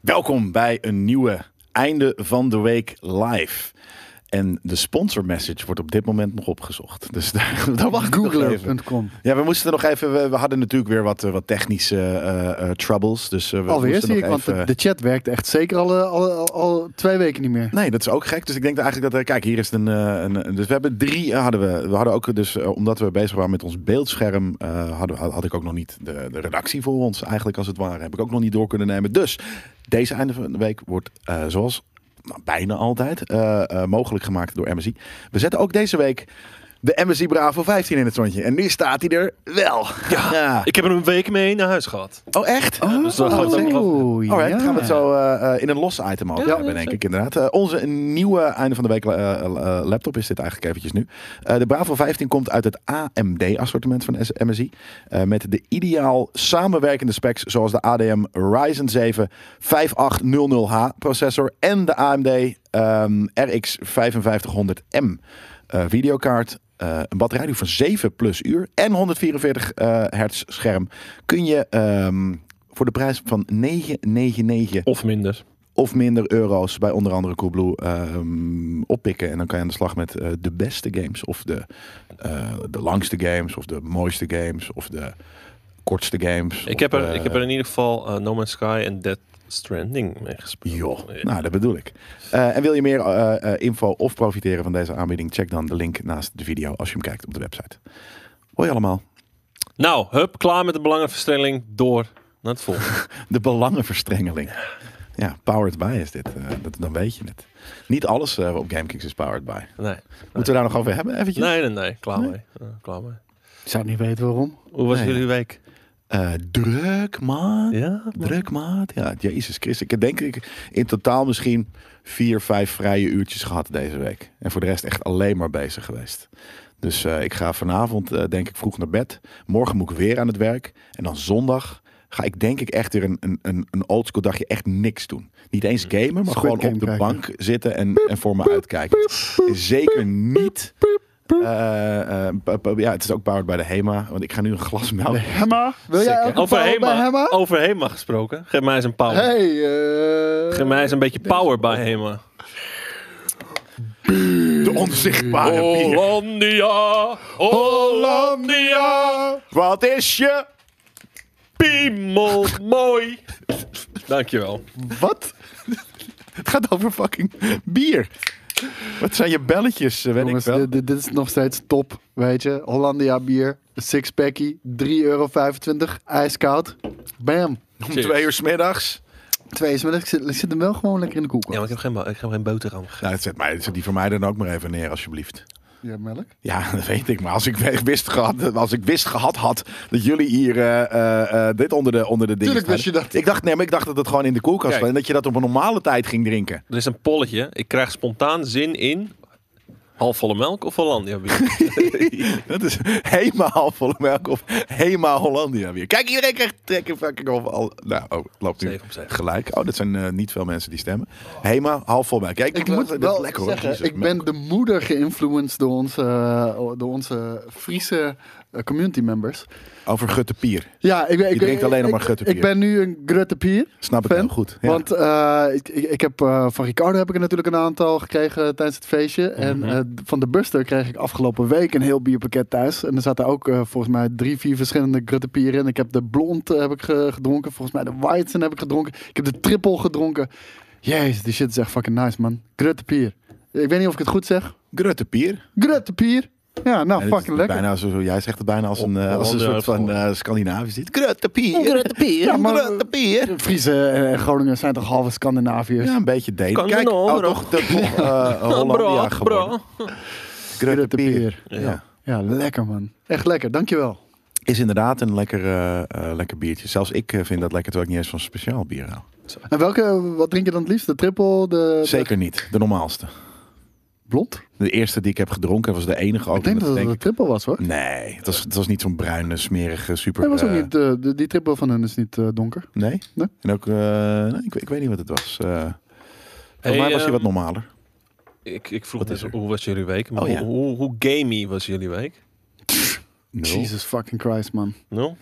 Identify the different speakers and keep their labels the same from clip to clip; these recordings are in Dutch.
Speaker 1: Welkom bij een nieuwe einde van de week live. En de sponsor message wordt op dit moment nog opgezocht. Dus daar, daar wacht ik nog even.
Speaker 2: Googler.com.
Speaker 1: Ja, we moesten nog even. We, we hadden natuurlijk weer wat, eh, wat technische eh, eh, troubles. Dus eh, we
Speaker 2: Alweer
Speaker 1: moesten
Speaker 2: zie ik,
Speaker 1: nog
Speaker 2: want
Speaker 1: even.
Speaker 2: de, de chat werkt echt zeker al, eh, al, al, al twee weken niet meer.
Speaker 1: Nee, dat is ook gek. Dus ik denk eigenlijk dat, eh, kijk, hier is het een, eh, een. een- Dus we hebben drie. eh, hadden we, we hadden ook dus, eh, omdat we bezig waren met ons beeldscherm, eh, hadden, had, had ik ook nog niet de, de redactie voor ons. Eigenlijk als het ware heb ik ook nog niet door kunnen nemen. Dus deze einde van de week wordt eh, zoals nou, bijna altijd eh, eh, mogelijk gemaakt door MSI. We zetten ook deze week de MSI Bravo 15 in het zonnetje. En nu staat hij er wel. Ja.
Speaker 3: Ik heb er een week mee naar huis gehad.
Speaker 1: Oh, echt?
Speaker 3: dus dan gaan we het ook nog over-
Speaker 2: Oeh,
Speaker 1: Alright,
Speaker 2: ja.
Speaker 1: gaan we het zo eh, eh, in een losse item over
Speaker 3: Ja,
Speaker 1: hebben,
Speaker 3: ja,
Speaker 1: denk ik inderdaad. Eh, onze nieuwe einde van de week eh, eh, laptop is dit eigenlijk eventjes nu. Eh, de Bravo 15 komt uit het AMD-assortiment van S- MSI. eh, met de ideaal samenwerkende specs zoals de ADM Ryzen 7 5800H processor en de AMD ehm, RX 5500M eh, videokaart. eh, een batterijduur van 7 plus uur en 144 eh, hertz scherm kun je ehm, voor de prijs van 999
Speaker 3: Of minder.
Speaker 1: of minder euro's bij onder andere Coolblue ehm, oppikken. En dan kan je aan de slag met eh, de beste games. Of de, eh, de langste games. Of de mooiste games. Of de kortste games.
Speaker 3: Ik
Speaker 1: Of,
Speaker 3: heb, er,
Speaker 1: eh,
Speaker 3: ik heb er in ieder geval eh, No Man's Sky en Dead Stranding mee gespeeld.
Speaker 1: Joh,
Speaker 3: Ja.
Speaker 1: nou dat bedoel ik. Eh, en wil je meer eh, eh, info of profiteren van deze aanbieding? Check dan de link naast de video als je hem kijkt op de website. Hoi allemaal.
Speaker 3: Nou, hup, klaar met de belangenverstrengeling. Door naar het volgende.
Speaker 1: De belangenverstrengeling. Ja, powered by is dit. eh, dat, dan weet je het. Niet alles eh, op GameKings is powered by.
Speaker 3: Nee,
Speaker 1: Moeten we daar nog over hebben eventjes?
Speaker 3: nee, nee, nee. Klaar mee. Eh, klaar mee.
Speaker 2: Ik zou niet weten waarom.
Speaker 3: Hoe was
Speaker 1: Nee.
Speaker 3: jullie week?
Speaker 1: Eh, druk, man.
Speaker 3: Ja?
Speaker 1: Druk, maat. Ja, Jezus Christus. Ik denk ik in totaal misschien vier, vijf vrije uurtjes gehad deze week. En voor de rest echt alleen maar bezig geweest. Dus eh, ik ga vanavond, eh, denk ik, vroeg naar bed. Morgen moet ik weer aan het werk. En dan zondag ga ik, denk ik, echt weer een, een, een, een oldschool dagje echt niks doen. Niet eens gamen, maar
Speaker 2: Mm. Squid
Speaker 1: gewoon
Speaker 2: Game
Speaker 1: op de
Speaker 2: kijken.
Speaker 1: bank zitten en, en voor me uitkijken. En Zeker niet. eh, eh, p- p- ja, het is ook powered bij de HEMA. Want ik ga nu een glas melk.
Speaker 2: Hemma, wil jij
Speaker 1: Zeker.
Speaker 2: ook een
Speaker 3: Over
Speaker 2: power bij
Speaker 3: Hema, Oh.
Speaker 2: Hema?
Speaker 3: over Hema gesproken. Geef mij eens een power.
Speaker 2: Hey, eh,
Speaker 3: Geef mij eens een beetje power bij Hema.
Speaker 1: De onzichtbare
Speaker 2: Oh.
Speaker 1: bier.
Speaker 3: Hollandia, Hollandia,
Speaker 1: Wat is je
Speaker 3: piemel mooi. Dankjewel.
Speaker 1: Wat? Het gaat over fucking bier. Wat zijn je belletjes, eh, weet
Speaker 2: Jongens,
Speaker 1: ik wel.
Speaker 2: dit, dit- dit is nog steeds top, weet je. Hollandia bier, een sixpackie, 3,25 euro, ijskoud. Bam.
Speaker 1: Om
Speaker 3: Cheers.
Speaker 1: twee uur smiddags.
Speaker 2: Twee is, maar ik zit, ik zit hem wel gewoon lekker in de koelkast.
Speaker 3: Ja, maar ik heb geen, bo- ik heb geen boterham gegeten.
Speaker 1: Nou, dat zet, mij, zet die voor mij dan ook maar even neer, alsjeblieft.
Speaker 2: Ja, melk.
Speaker 1: Ja, dat weet ik. Maar als ik we- wist gehad, als ik wist gehad had dat jullie hier eh, eh, eh, dit onder de, onder de dingen
Speaker 2: Tuurlijk wist
Speaker 1: hadden.
Speaker 2: je dat.
Speaker 1: Ik dacht, nee, maar ik dacht dat het gewoon in de koelkast
Speaker 3: Kijk.
Speaker 1: was. En dat je dat op een normale tijd ging drinken.
Speaker 3: Er is een polletje. Ik krijg spontaan zin in halfvolle melk of Hollandia bier.
Speaker 1: dat is helemaal volle melk of helemaal Hollandia weer. Kijk, iedereen krijgt trekken fucking over al. Nou, oh, het loopt nu
Speaker 3: Zeven op zeven.
Speaker 1: gelijk. Oh, dat zijn eh, niet veel mensen die stemmen. Hema, half vol melk. Kijk,
Speaker 2: Ik
Speaker 1: dat-
Speaker 2: moet
Speaker 1: dat is
Speaker 2: wel
Speaker 1: lekker, hoor.
Speaker 2: zeggen,
Speaker 1: Jezus,
Speaker 2: ik
Speaker 1: melk.
Speaker 2: ben de moeder geïnfluenced door onze, eh, door onze Friese eh, community members.
Speaker 1: over Gutte Pier.
Speaker 2: Ja, ik, ben- ik,
Speaker 1: Je drinkt alleen nog
Speaker 2: ik-
Speaker 1: maar Grutte
Speaker 2: Ik,
Speaker 1: bier.
Speaker 2: ben nu een Grutte Pier.
Speaker 1: Snap ik
Speaker 2: Fan?
Speaker 1: heel goed. Ja.
Speaker 2: Want eh, ik, ik, ik heb, eh, van Ricardo heb ik er natuurlijk een aantal gekregen tijdens het feestje. En
Speaker 1: Mhm.
Speaker 2: eh, van de Buster kreeg ik afgelopen week een heel bierpakket thuis. En er zaten ook eh, volgens mij drie, vier verschillende Grutte Pieren in. Ik heb de Blond eh, heb ik ge- gedronken. Volgens mij de Weizen heb ik gedronken. Ik heb de Triple gedronken. Jezus, die shit is echt fucking nice, man. Grutte Pier. Ik weet niet of ik het goed zeg.
Speaker 1: Grutte Pier.
Speaker 2: Grutte Pier. Ja, nou,
Speaker 1: Ja, dit is
Speaker 2: fucking lekker.
Speaker 1: Bijna zo, zo- jij zegt het bijna als een, eh, als een
Speaker 3: Hollander
Speaker 1: soort van eh Scandinavisch. dit. Grutte Pier. Grutte Pier.
Speaker 2: Ja, maar-
Speaker 1: Grutte Pier.
Speaker 2: Friese en Groningen zijn toch halve Scandinaviërs?
Speaker 1: Ja, een beetje Denen.
Speaker 3: Kan
Speaker 1: Kijk,
Speaker 3: een
Speaker 1: oh,
Speaker 3: oorlog.
Speaker 1: toch de eh, Hollandia geworden. Grutte
Speaker 2: Grutte
Speaker 1: Pier.
Speaker 2: Pier.
Speaker 1: Ja.
Speaker 2: Ja, lekker man. Echt lekker, dankjewel.
Speaker 1: Is inderdaad een lekker, eh, eh, lekker biertje. Zelfs ik eh, vind dat lekker, terwijl ik niet eens van speciaal bier hou.
Speaker 2: En welke, wat drink je dan het liefst? De triple, de... de
Speaker 1: Zeker niet. De normaalste.
Speaker 2: blond?
Speaker 1: De eerste die ik heb gedronken was de enige ook.
Speaker 2: Ik denk
Speaker 1: en
Speaker 2: dat het de
Speaker 1: ik-
Speaker 2: triple was hoor.
Speaker 1: Nee, het was, het was niet zo'n bruine, smerige, super...
Speaker 2: Hij was ook
Speaker 1: eh,
Speaker 2: niet, eh, de, die triple van hun is niet eh, donker.
Speaker 1: nee?
Speaker 2: Nee.
Speaker 1: En ook... eh, nee, ik, ik weet niet wat het was. Eh volgens
Speaker 3: Hey,
Speaker 1: mij was hij
Speaker 3: ehm,
Speaker 1: wat normaler.
Speaker 3: Ik, ik vroeg
Speaker 1: Wat
Speaker 3: net
Speaker 1: is er?
Speaker 3: hoe was jullie week? Maar
Speaker 1: Oh, ja.
Speaker 3: hoe, hoe, hoe gamey was jullie week?
Speaker 1: Nul.
Speaker 2: Jesus fucking Christ, man.
Speaker 3: Nul?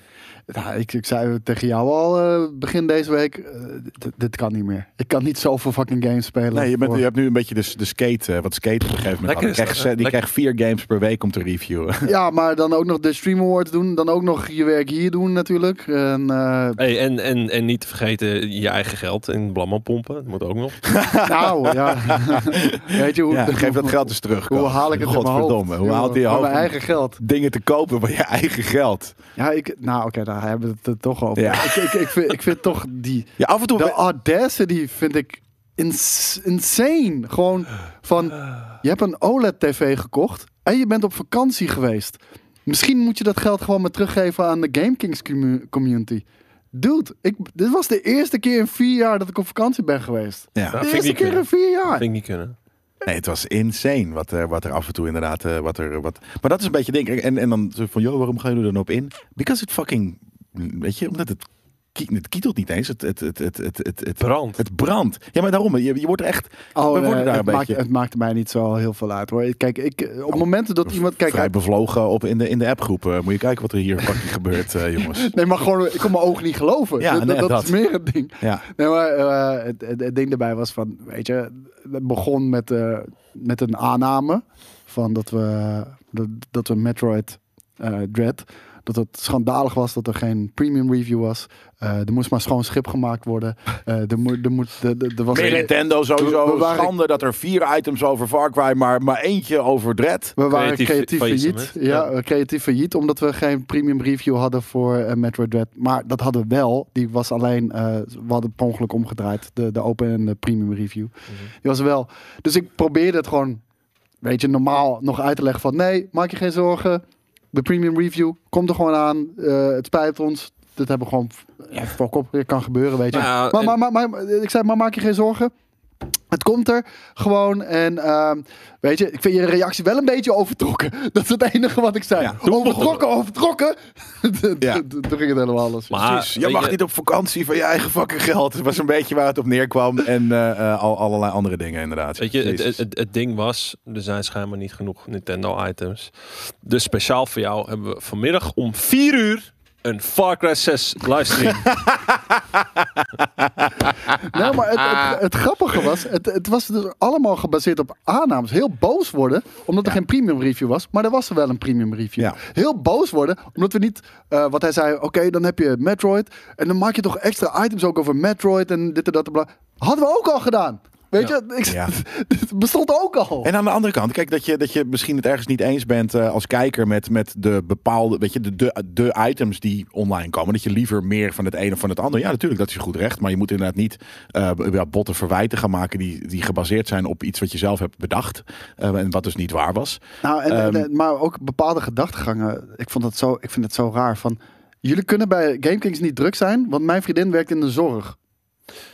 Speaker 2: Ja, ik, ik zei tegen jou al eh, begin deze week, eh, dit- dit kan niet meer. Ik kan niet zoveel fucking games spelen.
Speaker 1: Nee, je, bent,
Speaker 2: voor-
Speaker 1: je hebt nu een beetje de, de skate, eh, wat skate op een gegeven moment.
Speaker 3: Lekker
Speaker 1: Die
Speaker 3: is dat,
Speaker 1: krijgt,
Speaker 3: hè?
Speaker 1: ze- die
Speaker 3: Lekker.
Speaker 1: krijgt vier games per week om te reviewen.
Speaker 2: Ja, maar dan ook nog de Stream Awards doen. Dan ook nog je werk hier doen natuurlijk. En, eh,
Speaker 3: Hey, en, en, en niet te vergeten je eigen geld in blamma pompen. Dat moet ook nog.
Speaker 2: nou, ja. Weet je hoe...
Speaker 1: Ja, geef dat geld eens terug.
Speaker 2: Hoe
Speaker 1: Koos.
Speaker 2: haal ik het in mijn hoofd?
Speaker 1: Godverdomme, hoe
Speaker 2: Joh,
Speaker 1: haalt hij je
Speaker 2: van
Speaker 1: hoofd
Speaker 2: mijn
Speaker 1: om
Speaker 2: eigen geld.
Speaker 1: dingen te kopen van je eigen geld?
Speaker 2: Ja, ik, nou oké, daar hebben we het er toch over.
Speaker 1: Ja.
Speaker 2: Ik, ik, ik, vind, ik vind toch die...
Speaker 1: Ja, af en toe...
Speaker 2: De audacity vind ik ins- insane. Gewoon van, je hebt een OLED-tv gekocht en je bent op vakantie geweest. Misschien moet je dat geld gewoon maar teruggeven aan de GameKings commu- community. Dude, ik, dit was de eerste keer in vier jaar dat ik op vakantie ben geweest.
Speaker 1: ja.
Speaker 3: Ja.
Speaker 2: de
Speaker 3: vind ik
Speaker 2: eerste
Speaker 3: niet
Speaker 2: keer
Speaker 3: kunnen.
Speaker 2: in vier jaar.
Speaker 3: Dat vind ik niet kunnen.
Speaker 1: Nee, het was insane wat er, wat er af en toe inderdaad... eh, Wat er, wat... Maar dat is een beetje denk ik. En, en dan zo van, joh, waarom gaan jullie er dan op in? Because it fucking... Weet je, omdat het, kie- het kietelt niet eens. Het, het, het, het, het, het, het,
Speaker 3: Brand.
Speaker 1: het brandt. Ja, maar daarom, je, je wordt er echt...
Speaker 2: Oh,
Speaker 1: we
Speaker 2: nee,
Speaker 1: worden daar
Speaker 2: het,
Speaker 1: een
Speaker 2: maakt,
Speaker 1: beetje
Speaker 2: het maakte mij niet zo heel veel uit hoor. Kijk, ik, op momenten dat iemand... Kijk, eh,
Speaker 1: vrij bevlogen op in de, in de appgroep. eh, moet je kijken wat er hier fucking gebeurt, eh, jongens.
Speaker 2: Nee, maar gewoon, ik kon mijn ogen niet geloven.
Speaker 1: Ja,
Speaker 2: dat, dat-
Speaker 1: nee,
Speaker 2: dat
Speaker 1: dat.
Speaker 2: is meer het ding.
Speaker 1: Ja.
Speaker 2: Nee, maar eh, het, het, het ding daarbij was van, weet je, het begon met, eh, met een aanname van dat we, dat, dat we Metroid eh, Dread, dat het schandalig was dat er geen premium review was. Eh, er moest maar schoon schip gemaakt worden. Eh, er, moet, er, moet, er, er- er was
Speaker 1: Meer Nintendo sowieso.
Speaker 2: We- we waren-
Speaker 1: Schande dat er vier items over Far Cry, maar, maar eentje over Dread.
Speaker 2: We waren
Speaker 3: Creatief
Speaker 2: creatief
Speaker 3: failliet,
Speaker 2: failliet.
Speaker 3: hè?
Speaker 2: Ja, eh, creatief failliet, omdat we geen premium review hadden voor eh, Metroid Dread. Maar dat hadden we wel. Die was alleen, eh, we hadden per ongeluk omgedraaid. De, de open en de premium review.
Speaker 3: Mhm.
Speaker 2: Die was er wel. Dus ik probeerde het gewoon, weet je, normaal nog uit te leggen van... Nee, maak je geen zorgen. De premium review komt er gewoon aan. Eh, het spijt ons. Dit hebben we gewoon, ja, fok op. Het kan gebeuren, weet je.
Speaker 3: Nou ja,
Speaker 2: maar,
Speaker 3: en-
Speaker 2: maar, maar, maar- ik zei, maar maak je geen zorgen. Het komt er gewoon. En ehm, weet je, ik vind je reactie wel een beetje overtrokken. Dat is het enige wat ik zei.
Speaker 1: Ja,
Speaker 2: overtrokken, overtrokken.
Speaker 1: Ja.
Speaker 2: ja. Toen ging het helemaal los.
Speaker 3: Maar-
Speaker 1: Precies. Je
Speaker 3: Ah, weet
Speaker 1: mag
Speaker 3: je-
Speaker 1: niet op vakantie van je eigen fucking geld. Het was een beetje waar het op neerkwam. En eh, eh, al, allerlei andere dingen inderdaad.
Speaker 3: Weet je, het,
Speaker 1: Jezus.
Speaker 3: het, het, het ding was, er zijn schijnbaar niet genoeg Nintendo items. Dus speciaal voor jou hebben we vanmiddag om 4 uur een Far Cry 6 livestream.
Speaker 2: Nou, maar het, het, het grappige was, het, het was dus allemaal gebaseerd op aannames. Heel boos worden, omdat er geen premium review was. Maar er was wel een premium review.
Speaker 1: Ja.
Speaker 2: Heel boos worden, omdat we niet, eh, wat hij zei, oké, dan heb je Metroid. En dan maak je toch extra items ook over Metroid en dit en dat en bla. Hadden we ook al gedaan. Weet
Speaker 3: Ja.
Speaker 2: je, ik,
Speaker 1: Ja.
Speaker 2: het bestond ook al.
Speaker 1: En aan de andere kant, kijk, dat je, dat je misschien het ergens niet eens bent eh, als kijker met, met de bepaalde, weet je, de, de, de items die online komen. Dat je liever meer van het een of van het ander. Ja, natuurlijk, dat is je goed recht. Maar je moet inderdaad niet eh, b- ja, botten verwijten gaan maken die, die gebaseerd zijn op iets wat je zelf hebt bedacht. eh, en wat dus niet waar was.
Speaker 2: Nou, en, en-
Speaker 1: Ehm.
Speaker 2: en- maar ook bepaalde gedachtegangen. Ik, vond dat zo, ik vind het zo raar. Van, jullie kunnen bij GameKings niet druk zijn, want mijn vriendin werkt in de zorg.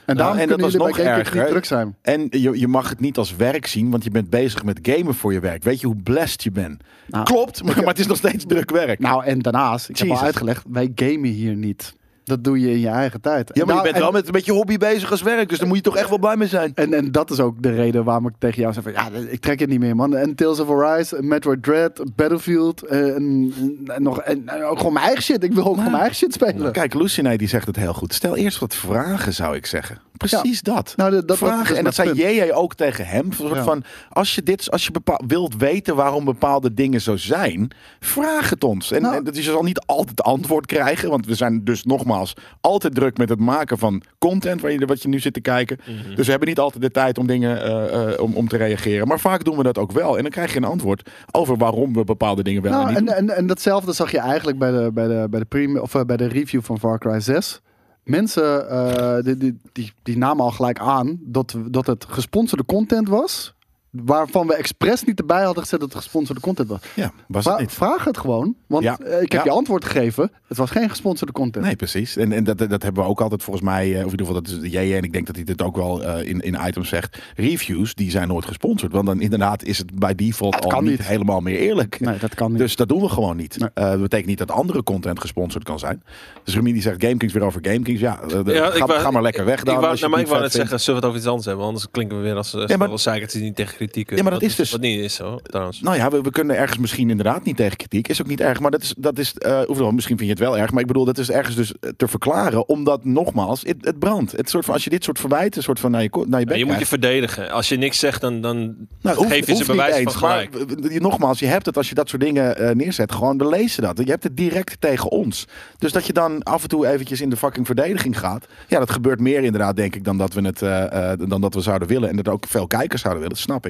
Speaker 2: En daarom
Speaker 1: Nou, en dat
Speaker 2: kunnen
Speaker 1: was
Speaker 2: jullie bij
Speaker 1: nog
Speaker 2: GameKings
Speaker 1: erger,
Speaker 2: niet
Speaker 1: hè?
Speaker 2: druk zijn.
Speaker 1: En je, je mag het niet als werk zien, want je bent bezig met gamen voor je werk. Weet je hoe blessed je bent?
Speaker 2: Nou,
Speaker 1: Klopt, maar, maar het is nog steeds druk werk.
Speaker 2: Nou, en daarnaast, ik heb
Speaker 1: Jezus.
Speaker 2: al uitgelegd, wij gamen hier niet. Dat doe je in je eigen tijd.
Speaker 1: ja, maar je
Speaker 2: Nou,
Speaker 1: bent
Speaker 2: en,
Speaker 1: wel met een beetje hobby bezig als werk, dus daar moet je toch echt wel blij mee zijn.
Speaker 2: en, en dat is ook de reden waarom ik tegen jou zei van... Ja, ik trek het niet meer, man. En Tales of Arise, Metroid Dread, Battlefield... eh, En, en, nog, en, en ook gewoon mijn eigen shit. Ik wil ook gewoon mijn eigen shit spelen.
Speaker 1: Kijk, Lucinay die zegt het heel goed. Stel eerst wat vragen, zou ik zeggen. Precies dat.
Speaker 2: Nou, dat- dat-
Speaker 1: vragen.
Speaker 2: dat is
Speaker 1: en dat
Speaker 2: mijn
Speaker 1: zei JJ ook tegen hem. Een soort
Speaker 2: Ja.
Speaker 1: Van, als je, dit, als je bepaal, wilt weten waarom bepaalde dingen zo zijn, vraag het ons. En,
Speaker 2: Nou.
Speaker 1: en dat je zal niet altijd antwoord krijgen. Want we zijn dus nogmaals altijd druk met het maken van content waar je, wat je nu zit te kijken.
Speaker 2: Mhm.
Speaker 1: Dus we hebben niet altijd de tijd om dingen eh, eh, om, om te reageren. Maar vaak doen we dat ook wel. En dan krijg je een antwoord over waarom we bepaalde dingen wel en
Speaker 2: Nou,
Speaker 1: niet
Speaker 2: en,
Speaker 1: doen.
Speaker 2: en, en datzelfde zag je eigenlijk bij de, bij de, bij de, prem- of, eh, bij de review van Far Cry 6. Mensen eh, die, die, die, die namen al gelijk aan dat, dat het gesponsorde content was. Waarvan we expres niet erbij hadden gezet dat het gesponsorde content was.
Speaker 1: Ja, was
Speaker 2: Vra-
Speaker 1: het niet.
Speaker 2: Vraag het gewoon, want
Speaker 1: Ja.
Speaker 2: eh, ik
Speaker 1: Ja.
Speaker 2: heb je antwoord gegeven. Het was geen gesponsorde content.
Speaker 1: Nee, precies. En, en dat, dat hebben we ook altijd volgens mij, eh, of in ieder geval dat is jij en ik denk dat hij dit ook wel eh, in, in items zegt. Reviews die zijn nooit gesponsord, want dan inderdaad is het bij default
Speaker 2: Dat
Speaker 1: al
Speaker 2: kan
Speaker 1: niet,
Speaker 2: niet.
Speaker 1: helemaal meer eerlijk.
Speaker 2: Nee, dat kan niet.
Speaker 1: Dus dat doen we gewoon niet.
Speaker 2: Nee.
Speaker 1: Eh, dat betekent niet dat andere content gesponsord kan zijn. Dus Remy die zegt GameKings weer over GameKings. Ja, eh, de- ga,
Speaker 3: wou-
Speaker 1: ga maar lekker weg
Speaker 3: ik
Speaker 1: dan.
Speaker 3: wou-
Speaker 1: als je
Speaker 3: nou,
Speaker 1: het niet
Speaker 3: maar ik wou
Speaker 1: vet
Speaker 3: net
Speaker 1: vindt.
Speaker 3: zeggen, zullen we het over iets anders hebben? Anders klinken we weer als uh,
Speaker 1: maar-
Speaker 3: zeikertjes die niet tegen kritiek.
Speaker 1: Ja, maar dat
Speaker 3: Wat
Speaker 1: is dus-
Speaker 3: Wat niet is zo, trouwens.
Speaker 1: Nou ja, we, we kunnen ergens misschien inderdaad niet tegen kritiek. Is ook niet erg, maar dat is, dat is eh, hoewel, misschien vind je het wel erg, maar ik bedoel, dat is ergens dus eh, te verklaren, omdat nogmaals, het, het brandt. Het soort van, als je dit soort verwijten, een soort van naar je, ko- naar je
Speaker 3: Ja,
Speaker 1: bek
Speaker 3: je moet je
Speaker 1: krijgt,
Speaker 3: verdedigen. Als je niks zegt, dan, dan
Speaker 1: nou, hoeft-
Speaker 3: geef je ze
Speaker 1: hoeft niet
Speaker 3: bewijs van
Speaker 1: eens, maar,
Speaker 3: gelijk.
Speaker 1: eh, je- nogmaals, je hebt het als je dat soort dingen eh, neerzet, gewoon we lezen dat. Je hebt het direct tegen ons. Dus dat je dan af en toe eventjes in de fucking verdediging gaat, ja, dat gebeurt meer inderdaad, denk ik, dan dat we het, eh, eh, dan dat we zouden willen. En dat ook veel kijkers zouden willen, dat snap ik.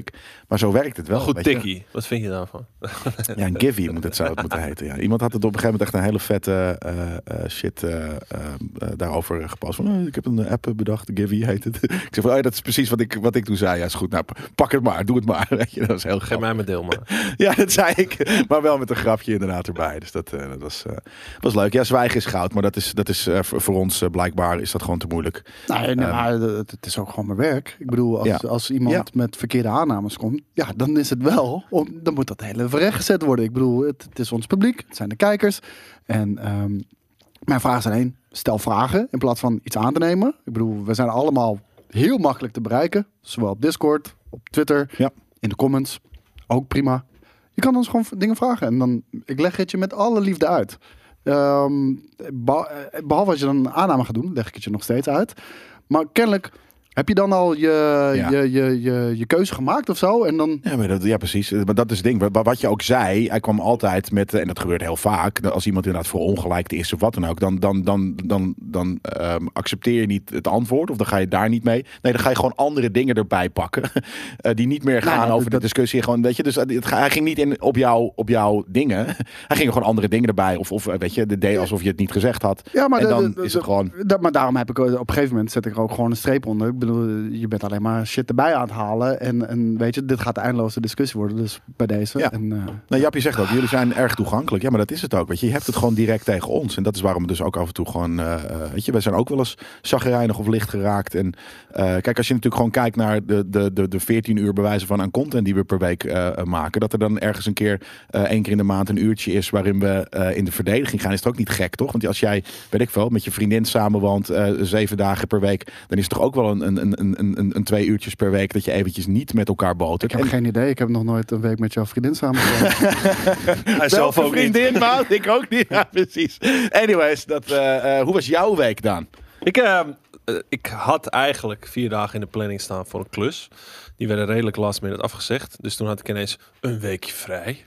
Speaker 1: Maar zo werkt het wel.
Speaker 3: goed
Speaker 1: weet je.
Speaker 3: tikkie. Wat vind je daarvan?
Speaker 1: Ja, een Givy moet het, zou het moeten heten. Ja. Iemand had het op een gegeven moment echt een hele vette eh, eh, shit eh, eh, eh, daarover gepost. Van, eh, ik heb een app bedacht, Givy heet het. ik zeg van, oh ja, dat is precies wat ik, wat ik toen zei. Ja, is goed, nou, pak het maar, doe het maar. Weet je, dat was heel
Speaker 3: Geef
Speaker 1: grappig.
Speaker 3: mij mijn deel, maar.
Speaker 1: Ja, dat zei ik. Maar wel met een grapje inderdaad erbij. Dus dat, eh, dat was, eh, was leuk. Ja, zwijgen is goud, maar dat is, dat is eh, voor, voor ons eh, blijkbaar is dat gewoon te moeilijk.
Speaker 2: Nee, nee, maar het, het is ook gewoon mijn werk. Ik bedoel, als,
Speaker 1: Ehm, Ja.
Speaker 2: als iemand
Speaker 1: Ja.
Speaker 2: met verkeerde aannames komt, ja, dan is het wel. om- dan moet dat hele recht gezet worden. Ik bedoel, het, het is ons publiek, het zijn de kijkers. En ehm, mijn vraag is alleen, stel vragen in plaats van iets aan te nemen. Ik bedoel, we zijn allemaal heel makkelijk te bereiken. Zowel op Discord, op Twitter,
Speaker 1: Ja.
Speaker 2: in de comments. Ook prima. Je kan ons gewoon v- dingen vragen. En dan, ik leg het je met alle liefde uit. Ehm, beh- eh, behalve als je dan een aanname gaat doen, leg ik het je nog steeds uit. Maar kennelijk heb je dan al je,
Speaker 1: Ja.
Speaker 2: je, je, je, je keuze gemaakt of zo. En dan,
Speaker 1: Ja, maar dat, ja, precies. Eh, Maar dat is het ding. Wa- wa- Wat je ook zei, hij kwam altijd met, eh, en dat gebeurt heel vaak, dat als iemand inderdaad voor ongelijk is of wat dan ook, dan, dan, dan, dan, dan ehm, accepteer je niet het antwoord of dan ga je daar niet mee. Nee, dan ga je gewoon andere dingen erbij pakken eh, die niet meer gaan
Speaker 2: nou,
Speaker 1: over
Speaker 2: dat-
Speaker 1: de discussie. Gewoon, weet je, dus eh, het, ga- hij ging niet in op, jou, op jouw dingen. hij ging gewoon andere dingen erbij of, of eh, weet je, deed alsof je het niet gezegd had.
Speaker 2: ja, maar
Speaker 1: en
Speaker 2: de-
Speaker 1: dan
Speaker 2: de-
Speaker 1: is
Speaker 2: de-
Speaker 1: het gewoon...
Speaker 2: da- maar daarom heb ik eh, op een gegeven moment zet ik er ook gewoon een streep onder. Ik bedoel, eh, je bent alleen maar shit erbij aan het halen. En, en weet je, dit gaat de eindeloze discussie worden. Dus bij deze.
Speaker 1: Ja.
Speaker 2: En, eh,
Speaker 1: Nou, Jappie zegt ook, jullie zijn erg toegankelijk. Ja, maar dat is het ook. Weet je, je hebt het gewoon direct tegen ons. En dat is waarom we dus ook af en toe gewoon. eh, eh, weet je, wij zijn ook wel eens zagrijnig of licht geraakt. En eh, kijk, als je natuurlijk gewoon kijkt naar de, de, de, de 14 uur bewijzen van aan content die we per week eh, eh, maken. Dat er dan ergens een keer, eh, één keer in de maand, een uurtje is waarin we eh, in de verdediging gaan. Is het ook niet gek, toch? Want als jij, weet ik veel, met je vriendin samen woont, eh, zeven dagen per week. dan is het toch ook wel een, een, een, een, een, een twee uurtjes per week dat je eventjes niet met elkaar botert.
Speaker 2: ik heb
Speaker 1: En-
Speaker 2: geen idee. Ik heb nog nooit een week met jouw vriendin samen. gewoond.
Speaker 3: Hij zelf
Speaker 1: Welke
Speaker 3: ook niet.
Speaker 1: vriendin, maat? Ik ook niet. Ja, precies. Anyways, dat, eh, eh, hoe was jouw week dan?
Speaker 3: Ik, eh, eh, ik had eigenlijk vier dagen in de planning staan voor een klus. Die werden redelijk last minute afgezegd. Dus toen had ik ineens een weekje vrij.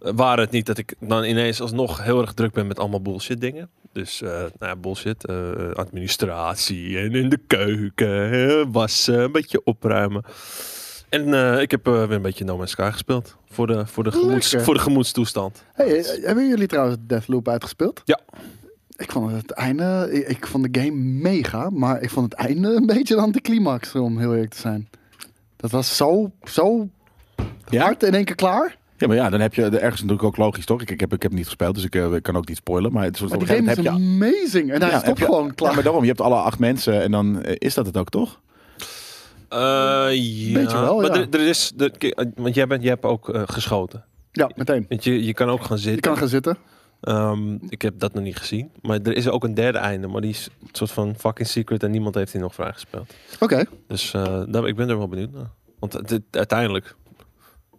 Speaker 3: Eh, Waar het niet dat ik dan ineens alsnog heel erg druk ben met allemaal bullshit dingen. Dus eh, nou ja, bullshit. eh, administratie en in de keuken. eh, wassen, een beetje opruimen. En eh, ik heb eh, weer een beetje No Man's Sky gespeeld. Voor de, voor de, gemoeds,
Speaker 2: Lekker.
Speaker 3: voor de gemoedstoestand.
Speaker 2: hey, eh, hebben jullie trouwens Deathloop uitgespeeld?
Speaker 3: Ja.
Speaker 2: Ik vond het einde, ik, ik vond de game mega, maar ik vond het einde een beetje dan de climax, om heel eerlijk te zijn. Dat was zo, zo
Speaker 1: Ja?
Speaker 2: hard in één keer klaar.
Speaker 1: Ja, maar ja, dan heb je de- ergens natuurlijk ook logisch, toch? Ik, ik, heb, ik heb niet gespeeld, dus ik eh, kan ook niet spoilen. Maar, het soort
Speaker 2: Maar
Speaker 1: op
Speaker 2: die
Speaker 1: een gegeven
Speaker 2: game is
Speaker 1: moment heb je...
Speaker 2: amazing. En hij
Speaker 1: ja, heb
Speaker 2: stopt
Speaker 1: je-
Speaker 2: gewoon klaar.
Speaker 1: Ja, maar daarom, je hebt alle acht mensen en dan eh, is dat het ook, toch?
Speaker 3: Eh ja.
Speaker 2: Beetje wel,
Speaker 3: maar
Speaker 2: ja.
Speaker 3: er, er is, er- kijk, eh, want jij, bent, jij hebt ook eh, geschoten.
Speaker 2: Ja, meteen.
Speaker 3: Want je, je kan ook gaan
Speaker 2: Je
Speaker 3: zitten.
Speaker 2: kan gaan zitten.
Speaker 3: Ehm, ik heb dat nog niet gezien. Maar er is ook een derde einde. Maar die is een soort van fucking secret. En niemand heeft die nog vrijgespeeld.
Speaker 2: Oké.
Speaker 3: Dus eh, daar, ik ben er wel benieuwd naar. Want het- het- uiteindelijk...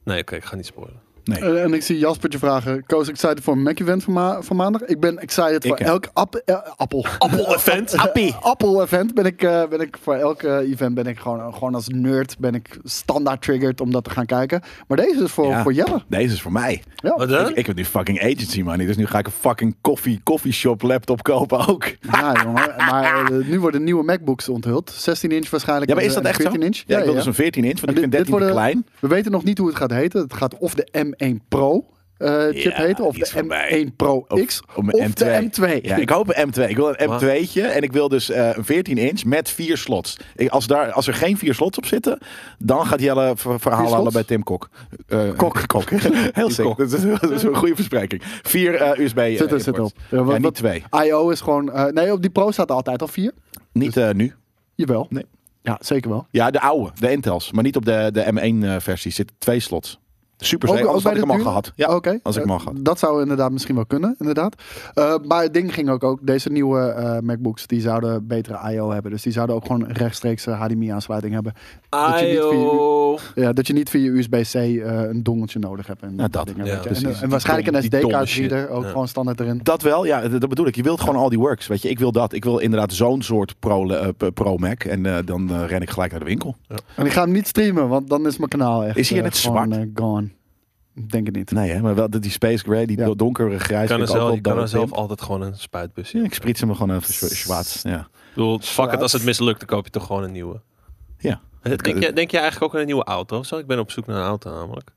Speaker 3: Nee, oké, ik ga niet spoilen.
Speaker 2: Eh, En ik zie Jaspertje vragen. Koos excited voor een Mac-event van, ma- van maandag. Ik ben excited voor
Speaker 1: hè?
Speaker 2: elk ap eh, appel.
Speaker 3: Appel-event?
Speaker 2: Appie. Appel-event ben ik, eh, ben ik voor elk eh, event ben ik gewoon, gewoon als nerd ben ik standaard triggered om dat te gaan kijken. Maar deze is voor,
Speaker 1: Ja.
Speaker 2: voor Jelle.
Speaker 1: Deze is voor mij.
Speaker 2: Ja.
Speaker 3: Wat dan?
Speaker 1: Ik, ik heb nu fucking agency money, dus nu ga ik een fucking koffie, shop laptop kopen ook.
Speaker 2: Ja, jongen. Maar eh, nu worden nieuwe MacBooks onthuld. 16 inch waarschijnlijk.
Speaker 1: Ja, maar is
Speaker 2: en,
Speaker 1: dat
Speaker 2: eh,
Speaker 1: echt zo?
Speaker 2: 14 Inch.
Speaker 1: Ja, ik wil dus een 14 inch, want ik
Speaker 2: dit-
Speaker 1: vind
Speaker 2: dit
Speaker 1: 13 te
Speaker 2: worden-
Speaker 1: klein.
Speaker 2: We weten nog niet hoe het gaat heten. Het gaat of de M1 Pro eh, chip
Speaker 1: Ja,
Speaker 2: heten, of
Speaker 1: die is
Speaker 2: de
Speaker 1: voorbij.
Speaker 2: M1 Pro
Speaker 1: Of-
Speaker 2: X,
Speaker 1: om
Speaker 2: of,
Speaker 1: een
Speaker 2: de M2.
Speaker 1: Ja, ik hoop een M2. Ik wil een
Speaker 3: Wow.
Speaker 1: M2'tje en ik wil dus eh, een 14 inch met vier slots. Ik, als, daar, als er geen vier slots op zitten, dan gaat Jelle ver- verhaal
Speaker 2: Vier
Speaker 1: halen
Speaker 2: slots?
Speaker 1: bij Tim Kok. Eh, kok. Kok. Heel sick.
Speaker 3: Kok.
Speaker 1: Dat is, dat is een goede verspreking. Vier eh, USB eh,
Speaker 2: Zit er, zit
Speaker 1: inputs.
Speaker 2: op. Ja, wat-
Speaker 1: Ja, niet
Speaker 2: wat-
Speaker 1: twee.
Speaker 2: IO is gewoon... eh, nee, op die Pro staat altijd al 4.
Speaker 1: Niet
Speaker 2: Dus-
Speaker 1: eh, nu.
Speaker 2: Jawel.
Speaker 1: Nee.
Speaker 2: Ja, zeker wel.
Speaker 1: Ja, de oude, de Intels. Maar niet op de, de M1-versie. Zitten eh, twee slots. Super zeker. Anders had ik hem al gehad. Ja,
Speaker 2: Oké.
Speaker 1: als ik hem
Speaker 2: Eh,
Speaker 1: al gehad.
Speaker 2: Dat zou inderdaad misschien wel kunnen, inderdaad. Eh, maar het ding ging ook ook, deze nieuwe eh, MacBooks, die zouden betere I.O. hebben. Dus die zouden ook gewoon rechtstreeks eh, HDMI-aansluiting hebben. Dat je niet via
Speaker 3: IO.
Speaker 2: Ja, dat je niet via USB-C eh, een dongeltje nodig hebt. En
Speaker 1: Ja, dat.
Speaker 2: dingen,
Speaker 3: Ja,
Speaker 2: weet je.
Speaker 1: precies.
Speaker 2: en, eh, en waarschijnlijk
Speaker 3: Die
Speaker 2: een
Speaker 3: dom- die domme
Speaker 2: SD-kaart reader, ook
Speaker 3: shit.
Speaker 2: gewoon standaard erin.
Speaker 1: Dat wel, ja, dat dat bedoel ik. Je wilt gewoon al die works, weet je. Ik wil dat. Ik wil inderdaad zo'n soort pro, eh, pro Mac. En eh, dan eh, ren ik gelijk naar de winkel.
Speaker 2: En ik ga hem niet streamen, want dan is mijn kanaal echt
Speaker 1: Is hij
Speaker 2: eh,
Speaker 1: net
Speaker 2: gewoon,
Speaker 1: zwart?
Speaker 2: eh, gone. Ik Denk het niet.
Speaker 1: Nee, hè, maar wel dat die space gray, die
Speaker 2: Ja.
Speaker 1: do- donkere
Speaker 3: Je
Speaker 1: grijs.
Speaker 3: kan er,
Speaker 1: vind ik ook
Speaker 3: zelf,
Speaker 1: wel
Speaker 3: je kan er
Speaker 1: dood
Speaker 3: zelf
Speaker 1: in.
Speaker 3: altijd gewoon een spuitbus in.
Speaker 1: Ja, ik spriet ze me gewoon even zwa- zwaats. Ja.
Speaker 3: Ik bedoel, fuck het, als het mislukt, dan koop je toch gewoon een nieuwe.
Speaker 1: Ja.
Speaker 3: Denk je, denk je eigenlijk ook aan een nieuwe auto? of Zo? Ik ben op zoek naar een auto namelijk.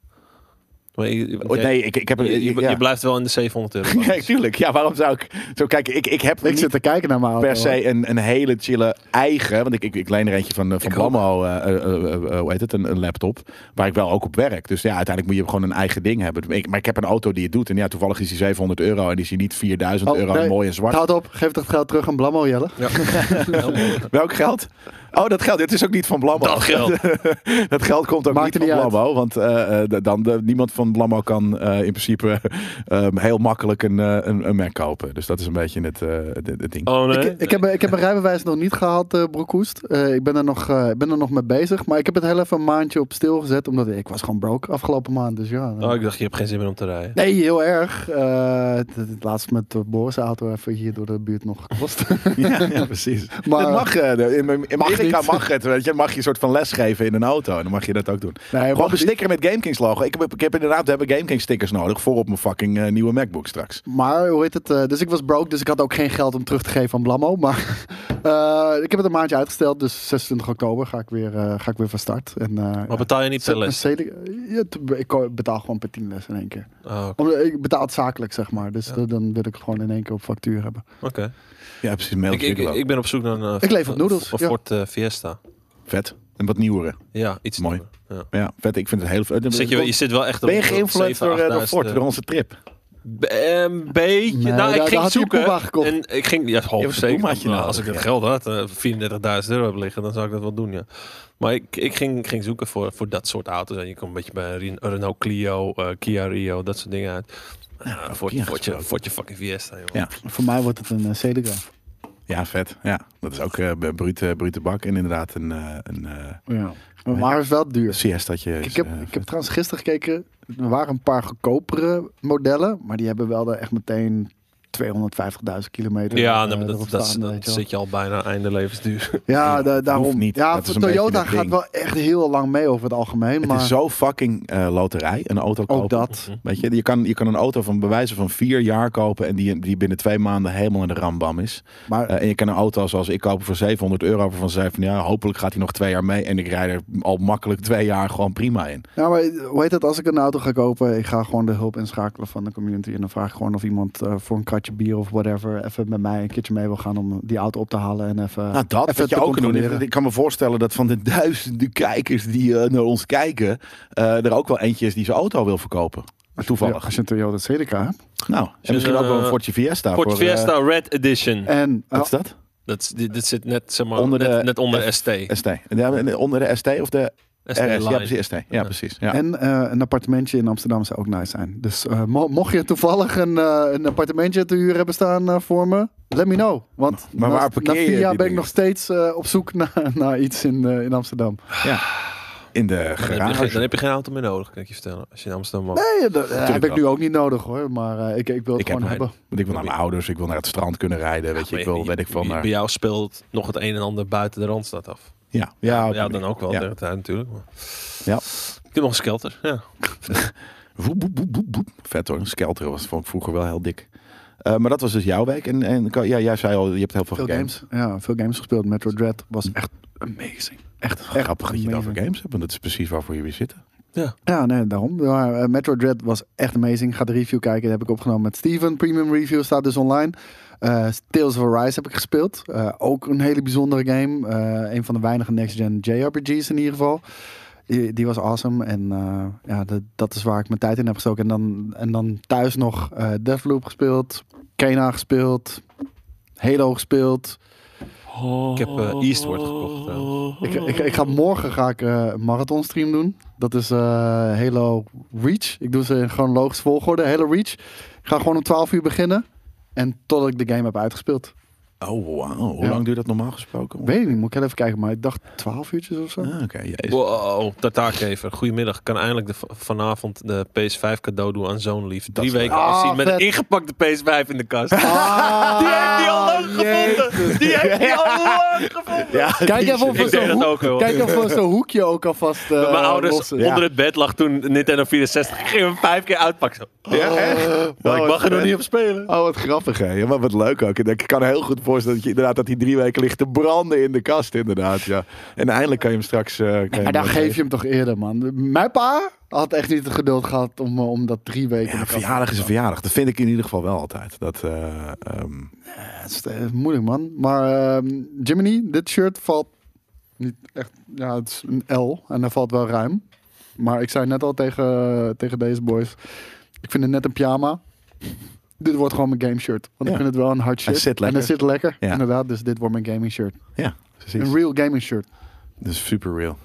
Speaker 3: Maar je,
Speaker 1: Oh, nee, ik, ik heb...
Speaker 3: je,
Speaker 1: een.
Speaker 3: je-
Speaker 1: ja.
Speaker 3: je blijft wel in de 700 euro.
Speaker 1: Nee, tuurlijk. Ja, waarom zou ik... Zo, kijk, ik, ik heb
Speaker 2: Ik
Speaker 1: niet
Speaker 2: zit te kijken naar mijn auto.
Speaker 1: per se een, een hele chille eigen... Want ik, ik, ik leen er eentje van, eh, van
Speaker 3: Ik ook.
Speaker 1: Blammo, eh, eh, eh, eh, hoe heet het, een, een laptop. Waar ik wel ook op werk. Dus ja, uiteindelijk moet je gewoon een eigen ding hebben. Ik, maar ik heb een auto die het doet. En ja, toevallig is die 700 euro. En is die niet 4000
Speaker 2: Oh,
Speaker 1: euro
Speaker 2: nee.
Speaker 1: en mooi en zwart.
Speaker 2: Houd op, geef dat geld terug aan Blammo, Jelle.
Speaker 3: Ja.
Speaker 1: Welk geld? Oh, dat geld. Dit is ook niet van Blammo.
Speaker 3: Dat geld.
Speaker 1: Dat geld komt ook
Speaker 2: Maakt
Speaker 1: niet
Speaker 2: er niet
Speaker 1: van
Speaker 2: uit.
Speaker 1: Blammo. Want eh, eh, d- dan, de- niemand van Blammo kan eh, in principe eh, heel makkelijk een, eh, een, een Mac kopen. Dus dat is een beetje het, eh, het, het ding.
Speaker 3: Oh nee.
Speaker 2: Ik, ik, heb, ik heb mijn rijbewijs nog niet gehaald, eh Broekhoest. Eh, ik, ben er nog, eh, ik ben er nog mee bezig. Maar ik heb het heel even een maandje op stil gezet. Omdat ik was gewoon broke afgelopen maand. Dus ja.
Speaker 3: Oh, ik dacht, je hebt geen zin meer om te rijden.
Speaker 2: Nee, heel erg. Eh, het- het laatst met de Boris' auto even hier door de buurt nog gekost.
Speaker 1: Ja, ja, precies.
Speaker 2: Maar-
Speaker 1: dat mag, eh, de- in, in
Speaker 2: Mag
Speaker 1: Amerika
Speaker 2: niet.
Speaker 1: mag het. Weet je, mag je een soort van les geven in een auto. En dan mag je dat ook doen.
Speaker 2: nee,
Speaker 1: Gewoon
Speaker 2: wacht,
Speaker 1: een sticker met GameKings logo. Ik heb, ik heb inderdaad we hebben GameKings stickers nodig voor op mijn fucking eh, nieuwe MacBook straks.
Speaker 2: Maar hoe heet het? eh, dus ik was broke, dus ik had ook geen geld om terug te geven aan Blammo. Maar eh, ik heb het een maandje uitgesteld, dus 26 oktober ga ik weer, eh, ga ik weer van start. En, eh,
Speaker 3: Maar betaal je niet
Speaker 2: zet
Speaker 3: per
Speaker 2: mijn
Speaker 3: les?
Speaker 2: ceding- ja, t- ik ko- betaal gewoon per 10 les in één keer.
Speaker 3: Oh, oké.
Speaker 2: Omdat ik betaal het zakelijk, zeg maar. Dus
Speaker 3: Ja.
Speaker 2: dan- dan wil ik het gewoon in één keer op factuur hebben.
Speaker 3: Oké.
Speaker 1: Ja, precies. Mail
Speaker 3: Ik, ik, ik ben op zoek naar een... eh,
Speaker 2: Ik leef op noedels,
Speaker 3: Een
Speaker 2: ja.
Speaker 3: Ford eh, Fiesta.
Speaker 1: Vet. En wat nieuwere.
Speaker 3: Ja, iets
Speaker 1: Mooi.
Speaker 3: sneller. Ja.
Speaker 1: Ja, vet. Ik vind het heel...
Speaker 3: Zit je, je zit wel echt op
Speaker 1: ben je
Speaker 3: op
Speaker 1: geïnfluenced
Speaker 3: 7.000,
Speaker 1: door, eh, door
Speaker 3: 8.000,
Speaker 1: Ford,
Speaker 3: eh,
Speaker 1: door onze trip?
Speaker 3: Be- Een beetje.
Speaker 2: Nee,
Speaker 3: nou,
Speaker 2: daar-
Speaker 3: ik
Speaker 2: daar
Speaker 3: ging
Speaker 2: had hij een Puma
Speaker 3: zoeken.
Speaker 2: gekocht.
Speaker 3: En ik ging, ja, hoop
Speaker 1: een
Speaker 3: zeker.
Speaker 1: Pumaatje
Speaker 3: Nou,
Speaker 1: nodig,
Speaker 3: als ik het
Speaker 1: ja.
Speaker 3: geld had, eh, 34.000 euro heb liggen, dan zou ik dat wel doen, ja. Maar ik, ik ging, ging zoeken voor, voor dat soort auto's. En je komt een beetje bij Ren- Renault Clio, eh, Kia Rio, dat soort dingen uit. Nou, voor,
Speaker 1: Kia
Speaker 3: voor, je,
Speaker 1: gesproken.
Speaker 3: voor je fucking Fiesta, joh.
Speaker 1: Ja.
Speaker 2: Voor mij wordt het een uh,
Speaker 1: Ja, vet. Ja, dat is ook eh brute, brute bak. En inderdaad een, eh een eh
Speaker 2: Ja. Maar het is wel duur.
Speaker 1: siestaatje. is,
Speaker 2: Ik heb,
Speaker 1: eh,
Speaker 2: ik heb trouwens gisteren gekeken. Er waren een paar goedkopere modellen. Maar die hebben wel daar echt meteen 250.000 kilometer.
Speaker 3: Ja,
Speaker 2: eh,
Speaker 3: nee, maar dat,
Speaker 2: erop
Speaker 3: dat,
Speaker 2: staan,
Speaker 3: dan
Speaker 2: weet je wel.
Speaker 3: zit je al bijna einde levensduur.
Speaker 2: Ja, da- daarom.
Speaker 1: hoeft niet.
Speaker 2: Ja,
Speaker 1: Dat is een beetje
Speaker 2: Toyota
Speaker 1: dat
Speaker 2: gaat
Speaker 1: ding.
Speaker 2: wel echt heel lang mee over het algemeen.
Speaker 1: het
Speaker 2: maar
Speaker 1: is zo fucking eh, loterij, een auto kopen.
Speaker 2: ook dat.
Speaker 3: Mhm.
Speaker 1: Weet je, je kan, je kan een auto van bewijzen van vier jaar kopen en die, die binnen twee maanden helemaal in de rambam is.
Speaker 2: Maar
Speaker 1: Eh, en je kan een auto zoals ik kopen voor 700 euro waarvan ze van ja, hopelijk gaat hij nog twee jaar mee en ik rijd er al makkelijk twee jaar gewoon prima in.
Speaker 2: Ja, Nou, maar eh, hoe heet dat? Als ik een auto ga kopen, ik ga gewoon de hulp inschakelen van de community. En dan vraag ik gewoon of iemand eh, voor een kratje bier of whatever even met mij een keertje mee wil gaan om die auto op te halen. En even,
Speaker 1: Nou, dat
Speaker 2: even
Speaker 1: wat je
Speaker 2: te
Speaker 1: ook kan doen. Ik,
Speaker 2: controleren.
Speaker 1: ik kan me voorstellen dat van de duizenden kijkers die eh, naar ons kijken, eh, er ook wel eentje is die zijn auto wil verkopen.
Speaker 2: Ja,
Speaker 1: Toevallig.
Speaker 2: als je een Toyota Celica hebt.
Speaker 1: Nou, en misschien
Speaker 3: een,
Speaker 1: ook wel een
Speaker 3: eh,
Speaker 1: Fordje Fiesta.
Speaker 3: Ford
Speaker 1: voor, eh,
Speaker 3: Fiesta Red Edition.
Speaker 2: En eh,
Speaker 1: wat is dat?
Speaker 3: Dat, is- dit, dit zit net, zeg maar,
Speaker 1: Onder de
Speaker 3: net, net onder ST.
Speaker 1: ST. Ja, onder de ST of de
Speaker 3: ST
Speaker 1: RS? Ja,
Speaker 3: Line.
Speaker 1: precies. ST. Ja,
Speaker 3: Ja.
Speaker 1: precies. Ja.
Speaker 2: En eh, een appartementje in Amsterdam zou ook nice zijn. Dus eh, mo- mocht je toevallig een, eh, een appartementje te huur hebben staan eh, voor me, let me know. Want
Speaker 1: Maar waar
Speaker 2: na,
Speaker 1: parkeer
Speaker 2: na
Speaker 1: je
Speaker 2: vier
Speaker 1: die
Speaker 2: jaar ben ik
Speaker 1: dingen?
Speaker 2: nog steeds eh, op zoek naar, naar iets in, eh, in Amsterdam.
Speaker 1: In de
Speaker 3: Dan heb, je, geen-
Speaker 1: garage.
Speaker 3: dan heb je geen auto meer nodig, kan ik je vertellen. Als je in Amsterdam woont.
Speaker 2: Nee, dat eh, heb ik
Speaker 1: wel.
Speaker 2: nu ook niet nodig hoor. Maar eh, ik, ik wil
Speaker 1: Ik
Speaker 2: het
Speaker 1: heb
Speaker 2: gewoon
Speaker 1: mijn-
Speaker 2: hebben.
Speaker 1: Want ik wil naar mijn ouders, ik wil naar het strand kunnen rijden. Weet je, ik wil, weet ik eh, veel,
Speaker 3: Bij
Speaker 1: naar...
Speaker 3: jou speelt nog het een en ander buiten de Randstad af.
Speaker 1: Ja, ja,
Speaker 3: ja, dan ook wel.
Speaker 1: Ja.
Speaker 3: de hele tijd natuurlijk. Maar.
Speaker 1: Ja.
Speaker 3: Ik heb nog een skelter. Ja.
Speaker 1: Woep, woep, woep, woep, woep. Vet hoor, een skelter was vond ik vroeger wel heel dik. Eh, maar dat was dus jouw week. En, en ja, jij zei al, je hebt heel veel,
Speaker 2: Veel
Speaker 1: games.
Speaker 2: games. Ja, veel games gespeeld. Metro Dread was echt amazing. Echt, echt
Speaker 1: Grappig dat je het
Speaker 2: amazing.
Speaker 1: over games hebt, want dat is precies waarvoor jullie zitten.
Speaker 2: Ja, nee, daarom. Maar, eh, Metro Dread was echt amazing. Ga de review kijken. Die heb ik opgenomen met Steven. Premium review staat dus online. Eh, Tales of Arise heb ik gespeeld. Eh, ook een hele bijzondere game. Eh, een van de weinige next-gen JRPG's in ieder geval. Die, die was awesome. En eh, ja, dat- dat is waar ik mijn tijd in heb gestoken. En dan, en dan thuis nog eh Deathloop gespeeld. Kena gespeeld. Halo gespeeld.
Speaker 3: Ik heb eh, Eastward gekocht trouwens.
Speaker 2: Ik, ik, ik ga morgen ga ik, eh, een marathon stream doen. Dat is eh, Halo Reach. Ik doe ze in chronologische volgorde. Halo Reach. Ik ga gewoon om 12 uur beginnen. En totdat ik de game heb uitgespeeld.
Speaker 1: Oh, wauw. Hoe
Speaker 2: Ja.
Speaker 1: lang duurt dat normaal gesproken?
Speaker 2: Weet ik niet, moet ik heel even kijken. Maar ik dacht 12 uurtjes of zo.
Speaker 1: Ah, Oké, jezus.
Speaker 3: Wow, oh, Tartaarkever. Goedemiddag. Ik kan eindelijk de, v- vanavond de PS5 cadeau doen aan zo'n lief. Drie
Speaker 1: is
Speaker 3: weken
Speaker 2: leuk.
Speaker 3: afzien
Speaker 2: Ah,
Speaker 3: met een
Speaker 2: vet.
Speaker 3: ingepakte PS5 in de kast.
Speaker 2: Ah,
Speaker 3: die heeft die al lang gevonden. Die heeft die al lang gevonden.
Speaker 1: Ja,
Speaker 2: Kijk
Speaker 1: die
Speaker 2: even
Speaker 1: is-
Speaker 2: of
Speaker 3: Ik
Speaker 2: we
Speaker 3: deed
Speaker 2: zo'n
Speaker 3: dat
Speaker 2: hoek-
Speaker 3: ook wel.
Speaker 2: kijk of we zo'n hoekje ook alvast eh
Speaker 3: Mijn ouders
Speaker 2: lossen.
Speaker 3: onder het bed lag toen Nintendo 64. Ik ging hem vijf keer uitpakken.
Speaker 2: Oh,
Speaker 3: Zo.
Speaker 1: Ja, echt?
Speaker 3: Maar ik mag er nog niet op spelen.
Speaker 1: Oh, wat grappig, hè? Ja, maar wat leuk ook. Ik denk, Ik kan heel goed voorstellen dat je inderdaad dat die drie weken ligt te branden in de kast, inderdaad. Ja. En eindelijk kan je hem straks... eh, kan je
Speaker 2: Maar
Speaker 1: hem
Speaker 2: dan
Speaker 1: dan
Speaker 2: geef je hem toch eerder, man. Mijn pa had echt niet het geduld gehad om, eh, om dat drie
Speaker 1: Ja,
Speaker 2: weken...
Speaker 1: een
Speaker 2: in de kast te
Speaker 1: verjaardag is een verjaardag. Dat vind ik in ieder geval wel altijd. Dat, eh, ehm,
Speaker 2: Het is eh, moeilijk, man. Maar ehm Jiminy, dit shirt valt niet echt... Ja, het is een L en dat valt wel ruim. Maar ik zei net al tegen, tegen deze boys... Ik vind het net een pyjama. Dit wordt gewoon mijn game shirt.
Speaker 1: Ja.
Speaker 2: Want ik vind het wel een hard shirt.
Speaker 1: zit
Speaker 2: En
Speaker 1: lekker.
Speaker 2: het zit lekker,
Speaker 1: Ja.
Speaker 2: inderdaad. Dus dit wordt mijn gaming shirt.
Speaker 1: ja, precies.
Speaker 2: Een real gaming shirt.
Speaker 1: Dat is super real.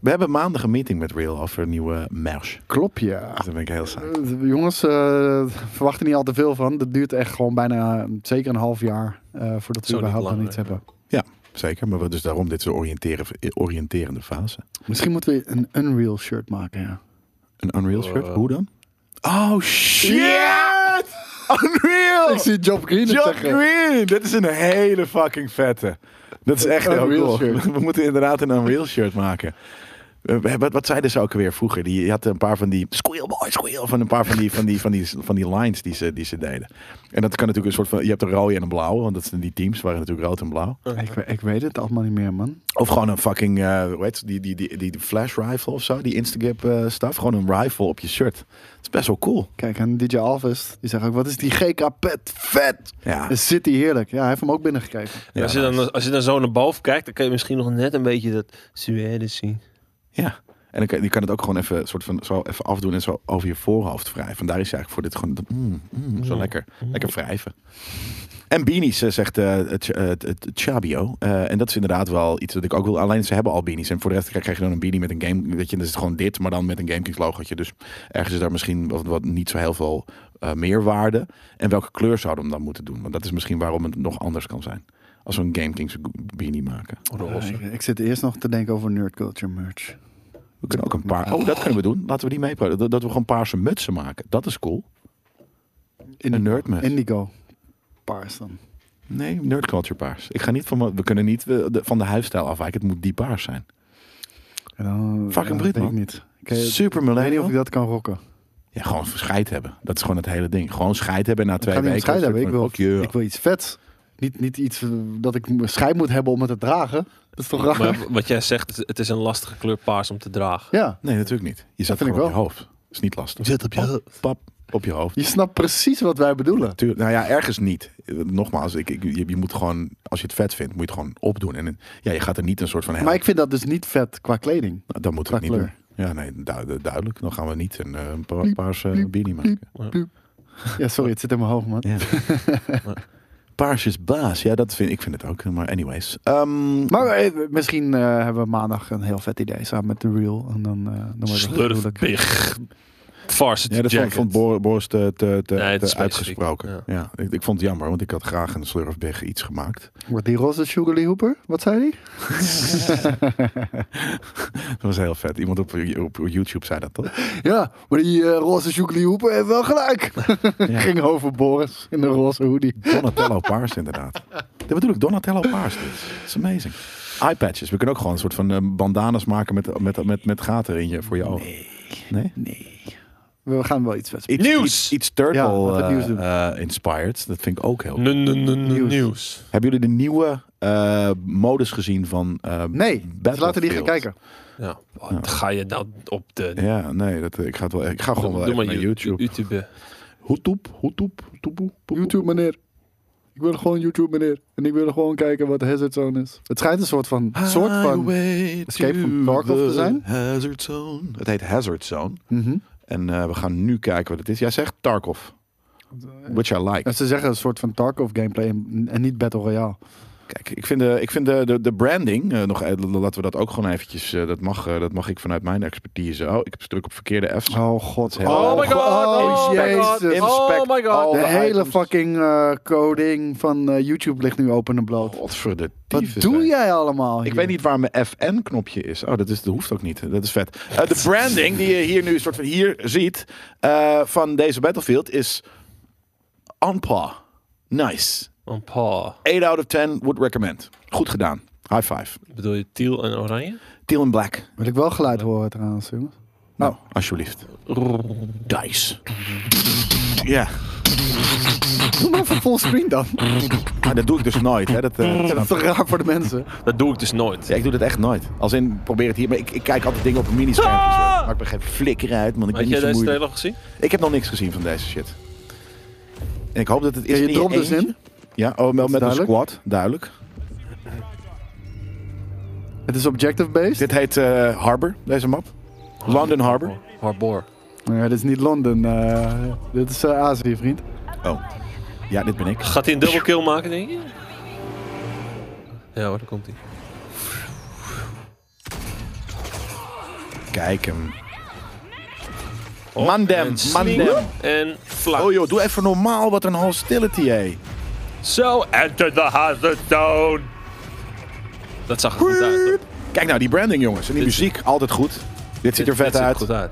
Speaker 1: We hebben maandag een meeting met Real over een nieuwe merch.
Speaker 2: Klopt, ja.
Speaker 1: Dus daar ben ik heel saai.
Speaker 2: Eh, Jongens, eh verwacht er niet al te veel van. Dat duurt echt gewoon bijna eh, zeker een half jaar eh, voordat we
Speaker 3: Zo niet
Speaker 2: überhaupt aan
Speaker 3: langer.
Speaker 2: iets hebben.
Speaker 1: Zeker, maar we- dus daarom dit is een oriënteren, oriënterende fase.
Speaker 2: Misschien moeten we een Unreal shirt maken, ja.
Speaker 1: Een Unreal shirt?
Speaker 3: Eh.
Speaker 1: Hoe dan? Oh shit!
Speaker 2: Ja!
Speaker 1: Unreal!
Speaker 2: Ik zie Job Green het
Speaker 1: John
Speaker 2: zeggen.
Speaker 1: Green! Dit is een hele fucking vette. Dat is echt
Speaker 2: Een
Speaker 1: heel
Speaker 2: Unreal
Speaker 1: cool.
Speaker 2: shirt.
Speaker 1: We moeten inderdaad een Unreal shirt maken. Eh, we- Wat, wat zeiden ze ook alweer vroeger? Die, je had een paar van die squeal boy squeal van een paar van die, van die, van die, van die lines die ze, die ze deden. En dat kan natuurlijk een soort van, je hebt een rode en een blauwe, want dat zijn die teams waren natuurlijk rood en blauw.
Speaker 2: Ik, we- ik weet het allemaal niet meer, man.
Speaker 1: Of gewoon een fucking, eh, hoe heet het, die, die, die, die, die flash rifle of zo, die instagap eh stuff. Gewoon een rifle op je shirt. Dat is best wel cool.
Speaker 2: Kijk, en DJ Alves, die zegt ook, wat is die GK-pet vet?
Speaker 1: Ja.
Speaker 2: Een City heerlijk. Ja, hij heeft hem ook binnengekregen.
Speaker 1: Ja,
Speaker 3: als, je dan, als je dan zo naar boven kijkt, dan kun je misschien nog net een beetje dat suède zien.
Speaker 1: Ja. En dan kan, je kan het ook gewoon even, soort van, zo even afdoen en zo over je voorhoofd wrijven. Daar is hij eigenlijk voor dit gewoon dat, mm, mm, zo lekker, lekker wrijven. En beanies, eh, zegt eh, het eh, het- het Chabio. Eh, en dat is inderdaad wel iets dat ik ook wil. Alleen ze hebben al beanies. En voor de rest krijg je dan een beanie met een game. Weet je, dat is het gewoon dit, maar dan met een GameKings logootje. Dus ergens is daar misschien wat, wat niet zo heel veel eh, meerwaarde. En welke kleur zouden we hem dan moeten doen? Want dat is misschien waarom het nog anders kan zijn. Als we een GameKings beanie maken.
Speaker 2: Ja, ik, ik zit eerst nog te denken over nerd culture merch.
Speaker 1: We kunnen ook een paar.
Speaker 2: Nou.
Speaker 1: Oh, dat kunnen we doen. Laten we die meepraten. Dat, dat we gewoon paarse mutsen maken. Dat is cool. Een nerdmuts.
Speaker 2: Indigo. Paars dan.
Speaker 1: Nee, nerdculture paars. Ik ga niet van. mijn- We kunnen niet eh, de- van de huisstijl afwijken. Het moet die paars zijn.
Speaker 2: En dan-
Speaker 1: Fucking
Speaker 2: ja,
Speaker 1: Brit,
Speaker 2: weet ik
Speaker 1: man.
Speaker 2: niet. Ik, eh,
Speaker 1: Super
Speaker 2: ik weet niet
Speaker 1: millennial.
Speaker 2: of ik dat kan rocken.
Speaker 1: Ja, gewoon scheid hebben. Dat is gewoon het hele ding. Gewoon scheid hebben na
Speaker 2: Ik
Speaker 1: twee
Speaker 2: ga niet
Speaker 1: weken.
Speaker 2: om scheid hebben. Ik wil,
Speaker 1: Fuck you.
Speaker 2: ik wil iets vets. Niet, niet iets eh, dat ik me scheid moet hebben om het te dragen. Dat is toch raar?
Speaker 3: Maar wat jij zegt, het is een lastige kleur paars om te dragen.
Speaker 2: Ja.
Speaker 1: Nee, natuurlijk niet. Je zet
Speaker 2: vind
Speaker 1: gewoon op
Speaker 2: ik
Speaker 1: je hoofd. Is niet lastig.
Speaker 3: Zet op je
Speaker 1: Pap,
Speaker 3: hoofd.
Speaker 1: Pap, op je hoofd.
Speaker 2: Je snapt precies wat wij bedoelen.
Speaker 1: Tuurlijk, nou ja, ergens niet. Eh, Nogmaals, ik, ik- je, je moet gewoon, als je het vet vindt, moet je het gewoon opdoen. En ja, je gaat er niet een soort van.
Speaker 2: Maar ik vind dat dus niet vet qua kleding.
Speaker 1: Nou, Dat moeten we
Speaker 2: Qua
Speaker 1: niet doen. Ja, nee, du- duidelijk. Dan gaan we niet een, eh, een paar,
Speaker 2: Bliep,
Speaker 1: paarse
Speaker 2: bliep,
Speaker 1: beanie maken.
Speaker 2: Ja, sorry, het zit in mijn hoofd, man.
Speaker 1: Ja. Paars is baas. Ja, dat vind ik vind het ook. Maar anyways. Ehm,
Speaker 2: Maar eh, misschien eh, hebben we maandag een heel vet idee samen met The Real. En dan, eh, dan wordt het
Speaker 3: Slurf
Speaker 2: natuurlijk.
Speaker 3: big. Varsity
Speaker 1: ja, dat vond,
Speaker 3: jacket.
Speaker 1: vond Bor- Boris te, te, te,
Speaker 3: Nee, het
Speaker 1: te
Speaker 3: is specifiek,
Speaker 1: uitgesproken. Ja.
Speaker 3: ja.
Speaker 1: ik, ik vond het jammer, want ik had graag een slurfbeg iets gemaakt.
Speaker 2: Wordt die roze Sugar Lee Hooper? Wat zei die?
Speaker 1: Dat was heel vet. Iemand op, op YouTube zei dat toch?
Speaker 2: Ja, maar die eh, roze Sugar Lee Hooper heeft wel gelijk. Ging over Boris in de roze hoodie.
Speaker 1: Donatello Paars inderdaad. Dat bedoel ik, Donatello Paars. dus. Dat is amazing. Eyepatches. We kunnen ook gewoon een soort van eh, bandanas maken met, met, met, met gaten in je, voor je ogen. nee?
Speaker 2: We gaan wel iets vets.
Speaker 1: Iets,
Speaker 3: Nieuws!
Speaker 1: Iets, iets turtle
Speaker 2: Ja, laten we het nieuws doen.
Speaker 1: eh, eh, inspired. Dat vind ik ook heel.
Speaker 3: N- n- n-
Speaker 2: Nieuws.
Speaker 3: Nieuws.
Speaker 1: Hebben jullie de nieuwe eh, modus gezien van eh
Speaker 2: Nee, dus laten we die
Speaker 1: Battlefield?
Speaker 2: gaan kijken.
Speaker 3: Ja. Wat ga je nou op de...
Speaker 1: Ja, nee, dat, ik ga het wel. Ik ga gewoon wel
Speaker 3: Doe
Speaker 1: even
Speaker 3: maar
Speaker 1: naar
Speaker 3: YouTube.
Speaker 1: YouTube.
Speaker 3: YouTube.
Speaker 1: Hoetoep, hoetoep, toepoe, poepoe.
Speaker 2: YouTube, meneer. Ik wil gewoon YouTube, meneer. En ik wil gewoon kijken wat Hazard Zone is. Het schijnt een soort van... Soort van...
Speaker 1: Highway
Speaker 2: Escape
Speaker 1: to
Speaker 2: from Tarkov te
Speaker 1: the
Speaker 2: zijn?
Speaker 1: Hazard Zone. Het heet Hazard Zone.
Speaker 2: Mhm.
Speaker 1: En eh, we gaan nu kijken wat het is. Jij zegt Tarkov. Which I like.
Speaker 2: eh, En ze zeggen een soort van Tarkov gameplay en en niet Battle Royale.
Speaker 1: Kijk, ik vind de, ik vind de, de, de branding, eh, nog, eh, laten we dat ook gewoon eventjes, eh, dat, mag, eh, dat mag ik vanuit mijn expertise. Oh, ik heb druk op verkeerde F's.
Speaker 2: Oh god.
Speaker 1: Oh
Speaker 3: Oh my god, oh, my god,
Speaker 2: jezus.
Speaker 1: Inspect
Speaker 3: oh my god.
Speaker 1: all
Speaker 2: De
Speaker 1: the
Speaker 2: hele
Speaker 1: items.
Speaker 2: fucking eh, coding van eh, YouTube ligt nu open en
Speaker 3: Oh,
Speaker 2: bloot.
Speaker 1: Godverde
Speaker 2: Wat
Speaker 1: tyfus,
Speaker 2: doe
Speaker 1: Oh, hè.
Speaker 2: jij allemaal
Speaker 1: Ik
Speaker 2: hier?
Speaker 1: weet niet waar mijn FN-knopje is. Oh, dat, is, dat hoeft ook niet. Dat is vet. Eh, de branding die je hier nu soort van hier ziet eh, van deze Battlefield is on par. Nice.
Speaker 3: Een paar.
Speaker 1: 8 out of 10 would recommend. Goed gedaan. High five.
Speaker 3: Bedoel je tiel en oranje?
Speaker 1: Teal and black.
Speaker 2: Wil ik wel geluid horen trouwens, jongens.
Speaker 1: Nou, alsjeblieft. Dice. Ja,
Speaker 2: Doe maar even full screen dan.
Speaker 1: maar dat doe ik dus nooit. Hè. Dat, eh, dat
Speaker 2: Dat
Speaker 1: snap
Speaker 2: is toch raar voor de mensen.
Speaker 3: Dat doe ik dus nooit.
Speaker 1: Ja, ik doe dat echt nooit. Als in, probeer het hier. Maar ik, ik kijk altijd dingen op een minischerm. Maar ik ben geen flikker uit, man. Ik ben
Speaker 3: Had
Speaker 1: niet
Speaker 3: jij
Speaker 1: zo
Speaker 3: Ah! deze
Speaker 1: moeilijk.
Speaker 3: trailer gezien?
Speaker 1: Ik heb nog niks gezien van deze shit. En ik hoop dat het is
Speaker 2: Ja, je
Speaker 1: in
Speaker 2: dropt dus
Speaker 1: eentje.
Speaker 2: in.
Speaker 1: Ja, oh, wel met een
Speaker 2: duidelijk.
Speaker 1: squad, duidelijk.
Speaker 2: Het is objective-based.
Speaker 1: Dit heet eh, Harbor, deze map. London
Speaker 3: Oh.
Speaker 1: Harbor.
Speaker 3: Harbor.
Speaker 2: Ja, dit is niet Londen. eh, dit is eh, Azië, vriend.
Speaker 1: Oh. Ja, dit ben ik.
Speaker 3: Gaat hij een double kill maken, denk je? Ja hoor, dan komt hij.
Speaker 1: Kijk hem.
Speaker 3: Oh,
Speaker 1: Mandem, mandem.
Speaker 3: Sling En vlak.
Speaker 1: Oh joh, doe even normaal wat een hostility, hé.
Speaker 3: Zo, enter the hazard zone. Dat zag er goed uit. hoor.
Speaker 1: Kijk nou, die branding, jongens. En die
Speaker 3: Dit-
Speaker 1: muziek, altijd goed. Dit ziet er
Speaker 3: Dit
Speaker 1: vet uit.
Speaker 3: goed uit.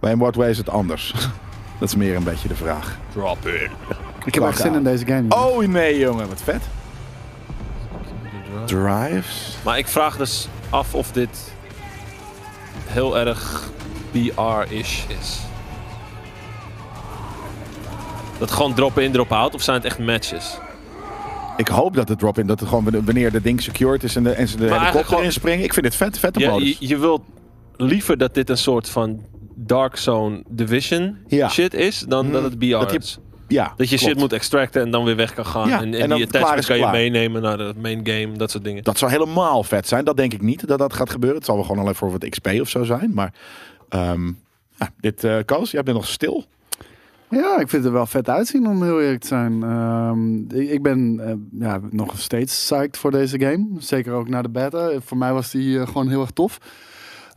Speaker 1: Maar in what way is het anders? Dat is meer een beetje de vraag.
Speaker 3: Drop in.
Speaker 2: Ik heb echt zin in deze game. jongen.
Speaker 1: Oh nee, jongen, wat vet. Drives.
Speaker 3: Maar ik vraag dus af of dit heel erg BR-ish is. Dat gewoon drop in, drop out, of zijn het echt matches?
Speaker 1: Ik hoop dat het drop-in, dat het gewoon wanneer dat ding secured is en, de, en ze de
Speaker 3: eigenlijk
Speaker 1: helikopter
Speaker 3: gewoon-
Speaker 1: inspringen. Ik vind het vet, vette
Speaker 3: Ja, je,
Speaker 1: modus.
Speaker 3: je wilt liever dat dit een soort van Dark Zone Division
Speaker 1: Ja. Mm.
Speaker 3: shit is, dan dat het BR
Speaker 1: dat je-
Speaker 3: is.
Speaker 1: Ja,
Speaker 3: Dat je
Speaker 1: klopt.
Speaker 3: shit moet extracten en dan weer weg kan gaan.
Speaker 1: Ja,
Speaker 3: en,
Speaker 1: en
Speaker 3: en,
Speaker 1: dan
Speaker 3: die
Speaker 1: klaar
Speaker 3: attachments
Speaker 1: is
Speaker 3: kan je
Speaker 1: klaar.
Speaker 3: meenemen naar de main game, dat soort dingen.
Speaker 1: Dat zou helemaal vet zijn. Dat denk ik niet dat dat gaat gebeuren. Het zal wel gewoon alleen voor wat XP of zo zijn. Maar ehm, ja, dit, eh Koos, jij bent nog stil.
Speaker 2: Ja, ik vind het er wel vet uitzien om heel eerlijk te zijn. Ehm, ik ik ben eh, ja, nog steeds psyched voor deze game. Zeker ook na de beta. Voor mij was die eh, gewoon heel erg tof.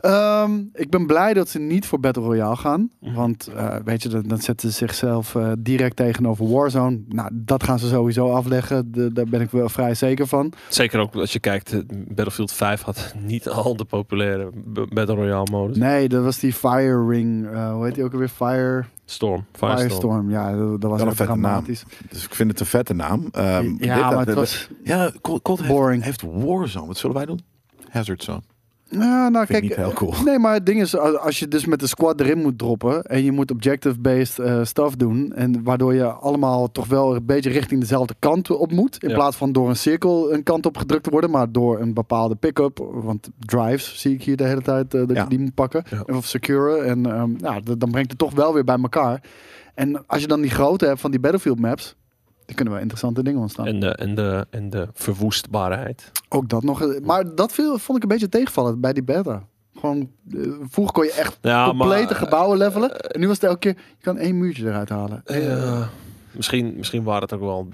Speaker 2: Ehm, ik ben blij dat ze niet voor Battle Royale gaan.
Speaker 1: Mhm.
Speaker 2: Want eh, weet je, dan, dan zetten ze zichzelf eh, direct tegenover Warzone. Nou, dat gaan ze sowieso afleggen. De- daar ben ik wel vrij zeker van.
Speaker 3: Zeker ook als je kijkt, eh, Battlefield 5 had niet al de populaire b- Battle Royale modus.
Speaker 2: Nee, dat was die Fire Ring. eh, hoe heet die ook alweer? Fire,
Speaker 3: Storm, Firestorm.
Speaker 2: Firestorm. Ja, dat, dat was
Speaker 1: een
Speaker 2: echt
Speaker 1: vette naam.
Speaker 2: dramatisch.
Speaker 1: Dus ik vind het een vette naam. Ehm, dit-
Speaker 2: Ja, maar
Speaker 1: dat-
Speaker 2: het
Speaker 1: dat-
Speaker 2: was...
Speaker 1: ja Cold, Cold heeft-
Speaker 2: boring.
Speaker 1: Heeft, Warzone. Wat zullen wij doen? Hazard Zone.
Speaker 2: Nou, nou
Speaker 1: Vind ik
Speaker 2: kijk,
Speaker 1: niet heel cool.
Speaker 2: Nee, maar het ding is, als als je dus met de squad erin moet droppen en je moet objective-based eh stuff doen, en waardoor je allemaal toch wel een beetje richting dezelfde kant op moet, in
Speaker 3: Ja.
Speaker 2: plaats van door een cirkel een kant op gedrukt te worden, maar door een bepaalde pick-up, want drives zie ik hier de hele tijd eh, dat
Speaker 1: Ja.
Speaker 2: je die moet pakken
Speaker 3: Ja.
Speaker 2: of securen, en ehm, ja, d- dan brengt het toch wel weer bij elkaar. En als je dan die grootte hebt van die battlefield maps, dan kunnen wel interessante dingen ontstaan.
Speaker 3: En de, en, de, en de verwoestbaarheid.
Speaker 2: Ook dat nog, eh, maar dat viel, vond ik een beetje tegenvallend bij die beta. Gewoon, eh, vroeger kon je echt
Speaker 3: Ja,
Speaker 2: complete
Speaker 1: eh,
Speaker 3: maar,
Speaker 2: gebouwen levelen. En nu was het elke keer, je kan één muurtje eruit halen.
Speaker 3: eh, ja. misschien, misschien waren het ook wel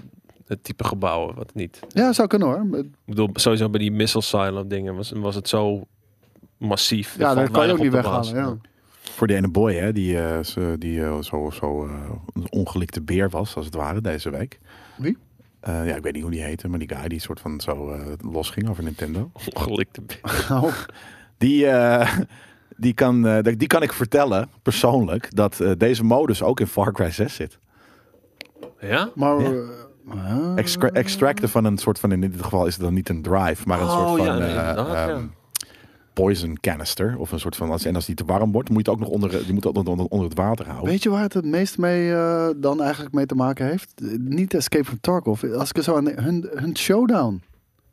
Speaker 3: het type gebouwen, wat niet.
Speaker 2: Ja, zou kunnen hoor. Maar-
Speaker 3: Ik bedoel, sowieso bij die missile silo dingen was, was het zo massief. Er
Speaker 2: Ja,
Speaker 3: valt
Speaker 2: dat kan je ook
Speaker 3: weinig
Speaker 2: niet
Speaker 3: op te
Speaker 2: weghalen.
Speaker 3: blazen.
Speaker 2: Ja.
Speaker 1: Voor die ene boy, hè, die, eh, ze- die eh, zo, zo eh, een ongelikte beer was, als het ware, deze week.
Speaker 2: Wie?
Speaker 1: Eh, ja, ik weet niet hoe die heette, maar die guy die soort van zo eh, losging over Nintendo.
Speaker 3: Ongelikte be-
Speaker 2: Nou,
Speaker 1: Die, eh, die, kan, eh, die kan ik vertellen, persoonlijk, dat eh, deze modus ook in Far Cry 6 zit.
Speaker 3: Ja?
Speaker 2: Maar,
Speaker 1: Ja.
Speaker 2: eh, ja.
Speaker 1: Extra- extracten van een soort van, in dit geval is het dan niet een drive, maar een
Speaker 3: Oh,
Speaker 1: soort van
Speaker 3: ja, nee,
Speaker 1: eh,
Speaker 3: inderdaad, ja.
Speaker 1: ehm, poison canister. Of een soort van, als- en als die te warm wordt, moet je het ook nog onder, je moet het onder, onder, onder het water houden.
Speaker 2: Weet je waar het het meest mee eh, dan eigenlijk mee te maken heeft? Eh, Niet Escape from Tarkov. Als ik er zo aan denk, hun, hun showdown.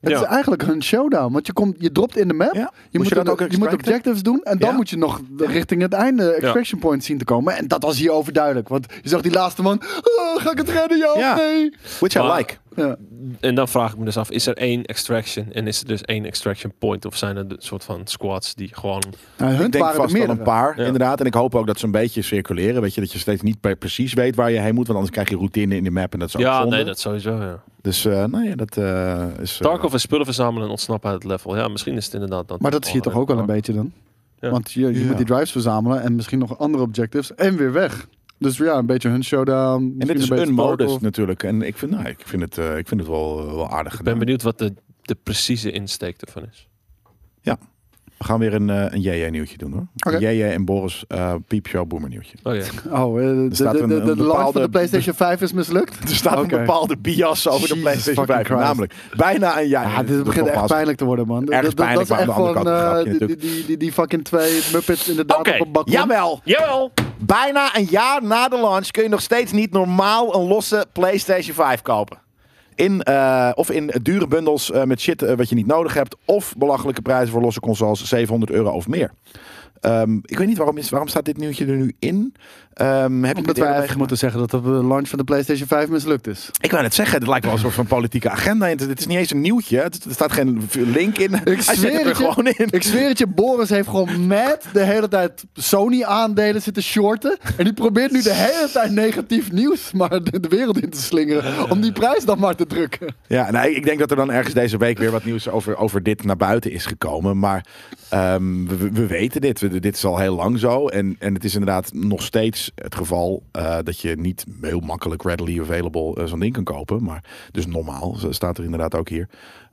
Speaker 2: Het
Speaker 3: Ja.
Speaker 2: is eigenlijk hun showdown. Want je, komt, je dropt in de map.
Speaker 1: Ja.
Speaker 2: Je,
Speaker 1: Moest je
Speaker 2: moet,
Speaker 1: dat
Speaker 2: de-
Speaker 1: ook
Speaker 2: je moet
Speaker 1: extracten?
Speaker 2: objectives doen. En dan
Speaker 1: Ja.
Speaker 2: moet je nog de- richting het einde extraction point zien te komen. En dat was hier overduidelijk. Want je zag die laatste man. "Oh, ga ik het redden? Ja, of
Speaker 1: Ja.
Speaker 2: nee.
Speaker 1: Which I
Speaker 3: Maar-
Speaker 1: like.
Speaker 2: Ja.
Speaker 3: En dan vraag ik me dus af, is er één extraction en is er dus één extraction point? Of zijn er een soort van squads die gewoon...
Speaker 2: Nou, hun
Speaker 1: Ik denk
Speaker 2: waren er
Speaker 1: vast wel
Speaker 2: meerdere.
Speaker 1: een paar,
Speaker 3: Ja.
Speaker 1: inderdaad. En ik hoop ook dat ze een beetje circuleren. Weet je, dat je steeds niet pre- precies weet waar je heen moet. Want anders krijg je routine in de map en dat is ook
Speaker 3: ja,
Speaker 1: zonde.
Speaker 3: nee, dat sowieso, ja.
Speaker 1: Dus eh nou ja, dat eh, is... eh,
Speaker 3: Tarkov is spullen verzamelen en ontsnappen uit het level. Ja, misschien is het inderdaad dan.
Speaker 2: Maar dat zie je toch ook wel een beetje dan?
Speaker 3: Oh, Ja.
Speaker 2: Want je, je
Speaker 1: Ja.
Speaker 2: moet die drives verzamelen en misschien nog andere objectives en weer weg. Dus ja, een beetje hun showdown.
Speaker 1: en dit
Speaker 2: misschien
Speaker 1: is
Speaker 2: beetje
Speaker 1: een modus
Speaker 2: Tarkov.
Speaker 1: natuurlijk. En ik vind, nou, ik vind het, eh, ik vind het wel, eh, wel aardig
Speaker 3: Ik
Speaker 1: gedaan.
Speaker 3: ben benieuwd wat de, de precieze insteek ervan is.
Speaker 1: We gaan weer een, eh, een JJ-nieuwtje doen hoor.
Speaker 2: Oké.
Speaker 1: JJ en Boris eh Piepshow Boomer nieuwtje.
Speaker 3: Oh ja.
Speaker 2: Oh, eh, de,
Speaker 1: staat
Speaker 2: de, de,
Speaker 1: een-
Speaker 2: de,
Speaker 1: een eh,
Speaker 2: launch
Speaker 1: bepaalde-
Speaker 2: van de PlayStation 5 is mislukt.
Speaker 1: Er staat
Speaker 2: Oké.
Speaker 1: een bepaalde bias over de
Speaker 2: Jesus
Speaker 1: PlayStation 5.
Speaker 2: fucking Christ.
Speaker 1: Namelijk, bijna een jaar.
Speaker 2: Ja, dit
Speaker 1: Dat
Speaker 2: begint echt
Speaker 1: nogmaals-
Speaker 2: pijnlijk te worden, man.
Speaker 1: Erg
Speaker 2: Dat- dat-
Speaker 1: pijnlijk,
Speaker 2: dat is
Speaker 1: maar
Speaker 2: echt
Speaker 1: aan de
Speaker 2: gewoon
Speaker 1: andere kant een
Speaker 2: eh,
Speaker 1: grapje
Speaker 2: die, die, die, die, die fucking twee Muppets inderdaad
Speaker 3: Oké,
Speaker 2: op een bak.
Speaker 1: Jawel!
Speaker 3: Jawel!
Speaker 1: Bijna een jaar na de launch kun je nog steeds niet normaal een losse PlayStation 5 kopen. In, eh, of in dure bundels eh, met shit eh, wat je niet nodig hebt. Of belachelijke prijzen voor losse consoles, 700 euro of meer. Ehm, ik weet niet waarom, is, waarom staat dit nieuwtje er nu in. Ehm, heb je
Speaker 2: Omdat
Speaker 1: dit
Speaker 2: wij
Speaker 1: eerder
Speaker 2: eigenlijk moeten zeggen dat de launch van de PlayStation 5 mislukt is.
Speaker 1: Ik wou net zeggen, het lijkt wel alsof er een politieke agenda in. zit. Dit is niet eens een nieuwtje. Het- Er staat geen link in. Hij
Speaker 2: zweer
Speaker 1: zit het er
Speaker 2: het je.
Speaker 1: gewoon in.
Speaker 2: Ik zweer het je, Boris heeft gewoon met de hele tijd Sony-aandelen zitten shorten. En die probeert nu de hele tijd negatief nieuws maar de, de wereld in te slingeren. Om die prijs dan maar te drukken.
Speaker 1: Ja, nou, ik denk dat er dan ergens deze week weer wat nieuws over, over dit naar buiten is gekomen. Maar ehm, we, we weten dit. We- dit is al heel lang zo. En, en het is inderdaad nog steeds het geval eh, dat je niet heel makkelijk readily available eh, zo'n ding kan kopen. Maar dus normaal zo staat er inderdaad ook hier.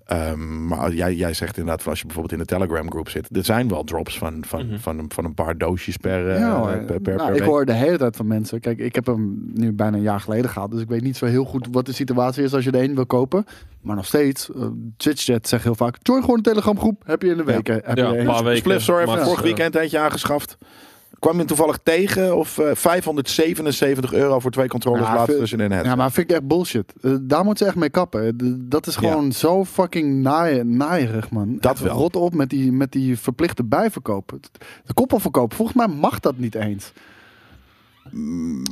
Speaker 1: Ehm, maar jij, jij zegt inderdaad, van als je bijvoorbeeld in de Telegram groep zit, er zijn wel drops van, van,
Speaker 3: Mhm.
Speaker 1: van, een, van een paar doosjes per, eh, per, per, per
Speaker 2: nou, ik
Speaker 1: week.
Speaker 2: hoor de hele tijd van mensen. Kijk, ik heb hem nu bijna een jaar geleden gehaald. Dus ik weet niet zo heel goed wat de situatie is als je er één wil kopen. Maar nog steeds, eh, Twitch-chat zegt heel vaak... Join gewoon een telegramgroep, heb je in de
Speaker 1: Ja.
Speaker 2: weken. Heb je
Speaker 3: Ja,
Speaker 2: er
Speaker 3: een
Speaker 2: één.
Speaker 3: paar weken.
Speaker 1: Splifzor heeft
Speaker 3: max,
Speaker 1: vorig
Speaker 3: eh,
Speaker 1: weekend eentje aangeschaft. Kwam je hem toevallig tegen? Of eh, 577 euro voor twee controllers
Speaker 2: Ja,
Speaker 1: later
Speaker 2: veel-
Speaker 1: tussen in het.
Speaker 2: Ja, maar vind ik echt bullshit. Eh, daar moet ze echt mee kappen. Eh, D- dat is
Speaker 1: Ja.
Speaker 2: gewoon zo fucking naai- naaierig, man.
Speaker 1: Dat
Speaker 2: Echt,
Speaker 1: wel.
Speaker 2: Rot op met die, met die verplichte bijverkoop. De koppelverkoop, volgens mij mag dat niet eens.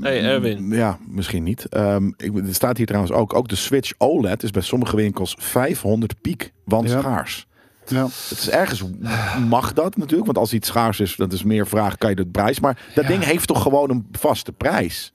Speaker 3: Hey Erwin.
Speaker 1: Mm, Ja, misschien niet. Ehm ik, er staat hier trouwens ook, ook de Switch OLED is bij sommige winkels 500 piek, want
Speaker 2: Ja.
Speaker 1: schaars.
Speaker 2: Ja.
Speaker 1: Het is ergens mag dat natuurlijk, want als iets schaars is, dat is meer vraag, kan je de prijs. Maar dat
Speaker 3: Ja.
Speaker 1: ding heeft toch gewoon een vaste prijs?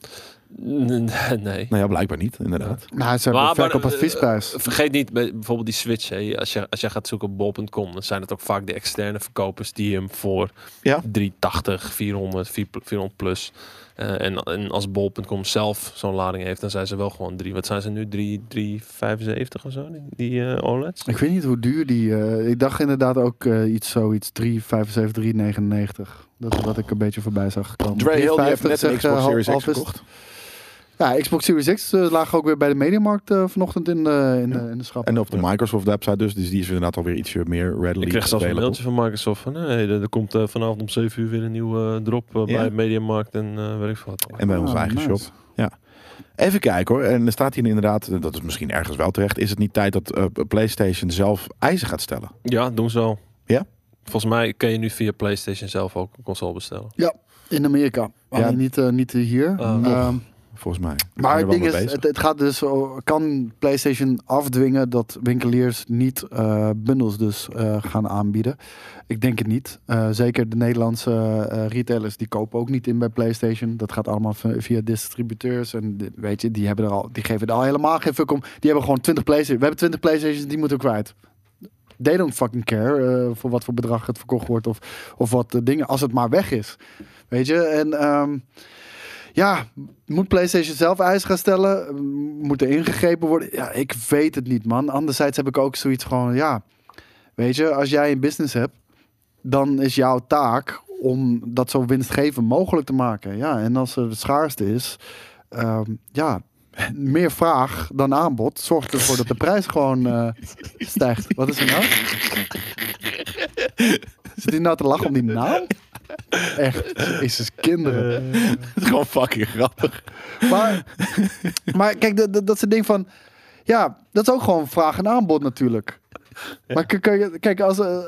Speaker 3: N- n- Nee.
Speaker 1: Nou ja, blijkbaar niet, inderdaad.
Speaker 2: Nou, ze
Speaker 3: Maar-
Speaker 2: hebben verkoop
Speaker 3: maar, eh,
Speaker 2: adviesprijs.
Speaker 3: Vergeet niet bij- bijvoorbeeld die Switch. Hè. Als, je, als jij gaat zoeken op bol.com, dan zijn het ook vaak de externe verkopers die hem voor
Speaker 1: Ja.
Speaker 3: 380, 400, 4 pl- 400 plus. eh, en, en als bol.com zelf zo'n lading heeft, dan zijn ze wel gewoon drie. Wat zijn ze nu? 3, 375 of zo? Die, die eh, OLED's?
Speaker 2: Ik weet niet hoe duur die... eh, ik dacht inderdaad ook eh, iets zoiets 3,75, 3,99. Dat is wat ik een beetje voorbij zag komen.
Speaker 1: Dre Hill die heeft
Speaker 2: 3,50
Speaker 1: net een
Speaker 2: zegt, eh,
Speaker 1: Xbox Series
Speaker 2: Hal-
Speaker 1: X
Speaker 2: Half is-
Speaker 1: gekocht.
Speaker 2: Ja, Xbox Series X eh, lagen ook weer bij de Mediamarkt eh, vanochtend in de, in, de, in de schappen.
Speaker 1: En op de Microsoft website dus, dus die is inderdaad alweer ietsje meer readily
Speaker 3: Ik kreeg zelfs een
Speaker 1: available.
Speaker 3: mailtje van Microsoft van, nee, er, er komt eh, vanavond om 7 uur weer een nieuwe eh, drop eh,
Speaker 1: Ja.
Speaker 3: bij Mediamarkt en eh weet ik veel wat.
Speaker 1: En bij onze
Speaker 2: Ah,
Speaker 1: eigen
Speaker 2: nice.
Speaker 1: shop. Ja. Even kijken hoor. En er staat hier inderdaad, dat is misschien ergens wel terecht. Is het niet tijd dat eh, PlayStation zelf eisen gaat stellen?
Speaker 3: Ja, doen ze al.
Speaker 1: Ja?
Speaker 3: Volgens mij kun je nu via PlayStation zelf ook een console bestellen.
Speaker 2: In Amerika.
Speaker 1: Ja.
Speaker 2: Alleen niet, eh, niet hier.
Speaker 3: Eh, nog.
Speaker 2: Ehm,
Speaker 1: Volgens mij. We zijn
Speaker 2: Maar
Speaker 1: er
Speaker 2: het
Speaker 1: wel
Speaker 2: ding is,
Speaker 1: mee bezig.
Speaker 2: het, het gaat dus, o- kan PlayStation afdwingen dat winkeliers niet eh, bundels dus eh, gaan aanbieden? Ik denk het niet. Eh, zeker de Nederlandse eh, retailers, die kopen ook niet in bij PlayStation. Dat gaat allemaal v- via distributeurs en di- weet je, die, hebben er al, die geven er al helemaal geen fuck om. Die hebben gewoon 20 PlayStation. We hebben 20 PlayStations, die moeten we kwijt. They don't fucking care eh, voor wat voor bedrag het verkocht wordt of, of wat eh, dingen, als het maar weg is. Weet je, en ehm, ja, moet PlayStation zelf eisen gaan stellen? Moet er ingegrepen worden? Ja, ik weet het niet, man. Anderzijds heb ik ook zoiets gewoon, ja. Weet je, als jij een business hebt, dan is jouw taak om dat zo winstgevend mogelijk te maken. Ja, en als er het schaarste is, ehm, ja, meer vraag dan aanbod zorgt ervoor dat de prijs gewoon eh, stijgt. Wat is er nou? Zit hij nou te lachen om die naam? Echt, Jezus, kinderen.
Speaker 1: het is gewoon fucking grappig.
Speaker 2: Maar, maar kijk, dat, dat, dat is het ding van... Ja, dat is ook gewoon vraag en aanbod natuurlijk. Maar k- kan je- kijk, als, eh,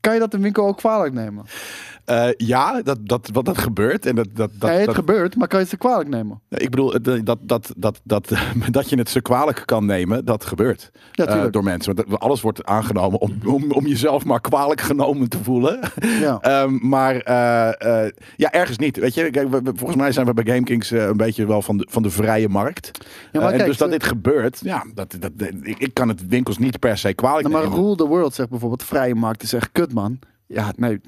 Speaker 2: kan je dat de winkel ook kwalijk nemen?
Speaker 1: Eh, ja, dat, dat, wat dat gebeurt. En dat, dat, dat,
Speaker 2: Nee, het
Speaker 1: dat-
Speaker 2: gebeurt, maar kan je ze kwalijk nemen?
Speaker 1: ik bedoel, eh, dat, dat, dat, dat, dat, dat je het zo kwalijk kan nemen, dat gebeurt
Speaker 2: Ja,
Speaker 1: eh,
Speaker 2: tuurlijk.
Speaker 1: door mensen. Want dat- alles wordt aangenomen om, om, om jezelf maar kwalijk genomen te voelen.
Speaker 2: Ja.
Speaker 1: Ehm, maar eh, eh, ja, ergens niet. Weet je, kijk, we- we- volgens mij zijn we bij GameKings eh, een beetje wel van de, van de vrije markt.
Speaker 2: maar
Speaker 1: Eh, en
Speaker 2: kijk,
Speaker 1: dus dat
Speaker 2: ze-
Speaker 1: dit gebeurt, ja, dat, dat, dat- ik, ik kan het winkels niet per se kwalijk
Speaker 2: Nou, maar
Speaker 1: nemen.
Speaker 2: Rule the World zegt bijvoorbeeld, vrije markt is echt kut, man. Ja, nee,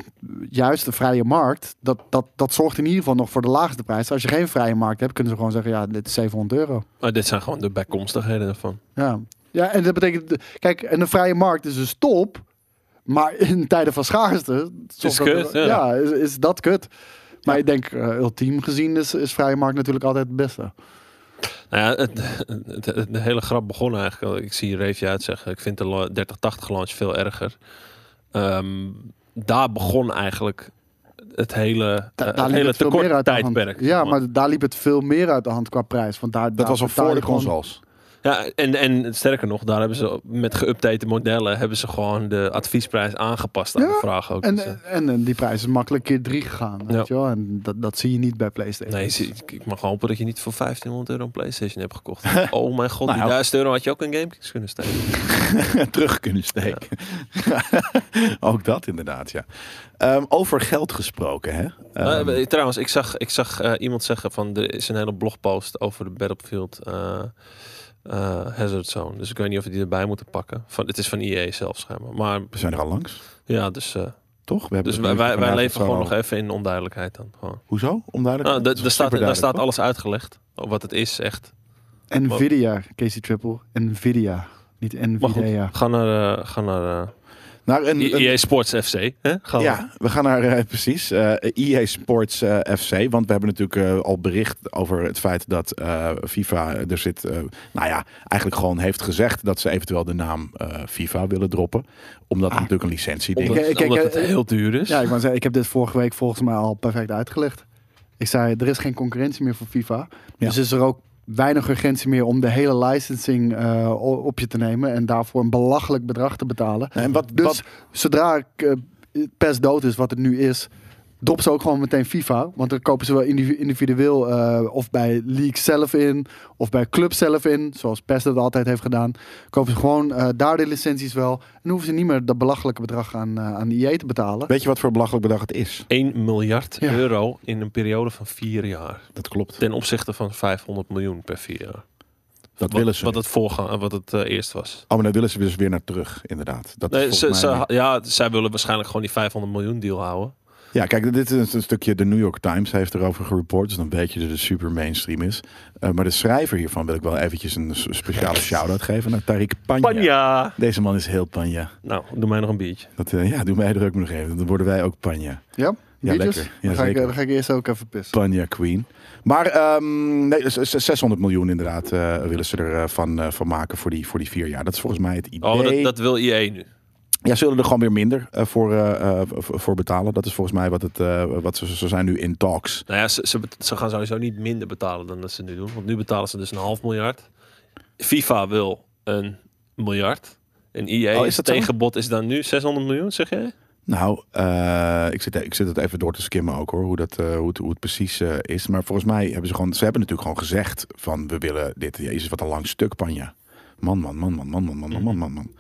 Speaker 2: juist de vrije markt, dat, dat, dat zorgt in ieder geval nog voor de laagste prijs. Als je geen vrije markt hebt, kunnen ze gewoon zeggen, ja, dit is 700 euro.
Speaker 3: Maar dit zijn gewoon de bijkomstigheden ervan.
Speaker 2: Ja, ja en dat betekent, kijk, en de vrije markt is dus top, maar in tijden van schaarste...
Speaker 3: is
Speaker 2: zorgt dat-
Speaker 3: kut, ja.
Speaker 2: is, is dat kut. Maar ik denk, eh, ultiem gezien is, is vrije markt natuurlijk altijd het
Speaker 3: Eh,
Speaker 2: beste.
Speaker 3: Nou ja, het, het- het- de hele grap begon eigenlijk. al. Ik zie Reefje uitzeggen. Ik vind de la- 3080 launch veel erger. Ehm, daar begon eigenlijk het hele,
Speaker 2: Da-
Speaker 3: eh,
Speaker 2: daar
Speaker 3: het
Speaker 2: liep
Speaker 3: hele
Speaker 2: het veel meer uit de hand.
Speaker 3: tijdperk.
Speaker 2: Ja, maar daar liep het veel meer uit de hand qua prijs. Want daar,
Speaker 1: dat was al voor de
Speaker 2: console.
Speaker 1: consoles.
Speaker 3: Ja, en, en sterker nog, daar hebben ze met geüpdate modellen hebben ze gewoon de adviesprijs aangepast aan de
Speaker 2: Ja,
Speaker 3: vraag ook. Dus, eh,
Speaker 2: En, en, en die prijs is makkelijk keer drie gegaan.
Speaker 3: Ja.
Speaker 2: Weet je wel? En dat, dat zie je niet bij PlayStation.
Speaker 3: Nee, zie- ik, ik mag hopen dat je niet voor 1500 euro een PlayStation hebt gekocht. oh mijn god,
Speaker 1: Nou ja.
Speaker 3: die 1000 euro had je ook een GameKings kunnen steken.
Speaker 1: Terug kunnen steken. Ook dat inderdaad, ja. Ehm, over geld gesproken, hè? Ehm,
Speaker 3: Eh, trouwens, ik zag, ik zag eh, iemand zeggen van er is een hele blogpost over de Battlefield eh, eh, Hazard Zone. Dus ik weet niet of we die erbij moeten pakken. Van, het is van EA zelf schijnbaar. Maar
Speaker 1: we zijn er al langs,
Speaker 3: ja, dus, eh,
Speaker 1: toch? We hebben
Speaker 3: dus
Speaker 1: het
Speaker 3: wij,
Speaker 1: even
Speaker 3: wij, wij
Speaker 1: vanavond
Speaker 3: leven
Speaker 1: zo
Speaker 3: gewoon nog
Speaker 1: over-
Speaker 3: even in onduidelijkheid dan. Gewoon.
Speaker 1: Hoezo? Onduidelijk?
Speaker 3: Nou,
Speaker 1: Dat is
Speaker 3: daar- daar staat, daar
Speaker 1: superduidelijk,
Speaker 3: staat
Speaker 1: toch?
Speaker 3: alles uitgelegd. Wat het is echt.
Speaker 2: Nvidia, Casey Triple. Nvidia. Niet
Speaker 3: Maar goed,
Speaker 2: Nvidia.
Speaker 3: ga naar, eh, ga naar eh,
Speaker 1: Naar Nou, een, een-
Speaker 3: EA Sports FC. Hè? Gaan we.
Speaker 1: Ja, we gaan naar eh, precies eh EA Sports eh, FC. Want we hebben natuurlijk eh, al bericht over het feit dat eh, FIFA er zit. eh, nou ja, eigenlijk gewoon heeft gezegd dat ze eventueel de naam eh, FIFA willen droppen. Omdat het natuurlijk een licentie ding
Speaker 3: Omdat,
Speaker 1: is.
Speaker 2: Ik- ik- ik-
Speaker 3: omdat het
Speaker 2: eh,
Speaker 3: heel duur is.
Speaker 2: Ja, ik, wou zeggen, ik heb dit vorige week volgens mij al perfect uitgelegd. Ik zei, er is geen concurrentie meer voor FIFA.
Speaker 1: Ja.
Speaker 2: Dus is er ook weinig urgentie meer om de hele licensing eh, o- op je te nemen. En daarvoor een belachelijk bedrag te betalen.
Speaker 1: En wat,
Speaker 2: Dus
Speaker 1: wat,
Speaker 2: zodra ik, eh, PES dood is, wat het nu is, drop ze ook gewoon meteen FIFA. Want dan kopen ze wel indivi- individueel eh, of bij league zelf in, of bij club zelf in, zoals PES dat altijd heeft gedaan. Kopen ze gewoon eh, daar de licenties wel. En dan hoeven ze niet meer dat belachelijke bedrag aan, eh aan IE te betalen.
Speaker 1: weet je wat voor belachelijk bedrag het is?
Speaker 3: 1 miljard
Speaker 2: Ja.
Speaker 3: euro in een periode van vier jaar.
Speaker 1: Dat klopt.
Speaker 3: Ten opzichte van 500 miljoen per vier jaar.
Speaker 1: Dat
Speaker 3: Wat,
Speaker 1: willen ze.
Speaker 3: wat het, voorgaan, eh, wat het eh, eerst was.
Speaker 1: Oh, maar daar willen ze dus weer naar terug, inderdaad. Dat is
Speaker 3: Nee, ze,
Speaker 1: volgens mij-
Speaker 3: ze- ja, zij willen waarschijnlijk gewoon die 500 miljoen deal houden.
Speaker 1: Ja, kijk, dit is een stukje. De New York Times heeft erover gereport. Dus dan weet je dat het super mainstream is. Eh, maar de schrijver hiervan wil ik wel eventjes een s- speciale shout-out geven naar Tariq Panja.
Speaker 3: Panja!
Speaker 1: Deze man is heel Panja.
Speaker 3: Nou, doe mij nog een biertje.
Speaker 1: Dat, eh, ja, doe mij druk me nog even. Dan worden wij ook Panja.
Speaker 2: Ja, biertjes?
Speaker 1: lekker. Ja,
Speaker 2: dan, ga ik,
Speaker 1: zeker.
Speaker 2: dan ga ik eerst ook even pissen.
Speaker 1: Panja Queen. Maar ehm, nee, dus, eh, 600 miljoen inderdaad eh, willen ze ervan van eh, van maken voor die, voor die vier jaar. Dat is volgens mij het idee.
Speaker 3: Oh, dat, dat wil IE nu.
Speaker 1: Ja, ze zullen er gewoon weer minder eh, voor, eh, eh, v- voor betalen. Dat is volgens mij wat, het, eh, wat ze, ze zijn nu in talks.
Speaker 3: Nou ja, ze, ze, bet- ze gaan sowieso niet minder betalen dan dat ze nu doen. Want nu betalen ze dus een half miljard. FIFA wil een miljard. En IE
Speaker 1: Oh, is
Speaker 3: is
Speaker 1: dat zo?
Speaker 3: tegenbod is dan nu 600 miljoen, zeg jij?
Speaker 1: Nou, eh, ik, zit, ik zit het even door te skimmen ook hoor, hoe, dat, eh, hoe, het, hoe het precies eh, is. Maar volgens mij hebben ze gewoon, ze hebben natuurlijk gewoon gezegd van we willen dit. Jezus, wat een lang stuk, Panja. Man, man, man, man, man, man, man, man, man, man, man.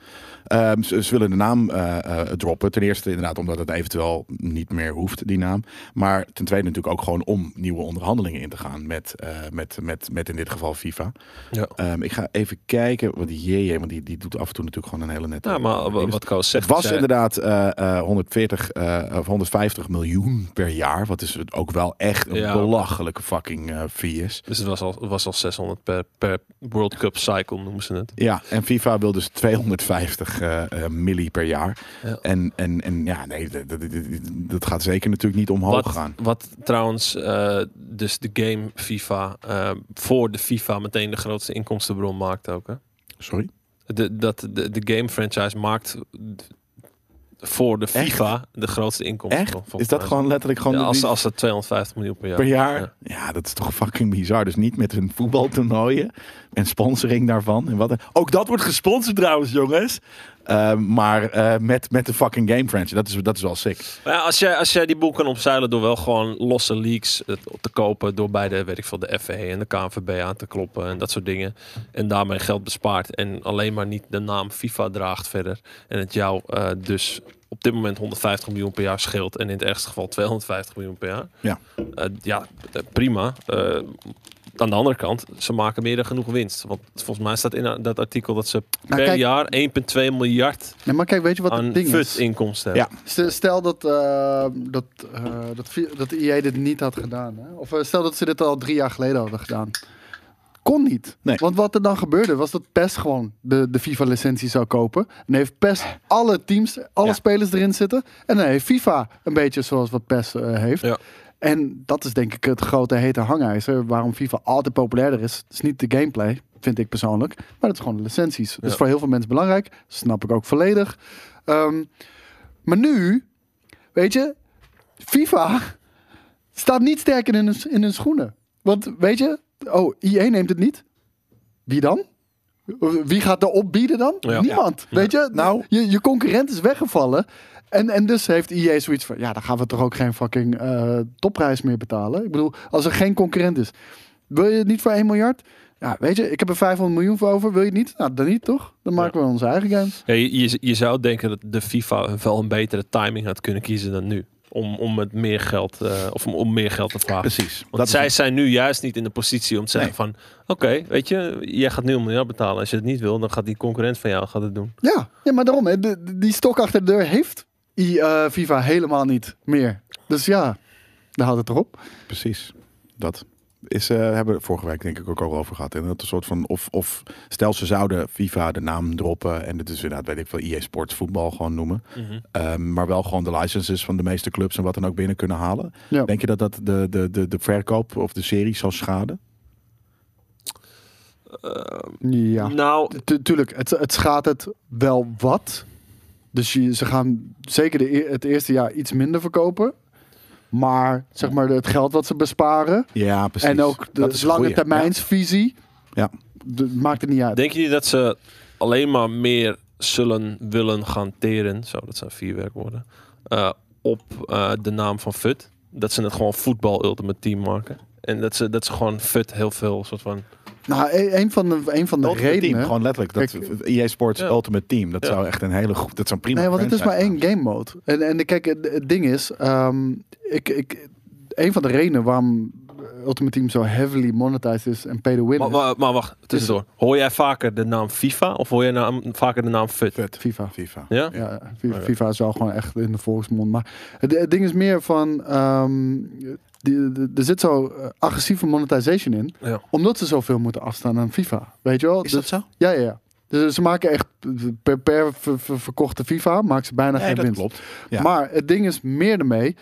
Speaker 1: Ehm, ze, ze willen de naam eh, eh, droppen. Ten eerste inderdaad omdat het eventueel niet meer hoeft, die naam. Maar ten tweede natuurlijk ook gewoon om nieuwe onderhandelingen in te gaan met, eh, met, met, met in dit geval FIFA.
Speaker 3: Ja.
Speaker 1: Ehm, ik ga even kijken, want die JJ, want die, die doet af en toe natuurlijk gewoon een hele nette...
Speaker 3: Nou, maar wa- wat Koos zegt...
Speaker 1: Het was
Speaker 3: zij-
Speaker 1: inderdaad eh, eh, 140 eh, of 150 miljoen per jaar. Wat is het ook wel echt een
Speaker 3: Ja.
Speaker 1: belachelijke fucking eh fee is.
Speaker 3: Dus het was al, het was al 600 per, per World Cup cycle, noemen ze het.
Speaker 1: Ja, en FIFA wil dus 250 eh eh, milli per jaar.
Speaker 3: Ja.
Speaker 1: En, en, en ja, nee, dat, dat, dat- dat gaat zeker natuurlijk niet omhoog
Speaker 3: Wat,
Speaker 1: gaan.
Speaker 3: wat trouwens, eh, dus de game FIFA, eh, voor de FIFA meteen de grootste inkomstenbron maakt ook. Hè?
Speaker 1: Sorry?
Speaker 3: De, dat, de, de game franchise maakt voor de
Speaker 1: Echt?
Speaker 3: FIFA de grootste inkomstenbron.
Speaker 1: Echt? Is
Speaker 3: volgens
Speaker 1: dat
Speaker 3: mij.
Speaker 1: gewoon letterlijk gewoon
Speaker 3: Ja,
Speaker 1: de-
Speaker 3: als,
Speaker 1: die-
Speaker 3: als dat 250 miljoen per jaar.
Speaker 1: per jaar? Ja.
Speaker 3: Ja.
Speaker 1: dat is toch fucking bizar. Dus niet met hun voetbaltoernooien en sponsoring daarvan. En wat, ook dat wordt gesponsord trouwens, jongens. Eh, Eh, maar eh, met, met de fucking game franchise. Dat is, dat is wel sick.
Speaker 3: Maar ja, als, jij, als jij die boel kan opzeilen door wel gewoon losse leaks eh, te kopen. Door bij de, weet ik veel, de FE en de KNVB aan te kloppen en dat soort dingen. En daarmee geld bespaart. En alleen maar niet de naam FIFA draagt verder. En het jou eh, dus op dit moment 150 miljoen per jaar scheelt. En in het ergste geval 250 miljoen per jaar.
Speaker 1: Ja.
Speaker 3: Eh, ja, eh, prima. Eh, aan de andere kant, ze maken meer dan genoeg winst. Want volgens mij staat in a- dat artikel dat ze per
Speaker 2: Nou, kijk-
Speaker 3: jaar 1,2 miljard
Speaker 2: Nee, maar kijk, weet je wat
Speaker 3: aan
Speaker 2: het ding is?
Speaker 3: FUT-inkomsten
Speaker 1: Ja.
Speaker 3: hebben.
Speaker 2: Stel- Stel dat, eh, dat, eh, dat, vi- dat EA dit niet had gedaan. Hè? Of eh, stel dat ze dit al drie jaar geleden hadden gedaan. Kon niet.
Speaker 1: Nee.
Speaker 2: Want wat er dan gebeurde was dat PES gewoon de, de FIFA-licentie zou kopen. En heeft PES alle teams, alle
Speaker 1: Ja.
Speaker 2: spelers erin zitten. En dan heeft FIFA een beetje zoals wat PES eh, heeft.
Speaker 3: Ja.
Speaker 2: En dat is denk ik het grote hete hangijzer waarom FIFA altijd populairder is. Het is niet de gameplay, vind ik persoonlijk. Maar dat is gewoon de licenties. Dus
Speaker 3: Ja.
Speaker 2: voor heel veel mensen belangrijk. Snap ik ook volledig. Ehm, maar nu, weet je, FIFA staat niet sterk in hun, in hun schoenen. Want weet je, oh, IE neemt het niet. Wie dan? Wie gaat er opbieden dan?
Speaker 3: Ja.
Speaker 2: Niemand. Weet je?
Speaker 1: Nou.
Speaker 2: je, je concurrent is weggevallen. En, en dus heeft IE zoiets van, ja, dan gaan we toch ook geen fucking eh, topprijs meer betalen. Ik bedoel, als er geen concurrent is. Wil je het niet voor 1 miljard? Ja, weet je, ik heb er 500 miljoen voor over. Wil je het niet? Nou, dan niet toch? Dan maken we onze eigen games.
Speaker 3: Ja, je, je- je zou denken dat de FIFA wel een betere timing had kunnen kiezen dan nu. Om, om het meer geld, eh, of om, om meer geld te vragen.
Speaker 1: Precies.
Speaker 3: Want
Speaker 1: is
Speaker 3: zij zijn nu juist niet in de positie om te zeggen van... Oké, weet je, jij gaat nu een miljard betalen. Als je het niet wil, dan gaat die concurrent van jou gaat het doen.
Speaker 2: Ja, ja maar daarom, hè, de- de- die stok achter de deur heeft I, eh FIFA helemaal niet meer. Dus ja, daar houdt het erop.
Speaker 1: Precies. Dat is, eh, hebben we vorige week denk ik ook al over gehad. En dat een soort van, of, of stel ze zouden FIFA de naam droppen en dit is inderdaad, weet ik veel, EA Sports voetbal gewoon noemen. Ehm, maar wel gewoon de licenses van de meeste clubs en wat dan ook binnen kunnen halen.
Speaker 2: Ja.
Speaker 1: Denk je dat dat de, de, de, de verkoop of de serie zal schaden?
Speaker 2: Ja,
Speaker 3: Nou,
Speaker 2: Tu- tuurlijk, het, het schaadt het wel wat. Dus je, ze gaan zeker de, e- het eerste jaar iets minder verkopen. Maar zeg maar het geld wat ze besparen.
Speaker 1: Ja, precies.
Speaker 2: En ook de
Speaker 1: Dat is een
Speaker 2: lange
Speaker 1: goeie.
Speaker 2: termijnsvisie.
Speaker 1: Ja.
Speaker 2: de- maakt het niet uit.
Speaker 3: denk je niet dat ze alleen maar meer zullen willen gaan teren... Zo, dat zijn vier werkwoorden. eh, op eh, de naam van FUT? Dat ze het gewoon voetbal ultimate team maken? En dat ze, dat ze gewoon FUT heel veel soort van...
Speaker 2: Nou, e- een van de, een van de
Speaker 1: Ultimate
Speaker 2: redenen.
Speaker 1: Team, gewoon letterlijk. Dat, EA Sports
Speaker 3: Ja.
Speaker 1: Ultimate Team, dat
Speaker 3: Ja.
Speaker 1: zou echt een hele goed, dat zou prima
Speaker 2: Nee, want het is maar
Speaker 1: franchise
Speaker 2: één game mode. En, en kijk, het, het ding is, ehm, ik, ik, een van de redenen waarom Ultimate Team zo heavily monetized is en pay to win
Speaker 3: Maar,
Speaker 2: is,
Speaker 3: maar, maar wacht, tussendoor. Hoor jij vaker de naam FIFA of hoor jij naam, vaker de naam FUT?
Speaker 1: Vet.
Speaker 2: FIFA.
Speaker 1: FIFA.
Speaker 3: Ja?
Speaker 1: Oh,
Speaker 2: Ja, FIFA, FIFA is wel gewoon echt in de volksmond. Maar het, het ding is meer van, ehm, die, de- er zit zo eh, agressieve monetization in,
Speaker 3: Ja.
Speaker 2: omdat ze zoveel moeten afstaan aan FIFA. Weet je wel?
Speaker 1: Is
Speaker 2: Dus-
Speaker 1: dat zo?
Speaker 2: Ja, ja, ja. Dus ze maken echt per, per ver- ver- verkochte FIFA maken ze bijna
Speaker 1: Nee,
Speaker 2: geen
Speaker 1: dat
Speaker 2: winst.
Speaker 1: klopt. Ja.
Speaker 2: Maar het ding is meer ermee.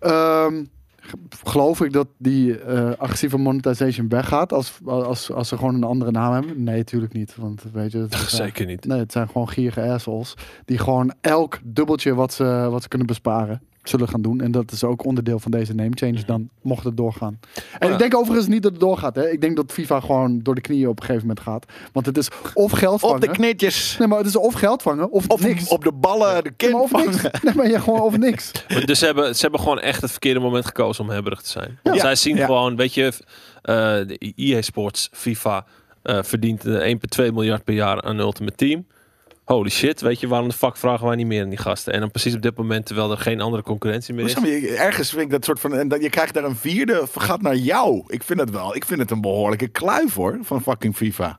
Speaker 2: ehm, g- geloof ik dat die eh, agressieve monetization weggaat als, als, als ze gewoon een andere naam hebben? Nee, natuurlijk niet. Want weet je, eh, het zijn-
Speaker 3: Zeker niet.
Speaker 2: nee, het zijn gewoon gierige assholes. Die gewoon elk dubbeltje wat ze, wat ze kunnen besparen zullen gaan doen. En dat is ook onderdeel van deze name
Speaker 1: Mhm.
Speaker 2: change dan, mocht het doorgaan.
Speaker 1: Oh
Speaker 2: En
Speaker 3: Ja.
Speaker 2: ik denk overigens niet dat het doorgaat. Hè. Ik denk dat FIFA gewoon door de knieën op een gegeven moment gaat. Want het is of geld vangen...
Speaker 1: Op de knietjes.
Speaker 2: Nee, maar het is of geld vangen of,
Speaker 1: Of
Speaker 2: niks.
Speaker 1: op de ballen, de
Speaker 2: Nee, maar
Speaker 1: kin
Speaker 2: of niks. Nee, maar ja, gewoon of niks.
Speaker 3: Maar Dus ze hebben, ze hebben gewoon echt het verkeerde moment gekozen om hebberig te zijn. Want Zij zien
Speaker 1: Ja.
Speaker 3: gewoon, weet je, eh de EA Sports, FIFA eh, verdient eh, 1,2 miljard per jaar aan Ultimate Team. Holy shit, weet je, waarom de fuck vragen wij niet meer aan die gasten? En dan precies op dit moment, terwijl er geen andere concurrentie meer
Speaker 1: Maar
Speaker 3: is.
Speaker 1: snap je, ergens vind ik dat soort van. En dat, je krijgt daar een vierde. Gaat naar jou. Ik vind het wel. Ik vind het een behoorlijke kluif hoor. Van fucking FIFA.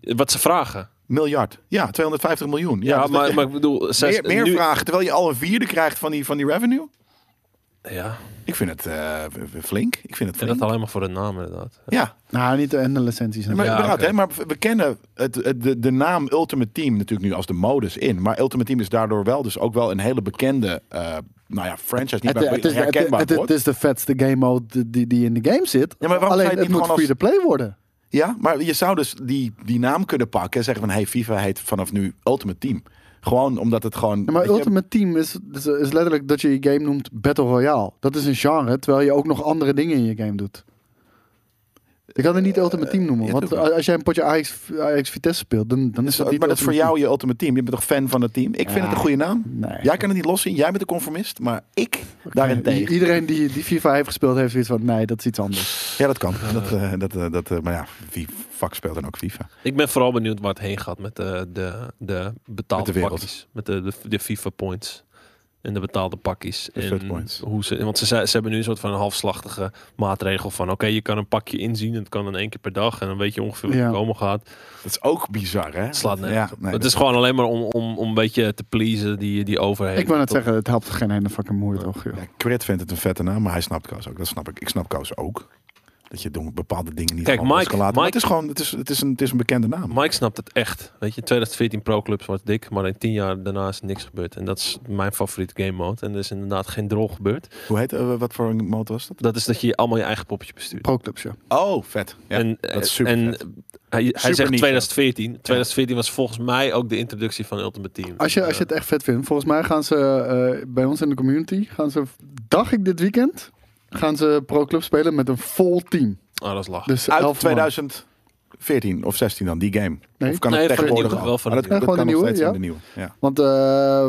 Speaker 3: Wat ze vragen.
Speaker 1: Miljard. Ja, 250 miljoen. Ja, dus
Speaker 3: Ja,
Speaker 1: dat
Speaker 3: maar,
Speaker 1: je
Speaker 3: maar ik bedoel, zij
Speaker 1: meer, meer
Speaker 3: nu-
Speaker 1: vragen. Terwijl je al een vierde krijgt van die, van die revenue.
Speaker 3: Ja,
Speaker 1: Ik vind het eh, v- flink. Ik vind het
Speaker 3: en
Speaker 1: flink.
Speaker 3: dat alleen maar voor de naam inderdaad.
Speaker 1: Ja,
Speaker 2: Nou, niet de en de licenties.
Speaker 1: maar,
Speaker 3: Ja,
Speaker 1: inderdaad,
Speaker 3: oké.
Speaker 1: hè, maar we kennen het, het- de, de naam Ultimate Team natuurlijk nu als de modus in. Maar Ultimate Team is daardoor wel dus ook wel een hele bekende eh, nou ja, franchise. Niet
Speaker 2: Het, eh,
Speaker 1: maar
Speaker 2: het, is, het,
Speaker 1: herkenbaar
Speaker 2: het- het
Speaker 1: wordt.
Speaker 2: is de vetste game mode die, die in de game zit.
Speaker 1: Ja, maar waarom zou je
Speaker 2: Alleen
Speaker 1: het
Speaker 2: het,
Speaker 1: niet
Speaker 2: moet
Speaker 1: gewoon als-
Speaker 2: free-to-play worden.
Speaker 1: Ja, maar je zou dus die, die naam kunnen pakken en zeggen van... hey, FIFA heet vanaf nu Ultimate Team. Gewoon omdat het gewoon...
Speaker 2: Ja, maar
Speaker 1: weet je,
Speaker 2: Ultimate Team is, is, is letterlijk dat je je game noemt Battle Royale. Dat is een genre, terwijl je ook nog andere dingen in je game doet. Ik kan het
Speaker 1: Eh,
Speaker 2: niet ultimate team noemen.
Speaker 1: ja,
Speaker 2: Want
Speaker 1: doe maar.
Speaker 2: als jij een potje Ajax, Ajax Vitesse speelt, dan, dan is dat niet
Speaker 1: maar dat is voor
Speaker 2: ultimate
Speaker 1: jou je ultimate team. Je bent toch fan van het team? Ik vind
Speaker 2: Ja.
Speaker 1: het een goede naam.
Speaker 2: team. Nee.
Speaker 1: Jij kan het niet loszien. Jij bent een conformist. Maar ik
Speaker 2: I-
Speaker 1: daarentegen.
Speaker 2: Iedereen die, die FIFA heeft gespeeld, heeft zoiets van: nee, dat is iets anders.
Speaker 1: Ja, dat kan. Dat, eh, dat, eh, dat, eh, maar ja, wie fuck speelt dan ook FIFA?
Speaker 3: Ik ben vooral benieuwd waar het heen gaat met de, de, de betaalde
Speaker 1: Met de wereld.
Speaker 3: pakjes. Met de, de, de FIFA points. En de betaalde pakjes.
Speaker 1: De
Speaker 3: en
Speaker 1: third points.
Speaker 3: Hoe ze, want ze, ze ze hebben nu een soort van een halfslachtige maatregel van... Oké, je kan een pakje inzien. en Het kan dan één keer per dag. En dan weet je ongeveer wat
Speaker 2: Ja.
Speaker 3: er komen gaat.
Speaker 1: Dat is ook bizar, hè?
Speaker 3: Het slaat nergens
Speaker 1: ja,
Speaker 3: op.
Speaker 1: nee,
Speaker 3: het
Speaker 1: dat-
Speaker 3: is gewoon alleen maar om, om, om een beetje te pleasen die, die overheden.
Speaker 2: ik wou net
Speaker 3: Dat-
Speaker 2: zeggen, het helpt geen ene fucking moeite, toch? joh.
Speaker 1: ja, Crit vindt het een vette naam, maar hij snapt Koos ook. Dat snap ik. Ik snap Koos ook. Dat je doen- bepaalde dingen niet
Speaker 3: Kijk,
Speaker 1: gewoon los
Speaker 3: Mike-
Speaker 1: kan laten. Maar het
Speaker 3: Mike-
Speaker 1: is gewoon, het is, het is, een, het is een bekende naam.
Speaker 3: Mike snapt het echt. Weet je, 2014 Pro Clubs was dik, maar in 10 jaar daarna is niks gebeurd. En dat is mijn favoriete game mode. En er is inderdaad geen drol gebeurd.
Speaker 1: Hoe heet, eh, wat voor een motor was dat?
Speaker 3: Dat is dat je allemaal je eigen poppetje bestuurt.
Speaker 2: Pro-clubs, ja.
Speaker 1: Oh, vet. Ja,
Speaker 3: en
Speaker 1: dat is
Speaker 3: eh,
Speaker 1: super
Speaker 3: en
Speaker 1: vet.
Speaker 3: hij, hij
Speaker 1: Super
Speaker 3: zegt
Speaker 1: niche.
Speaker 3: 2014. 2014 was volgens mij ook de introductie van Ultimate Team. Eh,
Speaker 2: Als je, als je het echt vet vindt, volgens mij gaan ze eh, bij ons in de community, gaan ze, dacht ik dit weekend, gaan ze pro-club spelen met een vol team.
Speaker 3: Oh, dat is lachen.
Speaker 2: Dus elf man.
Speaker 1: Uit 2014 of 16 dan, die game.
Speaker 2: Nee.
Speaker 1: Of kan
Speaker 3: Nee,
Speaker 1: het
Speaker 3: van de
Speaker 1: tegenwoordig
Speaker 3: nieuwe,
Speaker 1: al?
Speaker 3: wel van
Speaker 1: Maar
Speaker 3: de
Speaker 1: dat,
Speaker 2: nieuwe.
Speaker 1: dat kan nog
Speaker 2: Gewoon de
Speaker 1: steeds
Speaker 2: nieuwe,
Speaker 1: van de nieuwe. Ja.
Speaker 2: Want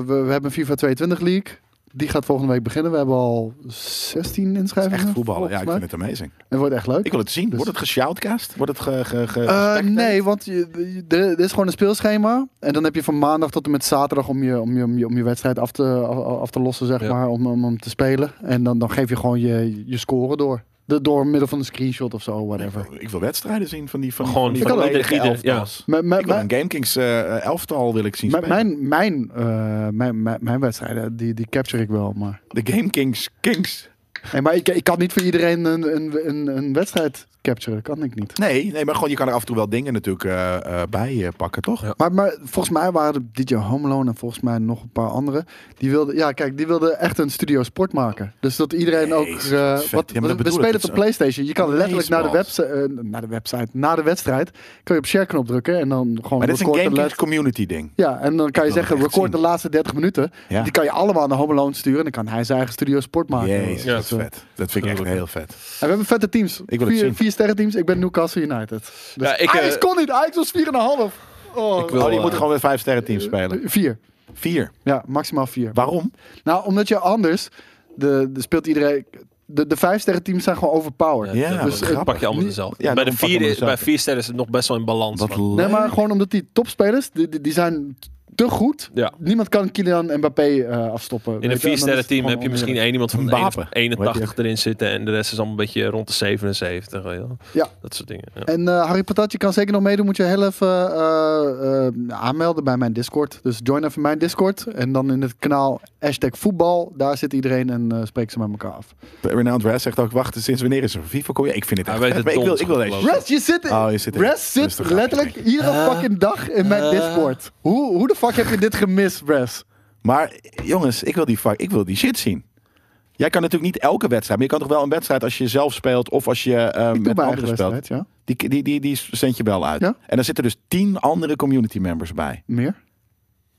Speaker 2: eh, we, we hebben FIFA 22 League. Die gaat volgende week beginnen. We hebben al 16
Speaker 1: Het is
Speaker 2: inschrijvingen.
Speaker 1: echt voetballen. Ja,
Speaker 2: volgens
Speaker 1: ik
Speaker 2: mij.
Speaker 1: vind het amazing.
Speaker 2: Het wordt echt leuk.
Speaker 1: Ik wil het zien.
Speaker 2: Dus-
Speaker 1: Wordt het geshoutcast? Wordt het ge... ge, ge
Speaker 2: Eh,
Speaker 1: gespectated?
Speaker 2: nee, want je- je- er er is gewoon een speelschema. En dan heb je van maandag tot en met zaterdag om je, om je, om je, om je wedstrijd af te, af, af te lossen, zeg
Speaker 3: Ja.
Speaker 2: maar. Om, om, om te spelen. En dan, dan geef je gewoon je, je score door. De, door middel van een screenshot of zo,
Speaker 1: Ik
Speaker 2: whatever.
Speaker 1: wil, ik wil wedstrijden zien van die van die-
Speaker 3: Gewoon
Speaker 1: van die
Speaker 2: van
Speaker 1: volledige
Speaker 3: ieder- ieder-
Speaker 1: elftals.
Speaker 2: Mijn- mijn-
Speaker 1: Ik wil een GameKings eh elftal wil ik zien
Speaker 2: mijn-
Speaker 1: spelen.
Speaker 2: mijn, mijn, eh, mijn, mijn, mijn wedstrijden, die, die capture ik wel. Maar,
Speaker 1: De GameKings Kings.
Speaker 2: Hey, maar ik, ik kan niet voor iedereen een, een, een, een wedstrijd capturen. Kan ik niet.
Speaker 1: Nee, nee, maar gewoon je kan er af en toe wel dingen natuurlijk eh, eh, bij eh, pakken, toch?
Speaker 3: Ja.
Speaker 2: Maar, maar volgens mij waren er DJ Homeloan en volgens mij nog een paar anderen. Die wilden, ja, kijk, die wilden echt een studio sport maken. Dus dat iedereen ook.
Speaker 1: Jezus,
Speaker 2: eh,
Speaker 1: wat vet.
Speaker 2: wat,
Speaker 1: Ja, maar dat
Speaker 2: we- we
Speaker 1: bedoel ik,
Speaker 2: spelen
Speaker 1: dat
Speaker 2: op de
Speaker 1: is
Speaker 2: PlayStation. Je kan letterlijk naar de,
Speaker 1: amazeballs.
Speaker 2: website, naar de website, naar de wedstrijd. Kan je op share knop drukken en dan gewoon.
Speaker 1: Maar dit is een
Speaker 2: record de
Speaker 1: GameKings
Speaker 2: laatste-
Speaker 1: community ding.
Speaker 2: Ja, en dan kan je
Speaker 1: wil
Speaker 2: zeggen,
Speaker 1: het echt
Speaker 2: record de
Speaker 1: zien.
Speaker 2: laatste 30 minuten.
Speaker 1: Ja.
Speaker 2: Die kan je allemaal naar Homeloan sturen. En dan kan hij zijn eigen studio sport maken.
Speaker 1: Jezus,
Speaker 3: Ah, Ja,
Speaker 1: dat is
Speaker 2: eh,
Speaker 1: vet. Dat vind ik echt
Speaker 3: Tuurlijk.
Speaker 1: heel vet.
Speaker 2: En we hebben vette teams.
Speaker 1: Ik wil het
Speaker 2: vier,
Speaker 1: zien.
Speaker 2: vier sterren teams. Ik ben Newcastle United. Dus
Speaker 3: Ja, ik, eh,
Speaker 2: Ajax kon niet. Ajax was 4,5. Oh,
Speaker 3: Ik wil-
Speaker 1: Oh, je
Speaker 3: eh,
Speaker 1: moet gewoon met vijf sterren teams spelen.
Speaker 2: Vier.
Speaker 1: Vier.
Speaker 2: Ja, maximaal vier.
Speaker 1: Waarom?
Speaker 2: Nou, omdat je anders... De, de speelt iedereen... De, de vijfsterren teams zijn gewoon overpowered.
Speaker 1: Ja,
Speaker 3: dat-
Speaker 1: dus
Speaker 3: dat
Speaker 1: grappig.
Speaker 3: pak je allemaal
Speaker 2: Niet-
Speaker 3: dezelfde.
Speaker 1: Ja,
Speaker 3: bij, de
Speaker 1: dan pak je
Speaker 3: vier,
Speaker 1: allemaal
Speaker 3: bij
Speaker 1: dezelfde.
Speaker 3: vier sterren is het nog best wel in balans.
Speaker 1: Wat
Speaker 3: man.
Speaker 2: Nee,
Speaker 1: leuk.
Speaker 2: maar gewoon omdat die topspelers, die, die, die zijn te goed.
Speaker 3: Ja.
Speaker 2: Niemand kan Kylian Mbappé eh, afstoppen.
Speaker 3: In een viersterren team heb je misschien één iemand van
Speaker 1: Een
Speaker 3: de
Speaker 1: wapen.
Speaker 3: 81 erin zitten en de rest is allemaal een beetje rond de 77. weet je wel.
Speaker 2: Ja.
Speaker 3: Dat soort dingen. Ja.
Speaker 2: En eh, Harry Patatje kan zeker nog meedoen. Moet je heel even eh, eh, aanmelden bij mijn Discord. Dus join even mijn Discord. En dan in het kanaal hashtag voetbal. Daar zit iedereen en eh spreekt ze met elkaar af.
Speaker 1: Renowned Raz zegt ook, wacht, sinds wanneer is er FIFA? Kom je? Ik vind het
Speaker 3: Hij
Speaker 1: echt
Speaker 3: weet
Speaker 1: vet,
Speaker 3: het
Speaker 1: maar ik wil, ik
Speaker 3: donders
Speaker 1: wil deze.
Speaker 3: goed, geloof
Speaker 2: Rest, je zit,
Speaker 1: Oh, je zit in.
Speaker 2: Rest
Speaker 1: Dus
Speaker 2: zit
Speaker 1: dan ga ik
Speaker 2: letterlijk
Speaker 1: niet.
Speaker 2: iedere fucking dag in mijn
Speaker 3: Eh.
Speaker 2: Discord. Hoe, hoe de fuck heb je dit gemist, Rest?
Speaker 1: Maar jongens, ik wil die, fuck, ik wil die shit zien. Jij kan natuurlijk niet elke wedstrijd, maar je kan toch wel een wedstrijd als je zelf speelt of als je eh,
Speaker 2: Ik doe
Speaker 1: met
Speaker 2: mijn
Speaker 1: anderen
Speaker 2: eigen
Speaker 1: speelt.
Speaker 2: wedstrijd, ja.
Speaker 1: Die, die, die, die zend je wel uit.
Speaker 2: Ja.
Speaker 1: En dan zitten dus tien andere community members bij.
Speaker 2: Meer?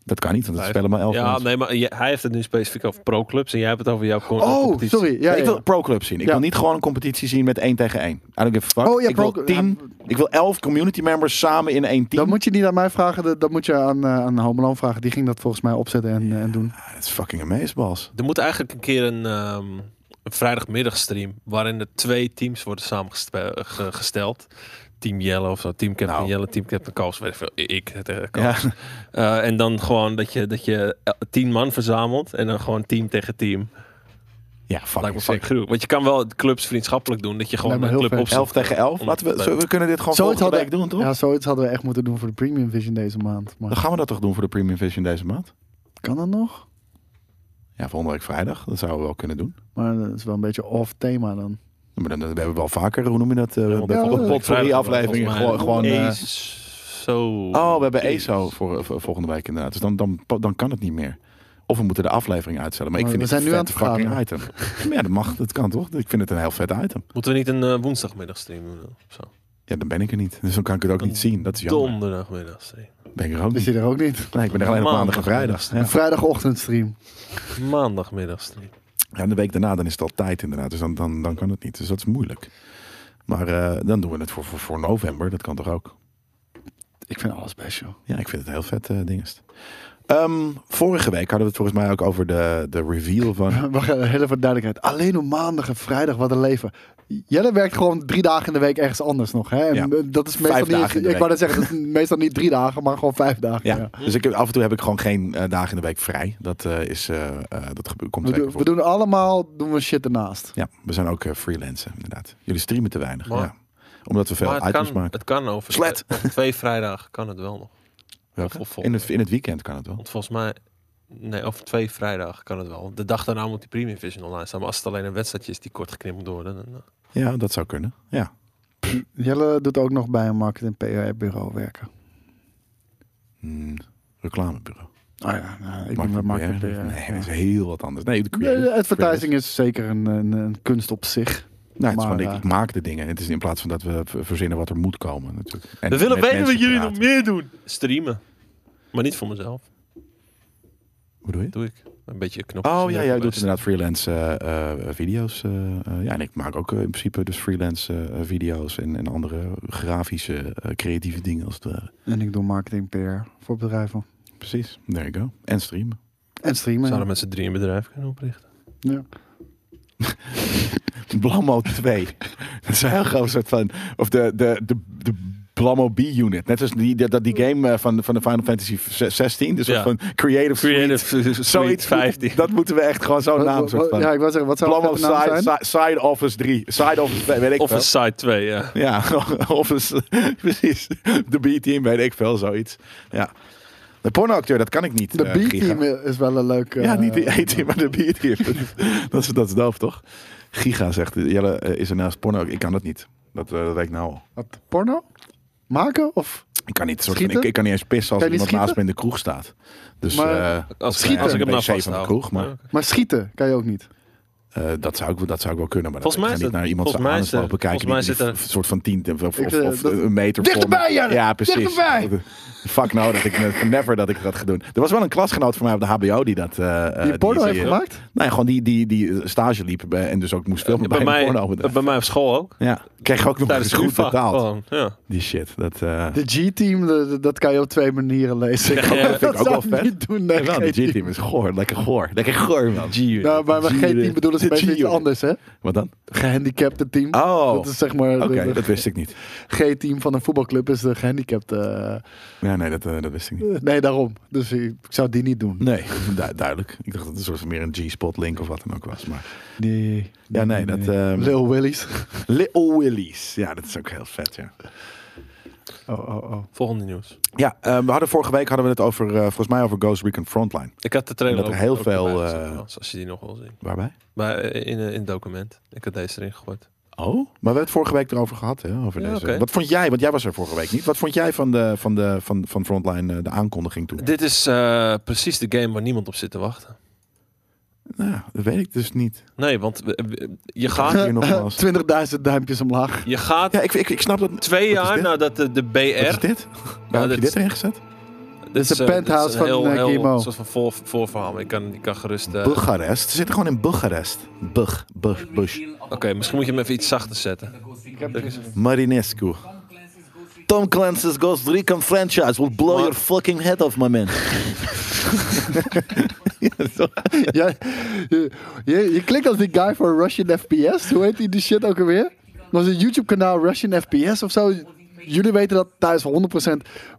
Speaker 1: Dat kan niet, want dat
Speaker 3: Vijf.
Speaker 1: spelen maar elf
Speaker 3: Ja,
Speaker 1: mensen.
Speaker 3: nee, maar je- hij heeft het nu specifiek over pro-clubs en jij hebt het over jouw co-
Speaker 2: Oh,
Speaker 3: competitie.
Speaker 2: sorry. Ja,
Speaker 1: Nee, ik
Speaker 2: ja.
Speaker 1: wil pro-clubs zien. Ik
Speaker 2: Ja.
Speaker 1: wil niet gewoon een competitie zien met één tegen één. I don't give a fuck.
Speaker 2: Oh, ja,
Speaker 1: ik, wil
Speaker 2: pro-
Speaker 1: tien, ik wil elf community members samen in één team.
Speaker 2: Dat moet je niet aan mij vragen, dat- dat moet je aan, eh, aan Homeland vragen. Die ging dat volgens mij opzetten en, eh, en doen.
Speaker 1: Ah, dat is fucking amazing, Bas.
Speaker 3: Er moet eigenlijk een keer een, ehm een vrijdagmiddagstream waarin er twee teams worden samengesteld. Team Jelle of zo, Team Captain
Speaker 1: Nou.
Speaker 3: Jelle, Team Captain Koos, weet ik veel, ik. het, eh, Koos.
Speaker 1: Ja.
Speaker 3: Eh, en dan gewoon dat je, dat je eh, tien man verzamelt en dan gewoon team tegen team.
Speaker 1: Ja,
Speaker 3: Lijkt me
Speaker 1: fucking sick.
Speaker 3: fucking gruwelijk. Want je kan wel clubs vriendschappelijk doen, dat je gewoon
Speaker 2: Lijkt me
Speaker 3: een
Speaker 2: heel
Speaker 3: club
Speaker 2: vet.
Speaker 3: opstelt.
Speaker 1: Elf tegen elf. Laten we, zo, we kunnen dit gewoon
Speaker 2: Zoiets
Speaker 1: volgende week doen,
Speaker 2: hadden-
Speaker 1: toch?
Speaker 2: Ja, zoiets hadden we echt moeten doen voor de Premium Vision deze maand.
Speaker 1: Dan
Speaker 2: Maar
Speaker 1: gaan we dat toch doen voor de Premium Vision deze maand?
Speaker 2: kan dat nog?
Speaker 1: Ja, volgende week vrijdag. Dat zouden we wel kunnen doen.
Speaker 2: Maar dat is wel een beetje off-thema dan.
Speaker 1: Maar dan, dan hebben we wel vaker, hoe noem je dat? eh
Speaker 3: Ja, want
Speaker 1: bijvoorbeeld
Speaker 2: volgende
Speaker 3: week
Speaker 1: potpourri
Speaker 3: vrijdag
Speaker 1: afleveringen.
Speaker 3: volgens
Speaker 1: Gewoon,
Speaker 3: mij
Speaker 1: gewoon, eh,
Speaker 3: Ace, zo.
Speaker 1: oh, we hebben ESO voor, voor volgende week inderdaad. Dus dan, dan, dan kan het niet meer. Of we moeten de aflevering uitstellen. Maar ik
Speaker 2: Maar
Speaker 1: vind
Speaker 2: Oh, we
Speaker 1: het
Speaker 2: zijn
Speaker 1: een
Speaker 2: nu
Speaker 1: vet
Speaker 2: aan het
Speaker 1: fucking item. Maar ja, dat mag. Dat kan toch? Ik vind het een heel vet item.
Speaker 3: Moeten we niet een eh, woensdagmiddagstream doen? Of zo?
Speaker 1: Ja, dan ben ik er niet. Dus dan kan ik het ook niet zien. Dat is jammer.
Speaker 3: Donderdagmiddagstream.
Speaker 1: Ben ik er ook
Speaker 2: Is
Speaker 1: niet.
Speaker 2: hij er ook niet?
Speaker 1: Nee, ik ben er alleen op maandag en
Speaker 3: Maandag.
Speaker 1: vrijdag. Hm. Ja.
Speaker 2: Een vrijdagochtendstream.
Speaker 3: Maandagmiddagstream.
Speaker 1: Ja, en de week daarna dan is het al tijd inderdaad. Dus dan, dan, dan kan het niet. Dus dat is moeilijk. Maar eh, dan doen we het voor, voor, voor november. Dat kan toch ook?
Speaker 2: Ik vind alles best, joh.
Speaker 1: Ja, ik vind het een heel vet eh dingest. Ehm, vorige week hadden we het volgens mij ook over de, de reveal van...
Speaker 2: Wacht, heel even duidelijkheid. Alleen op maandag en vrijdag, wat een leven. Jelle werkt gewoon drie dagen in de week ergens anders nog. Hè? En
Speaker 1: Ja.
Speaker 2: eh, dat is meestal
Speaker 1: Vijf
Speaker 2: niet.
Speaker 1: dagen in de
Speaker 2: ik wou
Speaker 1: week.
Speaker 2: net zeggen, dat is meestal niet drie dagen, maar gewoon vijf dagen.
Speaker 1: Ja,
Speaker 2: Ja.
Speaker 1: dus ik heb, af en toe heb ik gewoon geen eh, dagen in de week vrij. Dat, eh, is, eh, eh, dat gebe- komt
Speaker 2: We,
Speaker 1: zeker
Speaker 2: doen-
Speaker 1: voor.
Speaker 2: we doen allemaal doen we shit ernaast.
Speaker 1: Ja, we zijn ook eh freelancen, inderdaad. Jullie streamen te weinig.
Speaker 3: Maar-
Speaker 1: ja. Omdat we veel
Speaker 3: Maar het
Speaker 1: items
Speaker 3: kan,
Speaker 1: maken.
Speaker 3: het kan over
Speaker 1: Slet.
Speaker 3: twee- twee vrijdagen kan het wel nog.
Speaker 1: Welke?
Speaker 3: of vol-
Speaker 1: In het, in het weekend kan het wel.
Speaker 3: Want volgens mij, nee, over twee vrijdagen kan het wel. De dag daarna moet die Premium Vision online staan. Maar als het alleen een wedstrijdje is die kort geknipt moet worden, dan, eh,
Speaker 1: Ja, dat zou kunnen. Ja.
Speaker 2: Jelle doet ook nog bij een marketing PR-bureau werken.
Speaker 1: Hm, reclamebureau.
Speaker 2: Oh ja, nou, ik ben bij
Speaker 1: Marketing
Speaker 2: marketing PR.
Speaker 1: PR. Nee,
Speaker 2: ja.
Speaker 1: dat is heel wat anders. Nee, de
Speaker 2: Nee,
Speaker 1: creative.
Speaker 2: de advertising
Speaker 1: Creative.
Speaker 2: is zeker een, een, een kunst op zich.
Speaker 1: Nou, het is
Speaker 2: maar,
Speaker 1: gewoon, ik,
Speaker 2: eh,
Speaker 1: ik maak de dingen. Het is in plaats van dat we ver- verzinnen wat er moet komen. Natuurlijk. En
Speaker 3: We willen
Speaker 1: met
Speaker 3: weten wat
Speaker 1: mensen
Speaker 3: jullie
Speaker 1: praten.
Speaker 3: nog meer doen. Streamen. Maar niet voor mezelf.
Speaker 1: Hoe doe je?
Speaker 3: Dat doe ik. Een beetje knopjes.
Speaker 1: Oh ja,
Speaker 3: drukken
Speaker 1: jij
Speaker 3: bij
Speaker 1: doet
Speaker 3: streamen.
Speaker 1: inderdaad freelance eh, eh, video's. eh, eh, ja, en ik maak ook eh, in principe dus freelance eh, video's en, en andere grafische, eh, creatieve dingen als het ware.
Speaker 2: En ik doe marketing PR voor bedrijven.
Speaker 1: Precies, there you go. En streamen.
Speaker 2: En streamen.
Speaker 3: Zouden mensen drie een bedrijf kunnen oprichten?
Speaker 2: Ja.
Speaker 1: Blammo 2. dat is een heel groot soort van... Of de, de, de, de Blammo B-unit. Net als die, dat, dat die game eh, van, van de Final Fantasy 16. Dus
Speaker 3: Ja.
Speaker 1: van Creative Suite. Zoiets
Speaker 3: Zoiets
Speaker 1: moet-
Speaker 3: 15.
Speaker 1: Dat moeten we echt gewoon zo'n
Speaker 2: Wat-
Speaker 1: Oh, naam
Speaker 2: wat-
Speaker 1: soort van.
Speaker 2: Oh, Ja, ik wil zeggen, wat zou
Speaker 1: Blammo
Speaker 2: het naam
Speaker 1: side,
Speaker 2: zijn?
Speaker 1: side, side Office 3. Side Office 2, weet ik
Speaker 3: Of
Speaker 1: veel.
Speaker 3: een site 2, ja.
Speaker 1: Ja, Office. Precies. De B-team weet ik veel, zoiets. Ja. De pornoacteur, dat kan ik niet.
Speaker 2: De
Speaker 1: eh,
Speaker 2: B-team
Speaker 1: Giga.
Speaker 2: is wel een leuk... eh,
Speaker 1: Ja, niet de E-team, maar de B-team. dat, is, dat is doof, toch? Giga zegt, Jelle eh, is er naast porno. Ik kan dat niet. Dat, eh, dat weet ik nou al.
Speaker 2: Wat, porno? Maken? Of
Speaker 1: Ik kan niet, soort van,
Speaker 2: Schieten?
Speaker 1: ik, ik kan niet eens pissen als
Speaker 2: Kan je
Speaker 1: iemand
Speaker 2: niet
Speaker 1: naast me in de kroeg staat. Dus
Speaker 2: Maar-
Speaker 1: eh,
Speaker 3: Als,
Speaker 2: Schieten.
Speaker 3: als ik hem
Speaker 1: Een wc
Speaker 3: nou
Speaker 1: van de
Speaker 3: vasthoud.
Speaker 1: kroeg, maar-
Speaker 3: Ja, oké.
Speaker 2: Maar schieten kan je ook niet.
Speaker 1: eh, dat, zou ik, dat zou ik wel kunnen. Maar dat,
Speaker 3: Volgens mij
Speaker 1: ik
Speaker 3: is
Speaker 1: ga niet
Speaker 3: het-
Speaker 1: naar iemand zijn
Speaker 3: volgens mij
Speaker 1: aan
Speaker 3: is er-
Speaker 1: lopen kijken.
Speaker 3: volgens
Speaker 1: die-
Speaker 3: mij
Speaker 1: die
Speaker 3: is het
Speaker 1: een soort van tien of, of,
Speaker 2: Ik, eh,
Speaker 1: of
Speaker 2: dat-
Speaker 1: een meter voor me.
Speaker 2: Dichterbij, Jelle!
Speaker 1: Ja, precies.
Speaker 2: Dichterbij!
Speaker 1: Fuck nou dat ik never dat ik dat ga doen. Er was wel een klasgenoot van mij op de HBO die dat. eh, eh,
Speaker 2: Die porno heeft
Speaker 1: eh,
Speaker 2: gemaakt?
Speaker 1: Nee, gewoon die, die, die eh, stage liep bij- en dus ook moest filmen bij,
Speaker 3: Bij mij,
Speaker 1: een porno. bedrijf.
Speaker 3: bij mij op school ook.
Speaker 1: Ja, kreeg ook nog
Speaker 3: Tijdens
Speaker 1: eens goed
Speaker 3: groenvak
Speaker 1: betaald.
Speaker 3: gewoon, Ja.
Speaker 1: Die shit. Dat, eh,
Speaker 2: De G-team, de- de- dat kan je op twee manieren lezen.
Speaker 3: Ja, ja,
Speaker 1: vind ik ook
Speaker 2: zou
Speaker 1: wel vet.
Speaker 2: niet doen, nee.
Speaker 1: jawel, de
Speaker 2: geen
Speaker 1: G-team is goor. Lekker goor. Lekker goor, man.
Speaker 3: G-unit.
Speaker 2: Nou, maar bij
Speaker 1: G-
Speaker 2: G-team bedoelen ze
Speaker 1: de
Speaker 2: een beetje iets
Speaker 1: G-unit.
Speaker 2: anders, hè?
Speaker 1: Wat dan?
Speaker 2: Gehandicapte team.
Speaker 1: Oh,
Speaker 2: Dat
Speaker 1: oké.
Speaker 2: is zeg maar... de-
Speaker 1: dat
Speaker 2: de
Speaker 1: wist ik niet.
Speaker 2: G-team van een voetbalclub is de gehandicapte... eh,
Speaker 1: Ja, nee, dat, eh, dat wist ik niet.
Speaker 2: nee, daarom. Dus ik, ik zou die niet doen.
Speaker 1: Nee, du- duidelijk. Ik dacht dat het een soort van meer een G-spot link of wat dan ook was. Maar
Speaker 2: Nee.
Speaker 1: ja, nee, dat. ehm
Speaker 2: Lil Willy's.
Speaker 1: Little Willy's. Ja, dat is ook heel vet, ja.
Speaker 2: Oh, oh, oh.
Speaker 3: Volgende nieuws.
Speaker 1: Ja, eh, we hadden vorige week hadden we het over, eh, volgens mij over Ghost Recon Frontline.
Speaker 3: Ik had de trailer
Speaker 1: Dat er
Speaker 3: ook-
Speaker 1: heel
Speaker 3: ook erbij
Speaker 1: veel,
Speaker 3: gezet,
Speaker 1: eh,
Speaker 3: trouwens, Als je die nog wil zien.
Speaker 1: Waarbij?
Speaker 3: Maar eh, in, eh, in het document. Ik had deze erin gegooid.
Speaker 1: Oh, maar we hebben het vorige week erover gehad. Hè, over
Speaker 3: Ja,
Speaker 1: deze.
Speaker 3: oké.
Speaker 1: Wat vond jij, want jij was er vorige week niet. Wat vond jij van, de, van, de, van, van Frontline, eh, de aankondiging toen?
Speaker 3: Dit is eh, precies de game waar niemand op zit te wachten.
Speaker 1: Nou, dat weet ik dus niet.
Speaker 3: Nee, want we- we- je
Speaker 1: Hier
Speaker 3: gaat,
Speaker 1: nogmaals.
Speaker 2: 20.000 duimpjes omlaag.
Speaker 3: je gaat
Speaker 1: Ja, ik, ik, ik snap dat. Wat
Speaker 3: twee
Speaker 1: is
Speaker 3: jaar
Speaker 1: dit?
Speaker 3: nadat de, de BR...
Speaker 1: is dit?
Speaker 3: Ja,
Speaker 1: Waar heb je
Speaker 3: dit-
Speaker 1: dit erin gezet?
Speaker 3: Dit
Speaker 2: is de
Speaker 3: eh,
Speaker 2: penthouse
Speaker 3: dit is een
Speaker 2: van, eh,
Speaker 3: heel, heel,
Speaker 2: Guillermo.
Speaker 3: soort van voor, voorverhaal. maar Ik kan, ik kan gerust... eh, Oké,
Speaker 1: Bucharest. Ze zitten gewoon in Bucharest. Bug, Bug, Bush.
Speaker 3: misschien moet je hem even iets zachter zetten.
Speaker 1: Marinescu. Tom Clancy's Ghost Recon franchise will blow
Speaker 3: Maar-
Speaker 1: your fucking head off, my man.
Speaker 2: Ja, je, je, je klinkt als die guy van Russian FPS. Hoe heet die, die shit ook alweer? Dat was een YouTube-kanaal Russian FPS of zo. Jullie weten dat thuis 100%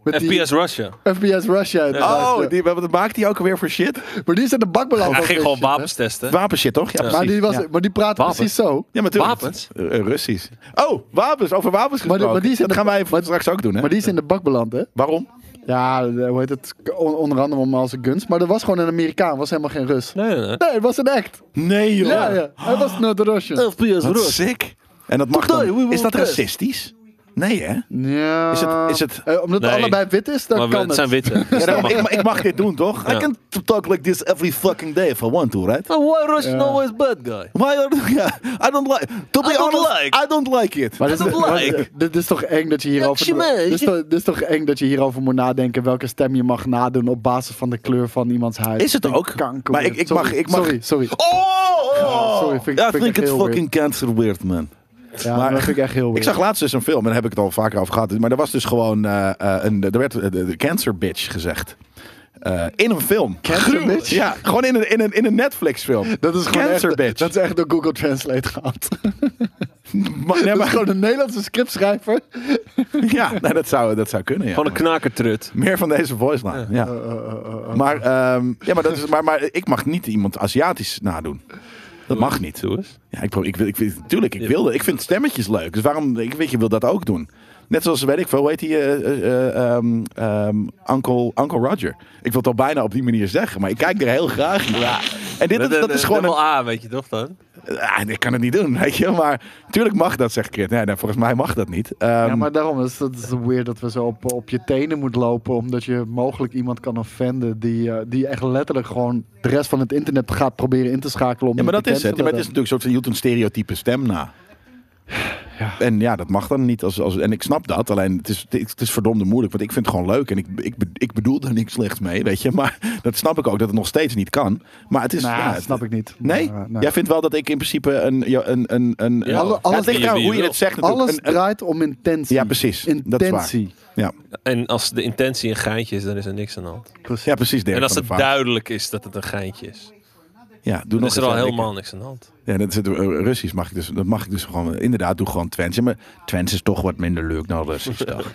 Speaker 2: met die
Speaker 3: FPS Russia.
Speaker 2: FPS Russia. inderdaad, ja.
Speaker 1: Oh, die, wat maakt die ook alweer voor shit?
Speaker 2: Maar die is in de bakbalans.
Speaker 3: Hij
Speaker 2: ook
Speaker 3: ging
Speaker 2: weer
Speaker 3: gewoon
Speaker 2: shit, hè?
Speaker 3: wapens testen.
Speaker 1: Wapenshit, toch? Ja,
Speaker 2: Maar
Speaker 1: precies.
Speaker 2: die, was,
Speaker 1: ja.
Speaker 2: maar die praat
Speaker 3: Wapens.
Speaker 2: precies zo.
Speaker 1: Ja, maar natuurlijk.
Speaker 3: Wapens?
Speaker 1: Eh, eh, Russisch. Oh, wapens. Over wapens
Speaker 2: maar
Speaker 1: gesproken.
Speaker 2: die is in
Speaker 1: dat
Speaker 2: de-
Speaker 1: gaan wij straks ook doen, hè?
Speaker 2: Maar die is in de bak beland, hè?
Speaker 1: Waarom?
Speaker 2: Ja, eh, hoe heet het? On- onder andere om als een guns. Maar er was gewoon een Amerikaan, was helemaal geen Rus.
Speaker 3: Nee, nee, nee.
Speaker 2: Nee, het was een act.
Speaker 1: Nee, joh.
Speaker 2: Ja, ja. Hij was not Russian.
Speaker 1: FPS Wat sick. En dat mag
Speaker 2: Today we
Speaker 1: dan...
Speaker 2: will
Speaker 1: Is dat
Speaker 2: test.
Speaker 1: racistisch? Nee, hè?
Speaker 2: Ja.
Speaker 1: Is het- is het-
Speaker 2: Eh, omdat het
Speaker 3: Nee.
Speaker 2: allebei wit is, dan
Speaker 3: Maar we-
Speaker 2: kan
Speaker 3: het zijn witte.
Speaker 1: Ja, daarom, ik, ma- ik mag dit doen, toch?
Speaker 3: Ja.
Speaker 1: talk like this every fucking day if I want to, right?
Speaker 3: Why Russian
Speaker 2: Ja. always
Speaker 3: bad guy?
Speaker 1: Why are... Yeah, I don't like... To be
Speaker 3: I don't
Speaker 1: honest,
Speaker 3: like.
Speaker 1: I don't like it.
Speaker 2: Maar dit, is,
Speaker 3: Dat is leuk.
Speaker 2: maar dit- dit is toch eng dat je hierover.
Speaker 3: Zie mij.
Speaker 2: Dit is, toch, dit is toch eng dat je hierover moet nadenken welke stem je mag nadoen op basis van de kleur van iemands huid.
Speaker 1: Is het
Speaker 2: Vind ik
Speaker 1: ook?
Speaker 2: kanker
Speaker 1: Maar
Speaker 2: weird.
Speaker 1: ik- ik
Speaker 2: Sorry,
Speaker 1: mag- ik mag-
Speaker 2: Sorry, sorry.
Speaker 1: Oh!
Speaker 2: sorry, vind ik- vind ik echt heel weird.
Speaker 1: cancer weird, man.
Speaker 2: Ja,
Speaker 1: Maar-
Speaker 2: dat vind ik echt heel
Speaker 1: Ik
Speaker 2: weird.
Speaker 1: zag laatst dus een film, en daar heb ik het al vaker over gehad. Maar er was dus gewoon eh, eh, een, er werd eh, de, de cancer bitch gezegd. Eh, in een film.
Speaker 2: Cancer
Speaker 1: Gruwelijk.
Speaker 2: bitch?
Speaker 1: Ja, gewoon in een, in een, in een Netflix film.
Speaker 2: dat is gewoon
Speaker 1: Cancer
Speaker 2: echt,
Speaker 1: bitch.
Speaker 2: Dat is echt door Google Translate gehaald.
Speaker 1: Maar, nee,
Speaker 2: Dat is
Speaker 1: maar,
Speaker 2: gewoon een Nederlandse scriptschrijver.
Speaker 1: ja, nee, dat, zou, dat zou kunnen. Ja.
Speaker 3: Gewoon een knakertrut.
Speaker 1: Meer van deze voice line. Ja.
Speaker 2: Eh, eh, eh, eh, eh.
Speaker 1: Maar, ehm, ja, maar, dat is, maar, maar ik mag niet iemand Aziatisch nadoen. Dat mag niet.
Speaker 3: Doe eens.
Speaker 1: Ja, ik, pro- ik, wil- ik, wil- tuurlijk, ik
Speaker 3: Ja.
Speaker 1: wilde. Ik vind stemmetjes leuk. Dus waarom, ik weet je, wil dat ook doen. Net zoals, weet ik veel, hoe heet die, eh, eh, eh, ehm, ehm, Uncle, Uncle Roger. Ik wil het al bijna op die manier zeggen, maar ik kijk er heel graag naar. En dit, dat, dat is gewoon een,
Speaker 3: wel A, weet je toch dan?
Speaker 1: Ah, ik kan het niet doen, weet je. Maar tuurlijk mag dat, zegt Krit. Nee, nee, volgens mij mag dat niet. Ehm,
Speaker 2: ja, maar daarom is het is weird dat we zo op, op je tenen moeten lopen. Omdat je mogelijk iemand kan offenden die, eh, die echt letterlijk gewoon de rest van het internet gaat proberen in te schakelen. Om
Speaker 1: Ja, maar
Speaker 2: je
Speaker 1: dat
Speaker 2: te
Speaker 1: is het. Ja, maar
Speaker 2: cancelen
Speaker 1: het is natuurlijk een soort van, je hield een stereotype stem na. En ja, dat mag dan niet. Als, als, en ik snap dat. Alleen het is, het is verdomde moeilijk. Want ik vind het gewoon leuk. En ik, ik, be- ik bedoel daar niks slechts mee. Weet je. Maar dat snap ik ook. Dat het nog steeds niet kan. Maar het is.
Speaker 2: dan.
Speaker 1: ja,
Speaker 2: Nou,
Speaker 1: het-
Speaker 2: snap ik niet.
Speaker 1: Nee?
Speaker 2: Maar, eh, nee.
Speaker 1: Jij vindt wel dat ik in principe een. ja, een, een, een
Speaker 3: Ja,
Speaker 1: Ja,
Speaker 2: alles-
Speaker 1: het ligt
Speaker 3: wie
Speaker 1: aan
Speaker 3: je
Speaker 1: hoe je
Speaker 3: wil.
Speaker 1: het zegt. natuurlijk.
Speaker 2: Alles
Speaker 1: Een- een-
Speaker 2: draait om intentie.
Speaker 1: ja, precies. Dat is waar.
Speaker 2: Intentie.
Speaker 1: Ja,
Speaker 3: En als de intentie een geintje is, dan is er niks aan de hand.
Speaker 1: ja precies. Dirk
Speaker 3: En als
Speaker 1: van
Speaker 3: het
Speaker 1: der Vaart.
Speaker 3: duidelijk is dat het een geintje is,
Speaker 1: Ja, doe
Speaker 3: dan
Speaker 1: nog
Speaker 3: is er
Speaker 1: eens,
Speaker 3: al
Speaker 1: eh, Dick.
Speaker 3: helemaal niks aan de hand.
Speaker 1: Ja, dat is het, eh, Russisch mag ik dus, dat mag ik dus gewoon. Inderdaad, doe gewoon Twents. Ja, maar Twents is toch wat minder leuk dan Russisch. Toch?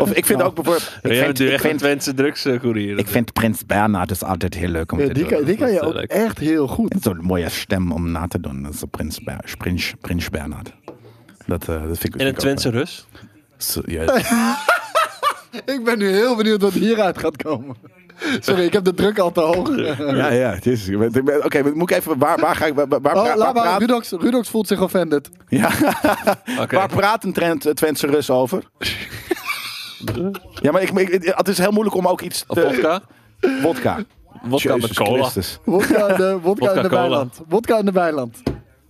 Speaker 1: Of ik vind ook bijvoorbeeld. Ik
Speaker 3: ja,
Speaker 1: vind, ik vind,
Speaker 3: Twentse drugscourier.
Speaker 1: ik vind Prins Bernhard is altijd heel leuk om
Speaker 2: Ja,
Speaker 1: te
Speaker 2: die, kan,
Speaker 1: doen.
Speaker 2: die kan je
Speaker 3: Dat is
Speaker 2: ook
Speaker 3: leuk.
Speaker 2: echt heel goed.
Speaker 1: Zo'n mooie stem om na te doen. Dat is de Prins, Ber- Prins, Prins Bernhard. Dat, eh, dat vind ik
Speaker 3: En een
Speaker 1: vind ik ook
Speaker 3: Twentse Rus?
Speaker 1: leuk. Zo, ja.
Speaker 2: Ik ben nu heel benieuwd wat hieruit gaat komen. Sorry, ik heb de druk al te hoog.
Speaker 1: ja, ja, jezus. Ik ben- ik ben- Oké, moet ik even. Waar, waar ga ik. Waar, waar, waar,
Speaker 2: Oh, laat maar.
Speaker 1: praat-
Speaker 2: Rudox, Rudox voelt zich offended.
Speaker 1: ja.
Speaker 3: Oké.
Speaker 1: Waar praat een Trent, eh, Twentse Rus over? ja, maar ik, ik- het is heel moeilijk om ook iets
Speaker 3: Of
Speaker 1: te.
Speaker 3: vodka?
Speaker 1: Wodka.
Speaker 3: Vodka met
Speaker 1: Jezus
Speaker 3: cola.
Speaker 1: Christus.
Speaker 2: Wodka in de, wodka in de
Speaker 3: Wodka cola.
Speaker 2: weiland. Wodka in de weiland.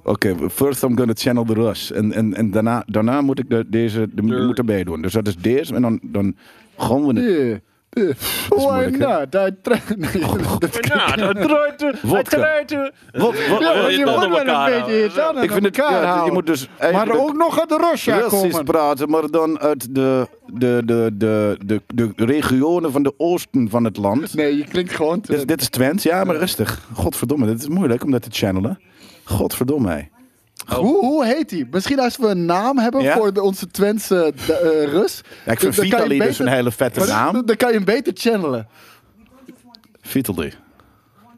Speaker 1: Oké, first I'm gonna channel the rush. En, en, en daarna, daarna moet ik de, deze de,
Speaker 3: Sure.
Speaker 1: moet erbij doen. Dus dat is deze. En dan, dan gaan we... het-
Speaker 2: Yeah. Yeah. Why
Speaker 1: moeilijk, hè?
Speaker 2: not? I try- nou, Nee, dat-
Speaker 3: Nou, dat draait er.
Speaker 1: Wodka. Wat- wat-
Speaker 2: Ja,
Speaker 3: wil
Speaker 2: want
Speaker 3: je
Speaker 2: je
Speaker 3: dat
Speaker 2: moet
Speaker 3: op
Speaker 2: wel
Speaker 3: elkaar
Speaker 2: een beetje
Speaker 3: houden?
Speaker 2: je tanden
Speaker 1: Ik vind het...
Speaker 2: aan elkaar
Speaker 1: ja, je
Speaker 2: houden.
Speaker 1: moet dus
Speaker 2: Maar
Speaker 1: eigenlijk
Speaker 2: ook nog uit de Russia
Speaker 1: Russisch
Speaker 2: komen.
Speaker 1: praten, maar dan uit de, de, de, de, de, de regionen van de oosten van het land.
Speaker 2: Nee, je klinkt gewoon te...
Speaker 1: Dit, dit is Twents, ja, maar rustig. Godverdomme, dit is moeilijk om dat te channelen. Godverdomme, hé.
Speaker 2: Hoe, hoe heet hij? Misschien als we een naam hebben
Speaker 1: Ja?
Speaker 2: voor de- onze Twentse eh, eh, Rus.
Speaker 1: Ja, ik vind
Speaker 2: dan kan je
Speaker 1: Vitali dus
Speaker 2: beter-
Speaker 1: een hele vette
Speaker 2: Maar dan-
Speaker 1: naam.
Speaker 2: Dan kan je hem beter channelen.
Speaker 1: Vitali.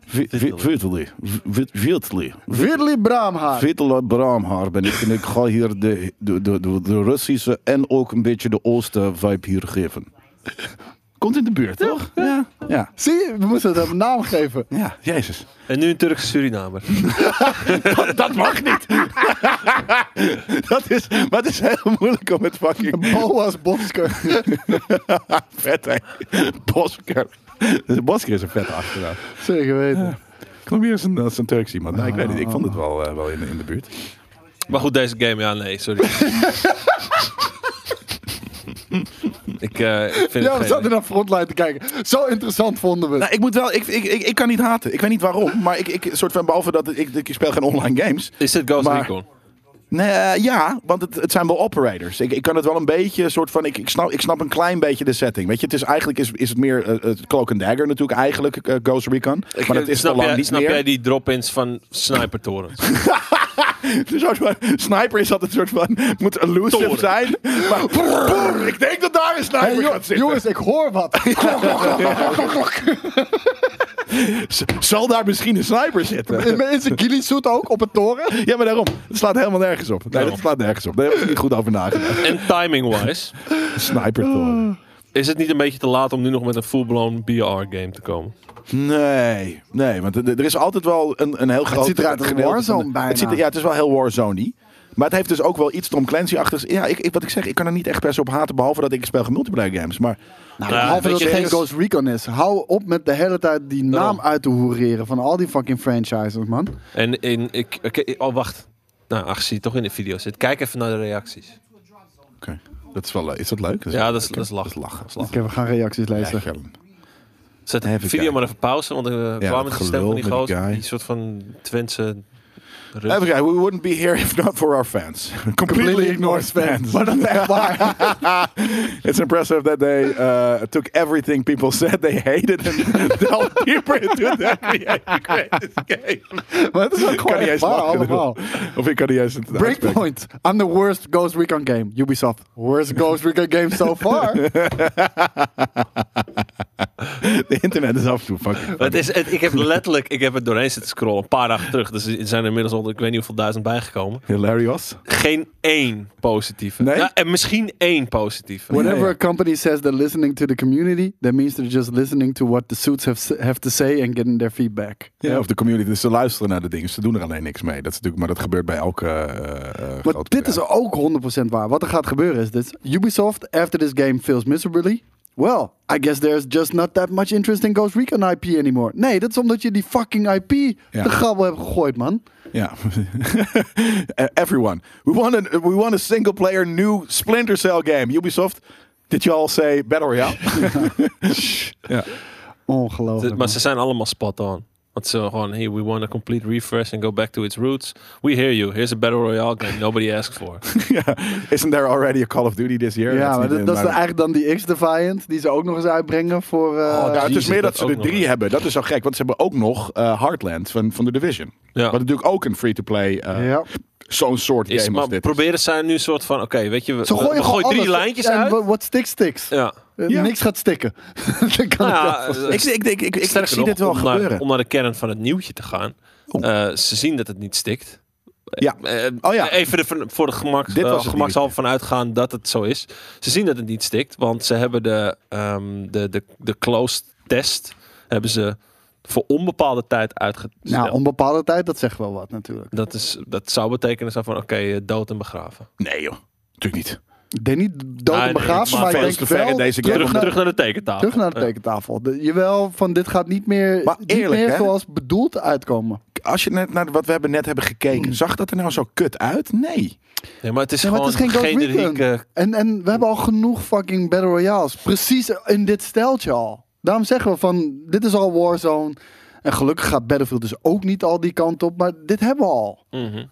Speaker 1: Vi- vi- Vitali. Vi- vi- Vitali.
Speaker 2: Virli Braamhaar.
Speaker 1: Vitala Braamhaar ben ik en ik ga hier de, de, de, de, de Russische en ook een beetje de Oosten vibe hier geven. Komt in de buurt, toch? Ja. Ja,
Speaker 2: Zie je, we moeten het een naam geven.
Speaker 1: ja jezus.
Speaker 3: En nu een Turkse Surinamer.
Speaker 1: Dat mag niet. dat is, maar het is heel moeilijk om het fucking
Speaker 2: Boas Bosker.
Speaker 1: vet, hè. Bosker. Bosker is een vette achternaam.
Speaker 2: Zeker weten.
Speaker 1: Kom hier als een, als een Turks iemand. Nee, ik weet niet. Ik vond het wel, eh, wel in, in de buurt.
Speaker 3: Maar goed, deze game, ja, nee, sorry. ik eh, ik vind
Speaker 2: Ja, we
Speaker 3: het geen...
Speaker 2: zaten naar Frontline te kijken. Zo interessant vonden we het.
Speaker 1: Nou, ik moet wel. Ik, ik, ik, ik kan niet haten. Ik weet niet waarom. Maar ik, ik soort van behalve dat ik, ik speel geen online games.
Speaker 3: Is dit Ghost
Speaker 1: Maar-
Speaker 3: Recon?
Speaker 1: Nee, eh, ja, want het, het zijn wel operators. Ik, ik kan het wel een beetje soort van. Ik, ik, snap, ik snap een klein beetje de setting. Weet je, het is eigenlijk is, is het meer eh, het Cloak and Dagger natuurlijk, eigenlijk eh, Ghost Recon. maar dat is
Speaker 3: snap
Speaker 1: te lang
Speaker 3: jij,
Speaker 1: niet
Speaker 3: snap
Speaker 1: meer.
Speaker 3: jij die drop-ins van snipertorens?
Speaker 1: Een soort van, sniper is altijd een soort van. Moet elusive
Speaker 3: Toren.
Speaker 1: zijn. Maar boem, ik denk dat daar een sniper
Speaker 2: Hey, jo-
Speaker 1: gaat zitten.
Speaker 2: jongens, ik hoor wat.
Speaker 1: Z- Zal daar misschien een sniper zitten?
Speaker 2: Is een gillysuit ook op het toren?
Speaker 1: Ja, maar daarom. Het slaat helemaal nergens op. Nee, dat slaat nergens op. Daar heb ik niet goed over nagedacht.
Speaker 3: en timing-wise,
Speaker 1: Sniper toren.
Speaker 3: is het niet een beetje te laat om nu nog met een full-blown BR-game te komen?
Speaker 1: Nee, nee, want er er is altijd wel een, een heel groot...
Speaker 2: ziet eruit als
Speaker 1: gedeelte van de-
Speaker 2: Warzone bijna.
Speaker 1: Het ziet er- ja, het is wel heel Warzone Maar het heeft dus ook wel iets Tom Clancy-achtigs. Ja, ik, ik- wat ik zeg, ik kan er niet echt best op haten, behalve dat ik speel geen multiplayer games. Maar
Speaker 2: Nou,
Speaker 3: Ja,
Speaker 2: behalve
Speaker 3: weet
Speaker 2: dat
Speaker 3: je,
Speaker 2: het geen
Speaker 3: dus-
Speaker 2: Ghost Recon is. Hou op met de hele tijd die naam
Speaker 3: Daarom.
Speaker 2: uit te hoereren van al die fucking franchises, man.
Speaker 3: En in... Ik, oké, oh, wacht. Nou, ach, zie je toch in de video zit. Kijk even naar de reacties.
Speaker 1: oké, dat is wel leuk. Is dat leuk?
Speaker 3: Ja, dat is, dat is
Speaker 1: Dat is
Speaker 3: lachen.
Speaker 1: lachen.
Speaker 2: Oké, we gaan reacties lezen.
Speaker 1: Ja,
Speaker 3: Zet de
Speaker 1: Even
Speaker 3: video
Speaker 1: kijken.
Speaker 3: maar even pauze, want we kwamen
Speaker 1: dat gelul
Speaker 3: met die stem van
Speaker 1: met
Speaker 3: die
Speaker 1: die
Speaker 3: gozer.
Speaker 1: guy.
Speaker 3: Die soort van Twentse Rust.
Speaker 1: Even kijken, we wouldn't be here if not for our fans. Completely ignored fans.
Speaker 2: Maar dat is echt waar.
Speaker 1: It's impressive that they uh, took everything people said they hated and delved deeper into that creative greatest game.
Speaker 2: maar het is ook
Speaker 1: Ik kan
Speaker 2: gewoon
Speaker 1: niet
Speaker 2: echt
Speaker 1: eens
Speaker 2: waar
Speaker 1: lachen, bedoel.
Speaker 2: allemaal.
Speaker 1: Of ik kan niet eens het uitspreken.
Speaker 2: Breakpoint. I'm the worst Ghost Recon game. Ubisoft. Worst Ghost Recon game so far.
Speaker 1: De internet is af en toe fucking
Speaker 3: Maar Het is, het- ik heb letterlijk, ik heb het doorheen zitten scrollen, een paar dagen terug. Dus er zijn er inmiddels al, ik weet niet hoeveel duizend bijgekomen.
Speaker 1: hilarious.
Speaker 3: Geen één positieve.
Speaker 1: Nee?
Speaker 3: Ja, en misschien één positieve.
Speaker 2: Whenever
Speaker 1: ja.
Speaker 2: a company says they're listening to the community, that means they're just listening to what the suits have, s- have to say and getting their feedback.
Speaker 1: Ja, of de community, dus ze luisteren naar de dingen. Ze doen er alleen niks mee. Dat is natuurlijk, maar dat gebeurt bij elke eh
Speaker 2: Maar dit is ook 100% waar. Wat er gaat gebeuren is dit. Ubisoft, after this game fails miserably. Well, I guess there's just not that much interest in Ghost Recon IP anymore. Nee, dat is omdat je die fucking IP de grabbel hebt gegooid, man.
Speaker 1: Ja. Eh, Everyone. We want, a, we want a single player new Splinter Cell game. Ubisoft, did you all say Battle Royale? ja.
Speaker 2: Ongelooflijk.
Speaker 3: Ze- maar ze zijn allemaal spot on. Want ze gewoon, hey, we want a complete refresh and go back to its roots. We hear you. Here's a Battle Royale game nobody asked for.
Speaker 1: ja. Isn't there already a Call of Duty this year?
Speaker 2: ja, maar
Speaker 1: niet-
Speaker 2: dat, dat is
Speaker 1: maar-
Speaker 2: eigenlijk dan die X-Defiant die ze ook nog eens uitbrengen voor... eh,
Speaker 1: Ja, Nou, het is
Speaker 3: Jezus,
Speaker 1: meer dat,
Speaker 3: dat
Speaker 1: ze
Speaker 3: ook
Speaker 1: er
Speaker 3: nog
Speaker 1: drie
Speaker 3: eens.
Speaker 1: hebben. Dat is zo gek. Want ze hebben ook nog eh Heartland van, van The Division.
Speaker 3: Ja.
Speaker 1: Wat natuurlijk ook een free-to-play, eh,
Speaker 2: ja.
Speaker 1: zo'n soort
Speaker 3: Is,
Speaker 1: game als
Speaker 3: maar
Speaker 1: dit.
Speaker 3: proberen zij nu een soort van, oké, weet je, we,
Speaker 2: Ze
Speaker 3: we-
Speaker 2: gooien
Speaker 3: we gooien
Speaker 2: gewoon
Speaker 3: drie
Speaker 2: alles.
Speaker 3: lijntjes
Speaker 2: en
Speaker 3: uit.
Speaker 2: wa- Wat stiks stiks.
Speaker 3: ja.
Speaker 2: Eh,
Speaker 1: Ja.
Speaker 2: Niks gaat stikken. Dat kan ik
Speaker 3: Nou
Speaker 2: wel
Speaker 3: ja,
Speaker 2: voorstellen.
Speaker 1: Ik, ik, denk- ik, ik, ik
Speaker 3: Sterker
Speaker 1: zie
Speaker 3: nog,
Speaker 1: dit wel
Speaker 3: om naar,
Speaker 1: gebeuren.
Speaker 3: om naar de kern van het nieuwtje te gaan.
Speaker 1: Oeh.
Speaker 3: Eh, ze zien dat het niet stikt.
Speaker 1: Ja.
Speaker 3: Eh,
Speaker 1: Oh ja.
Speaker 3: Even de- van- voor de gemak,
Speaker 1: Dit was
Speaker 3: eh,
Speaker 1: het
Speaker 3: gemakshalve van uitgaan dat het zo is. Ze zien dat het niet stikt, want ze hebben de, ehm, de, de, de closed test hebben ze voor onbepaalde tijd uitgesteld.
Speaker 2: Nou, onbepaalde tijd, dat zegt wel wat natuurlijk.
Speaker 3: dat, is, dat zou betekenen zo van, oké, eh, dood en begraven.
Speaker 1: Nee joh, natuurlijk niet.
Speaker 2: Ik denk niet dood
Speaker 3: Ah,
Speaker 2: en
Speaker 3: nee,
Speaker 2: begraven,
Speaker 3: maar
Speaker 2: maar,
Speaker 1: veel
Speaker 2: ik
Speaker 1: te
Speaker 2: denk
Speaker 1: ver
Speaker 2: wel...
Speaker 1: in deze game.
Speaker 3: Terug,
Speaker 1: maar-
Speaker 3: terug naar de Eh, tekentafel.
Speaker 2: Terug naar de
Speaker 3: Ja.
Speaker 2: tekentafel. De- jawel, van dit gaat niet meer,
Speaker 1: Maar
Speaker 2: niet
Speaker 1: eerlijk,
Speaker 2: meer
Speaker 1: hè?
Speaker 2: zoals bedoeld uitkomen.
Speaker 1: Als je net naar wat we hebben net hebben
Speaker 3: Hmm.
Speaker 1: gekeken, zag dat er nou zo kut uit? Nee.
Speaker 3: Nee, maar het is
Speaker 2: Ja, maar
Speaker 3: gewoon eh,
Speaker 2: het is geen Ghost Recon.
Speaker 3: generieke...
Speaker 2: En, en we hebben al genoeg fucking Battle Royales. Precies in dit steltje al. Daarom zeggen we van, dit is al Warzone. En gelukkig gaat Battlefield dus ook niet al die kant op. Maar dit hebben we al.
Speaker 3: Mhm.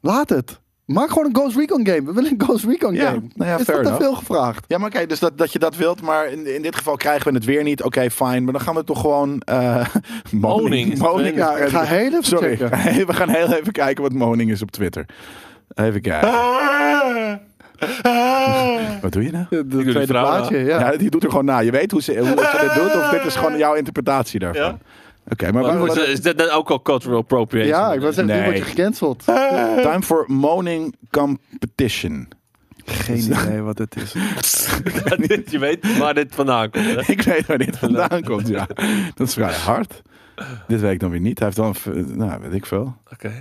Speaker 2: Laat het. Maak gewoon een Ghost Recon game. We willen een Ghost Recon
Speaker 1: Ja,
Speaker 2: game.
Speaker 1: nou ja,
Speaker 2: is
Speaker 1: fair
Speaker 2: dat te
Speaker 1: enough.
Speaker 2: veel gevraagd?
Speaker 1: Ja, maar kijk, dus dat, dat je dat wilt, maar in, in dit geval krijgen we het weer niet. Oké, fijn, maar dan gaan we toch gewoon... eh
Speaker 3: Moning is-
Speaker 1: Moning.
Speaker 2: Ja, ik ga heel even
Speaker 1: Sorry,
Speaker 2: checken.
Speaker 1: we gaan heel even kijken wat moning is op Twitter. Even kijken. Wat doe je nou?
Speaker 2: Het
Speaker 3: jullie
Speaker 2: tweede
Speaker 3: vrouw,
Speaker 2: plaatje, ja.
Speaker 1: Ja, die doet er gewoon na. Je weet hoe ze, hoe ze dit doet, of dit is gewoon jouw interpretatie daarvan.
Speaker 3: Ja.
Speaker 1: Oké, maar waar-
Speaker 3: Is dat- Is dat dan ook al cultural appropriation?
Speaker 2: Ja, ik was zeggen,
Speaker 1: Nee.
Speaker 2: nu word je gecanceld.
Speaker 1: time for moning competition.
Speaker 2: Geen idee wat het is.
Speaker 3: Dit- je weet waar dit vandaan komt. hè?
Speaker 1: Ik weet waar dit vandaan komt, ja. Dat is vrij hard. Dit weet ik dan weer niet. Hij heeft dan, een v- nou, weet ik veel.
Speaker 3: Oké,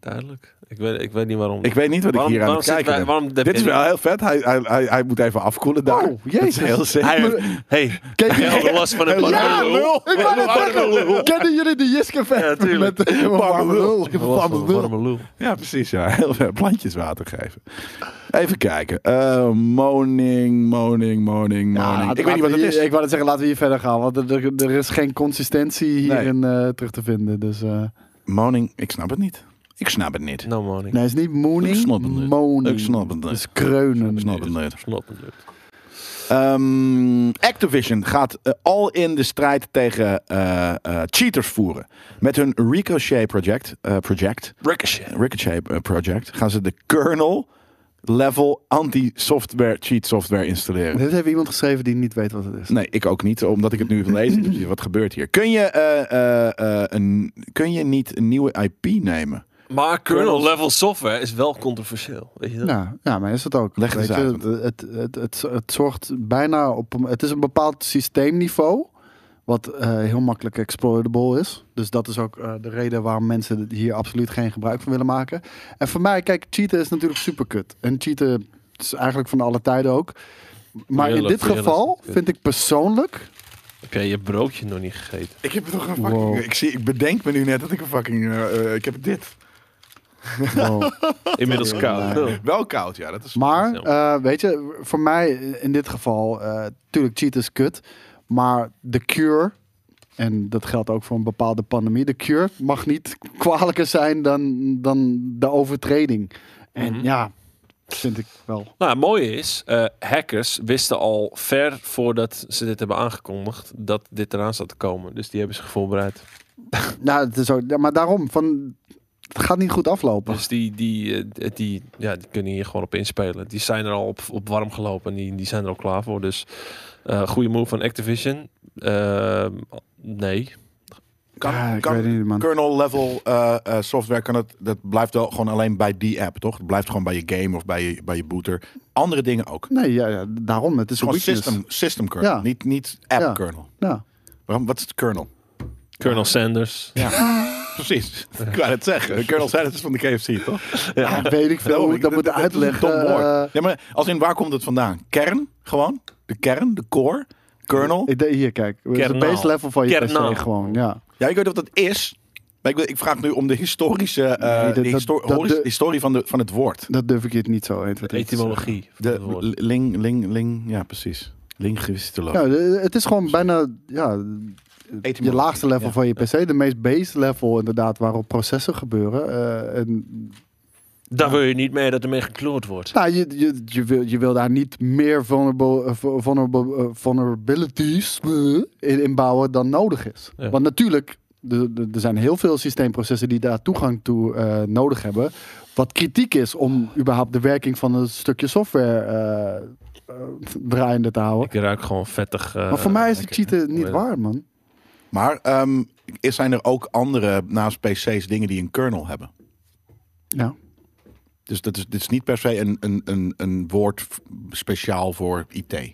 Speaker 3: duidelijk. Ik weet, ik weet niet waarom.
Speaker 1: Ik weet niet wat
Speaker 3: Waarom-
Speaker 1: ik hier aan
Speaker 3: waarom
Speaker 1: het kijken
Speaker 3: zitten wij-
Speaker 1: ben.
Speaker 3: waarom heb
Speaker 1: Dit is
Speaker 3: je-
Speaker 1: wel heel vet. Hij, hij, hij, hij moet even afkoelen daar.
Speaker 2: Oh,
Speaker 1: Dat is
Speaker 2: jezus.
Speaker 1: heel sick.
Speaker 3: Hij heeft- hey,
Speaker 2: Kijk,
Speaker 3: hij had last van een
Speaker 1: Ja,
Speaker 3: ja,
Speaker 1: lul.
Speaker 2: Ik wou net zeggen, kennen jullie de Jiske
Speaker 3: Ja,
Speaker 2: vet
Speaker 3: tuurlijk.
Speaker 2: met de warme lul? Warme lul.
Speaker 1: Ja, precies. Ja. Heel veel plantjes water geven. Even kijken. Eh, moning, moning, moning,
Speaker 2: Ja,
Speaker 1: moning. ik weet niet wat
Speaker 2: laten
Speaker 1: het
Speaker 2: we
Speaker 1: is.
Speaker 2: hier- Ik wou net zeggen, laten we hier verder gaan. Want er, er- er is geen consistentie hierin eh, terug te vinden. Dus, eh,
Speaker 1: Moning, ik snap het niet. Ik snap het niet.
Speaker 3: No morning.
Speaker 2: nee, het is niet
Speaker 1: Ik
Speaker 2: mooning,
Speaker 1: snap het niet.
Speaker 2: moaning.
Speaker 1: Ik snap het niet.
Speaker 2: Het is kreunen.
Speaker 1: Ik snap het niet.
Speaker 3: Snap het niet.
Speaker 1: Ehm, Activision gaat eh, al in de strijd tegen eh, eh, cheaters voeren. Met hun Ricochet Project, eh, project
Speaker 3: Ricochet.
Speaker 1: Ricochet eh, Project gaan ze de kernel level anti-software cheat software installeren.
Speaker 2: Dit heeft iemand geschreven die niet weet wat het is.
Speaker 1: Nee, ik ook niet, omdat ik het nu lees. Dus Wat gebeurt hier? Kun je, eh, eh, eh, een, kun je niet een nieuwe IP nemen?
Speaker 3: Maar kernel level software is wel controversieel. Weet je dat?
Speaker 2: Ja, Nou, ja, maar is het ook.
Speaker 1: Leg het
Speaker 2: Weet
Speaker 1: eens
Speaker 2: je,
Speaker 1: uit,
Speaker 2: het, het, het, het, het zorgt bijna op een, Het is een bepaald systeemniveau. Wat eh, heel makkelijk exploitable is. Dus dat is ook eh, de reden waarom mensen hier absoluut geen gebruik van willen maken. En voor mij, kijk, cheaten is natuurlijk super kut. En cheaten is eigenlijk van alle tijden ook. Maar in
Speaker 3: Heerlijk,
Speaker 2: dit
Speaker 3: heerlijk.
Speaker 2: geval vind ik persoonlijk.
Speaker 3: Heb jij je broodje nog niet gegeten?
Speaker 1: Ik heb toch een
Speaker 2: fucking- Wow.
Speaker 1: Ik, zie, ik bedenk me nu net dat ik een fucking... eh, ik heb dit.
Speaker 2: Wow.
Speaker 3: Inmiddels koud.
Speaker 2: Nee.
Speaker 1: Wel koud, Ah, ja. Dat is...
Speaker 2: Maar,
Speaker 3: Ja.
Speaker 2: eh, weet je, voor mij in dit geval, eh tuurlijk cheat is kut. Maar de cure En dat geldt ook voor een bepaalde pandemie. De cure mag niet kwalijker zijn dan, dan de overtreding. En
Speaker 3: Mhm.
Speaker 2: ja, vind ik wel.
Speaker 3: Nou, het mooie is, eh, hackers wisten al ver voordat ze dit hebben aangekondigd dat dit eraan zat te komen. Dus die hebben zich voorbereid. Dus
Speaker 2: Nou, het is ook, ja, maar daarom, van, het gaat niet goed aflopen.
Speaker 3: Dus die, die, eh, die, ja, die kunnen hier gewoon op inspelen. Die zijn er al op, op warm gelopen en die, die zijn er al klaar voor. Dus eh goede move van Activision. Ehm, nee.
Speaker 1: Kan,
Speaker 2: Ja, ik
Speaker 1: kan
Speaker 2: weet het niet, man.
Speaker 1: kernel level eh, eh, software kan het, dat blijft wel gewoon alleen bij die app, toch? Het blijft gewoon bij je game of bij je, bij je booter. Andere dingen ook. Het
Speaker 2: Nee, ja, ja, daarom. Het is
Speaker 1: is gewoon
Speaker 2: een weakness.
Speaker 1: system, system kernel,
Speaker 2: Ja.
Speaker 1: niet, niet app
Speaker 2: Ja.
Speaker 1: kernel.
Speaker 2: Ja.
Speaker 1: Waarom? Wat is het kernel?
Speaker 3: Colonel Sanders.
Speaker 1: Precies, ik wou het zeggen. Kernel zijn het is van de KFC, toch?
Speaker 2: Ja, weet ik veel.
Speaker 1: Daarom,
Speaker 2: hoe ik
Speaker 1: ik-
Speaker 2: dat moet
Speaker 1: Oh, is een
Speaker 2: uitleggen.
Speaker 1: dom woord.
Speaker 2: Eh,
Speaker 1: Ja, maar als in waar komt het vandaan? Kern, gewoon? De kern, de core, kernel?
Speaker 2: Ik denk, hier, kijk. Het is het
Speaker 3: Kernaal.
Speaker 2: base level van je
Speaker 3: Kernaal.
Speaker 2: PC gewoon. Ja.
Speaker 1: Ja, ik weet niet of dat is. Maar ik, wil- ik vraag nu om de historische eh,
Speaker 2: Nee, dat-
Speaker 1: de histo-
Speaker 2: dat- dat-
Speaker 1: horis-
Speaker 2: de-
Speaker 1: historie van, de, van het woord.
Speaker 2: Dat durf ik je niet zo eten.
Speaker 3: Etymologie. van het
Speaker 1: De
Speaker 3: woord.
Speaker 1: ling, ling, ling, ja precies. Linguistoloog.
Speaker 2: Ja, de- het is gewoon bijna ja, je
Speaker 1: Etymologie,
Speaker 2: laagste level
Speaker 1: ja.
Speaker 2: van je PC. De meest base level inderdaad waarop processen gebeuren. Eh, en,
Speaker 3: Daar wil je niet mee dat ermee gekloord wordt.
Speaker 2: nou, je, je, je, wil, je wil daar niet meer vulnerable, eh, vu- vulnerable, eh, vulnerabilities eh, in, in bouwen dan nodig is.
Speaker 3: Ja.
Speaker 2: Want natuurlijk, de- de- er zijn heel veel systeemprocessen die daar toegang toe eh, nodig hebben. Wat kritiek is om überhaupt de werking van een stukje software eh, eh, draaiende te houden.
Speaker 3: Ik ruik gewoon vettig. eh,
Speaker 2: maar voor mij is het
Speaker 3: lekker.
Speaker 2: cheaten niet
Speaker 1: eh.
Speaker 3: Ja.
Speaker 2: waar, man.
Speaker 1: Maar ehm, is, zijn er ook andere, naast PC's, dingen die een kernel hebben?
Speaker 2: Ja.
Speaker 1: Dus dat is, dit is niet per se een, een, een, een woord f- speciaal voor IT. Ja,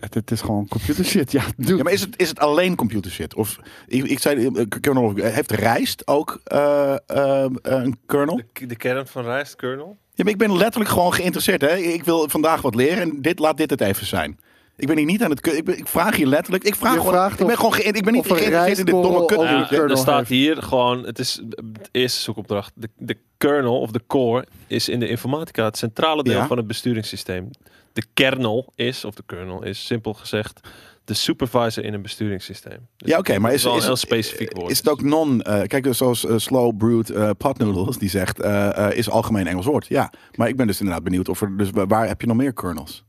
Speaker 2: Het, het is gewoon computer shit. Ja, doe.
Speaker 1: maar is het, is het alleen computer shit? Of, ik, ik zei, eh, kernel, of- heeft rijst ook eh, eh, een kernel?
Speaker 3: De, de kern van rijst, kernel.
Speaker 1: Ja, maar ik ben letterlijk gewoon geïnteresseerd. Hè? Ik wil vandaag wat leren en dit, laat dit het even zijn. Ik ben hier niet aan het... ke- Ik, ben- ik vraag hier letterlijk... Ik, vraag
Speaker 2: Je
Speaker 1: gewoon,
Speaker 2: vraagt
Speaker 1: ik ben
Speaker 2: of-
Speaker 1: gewoon geïn- Ik ben niet
Speaker 2: of een
Speaker 1: geïnteresseerd in dit domme
Speaker 2: rijstkorrel
Speaker 1: kut.
Speaker 2: Oh,
Speaker 3: Ja,
Speaker 2: die kernel
Speaker 3: er staat
Speaker 2: heeft-
Speaker 3: hier gewoon, het is de eerste zoekopdracht. De, de kernel of de core is in de informatica het centrale deel
Speaker 1: Ja.
Speaker 3: van het besturingssysteem. De kernel is, of de kernel is simpel gezegd, de supervisor in een besturingssysteem. Dus
Speaker 1: Ja, oké, maar
Speaker 3: dat
Speaker 1: is-
Speaker 3: wel
Speaker 1: is
Speaker 3: een heel
Speaker 1: het-
Speaker 3: specifiek woord.
Speaker 1: Is het ook non... eh, kijk, dus zoals eh, slow brewed eh, pot noodles, die zegt, eh, eh, is algemeen Engels woord. Ja, maar ik ben dus inderdaad benieuwd of er... Dus wa- waar heb je nog meer kernels?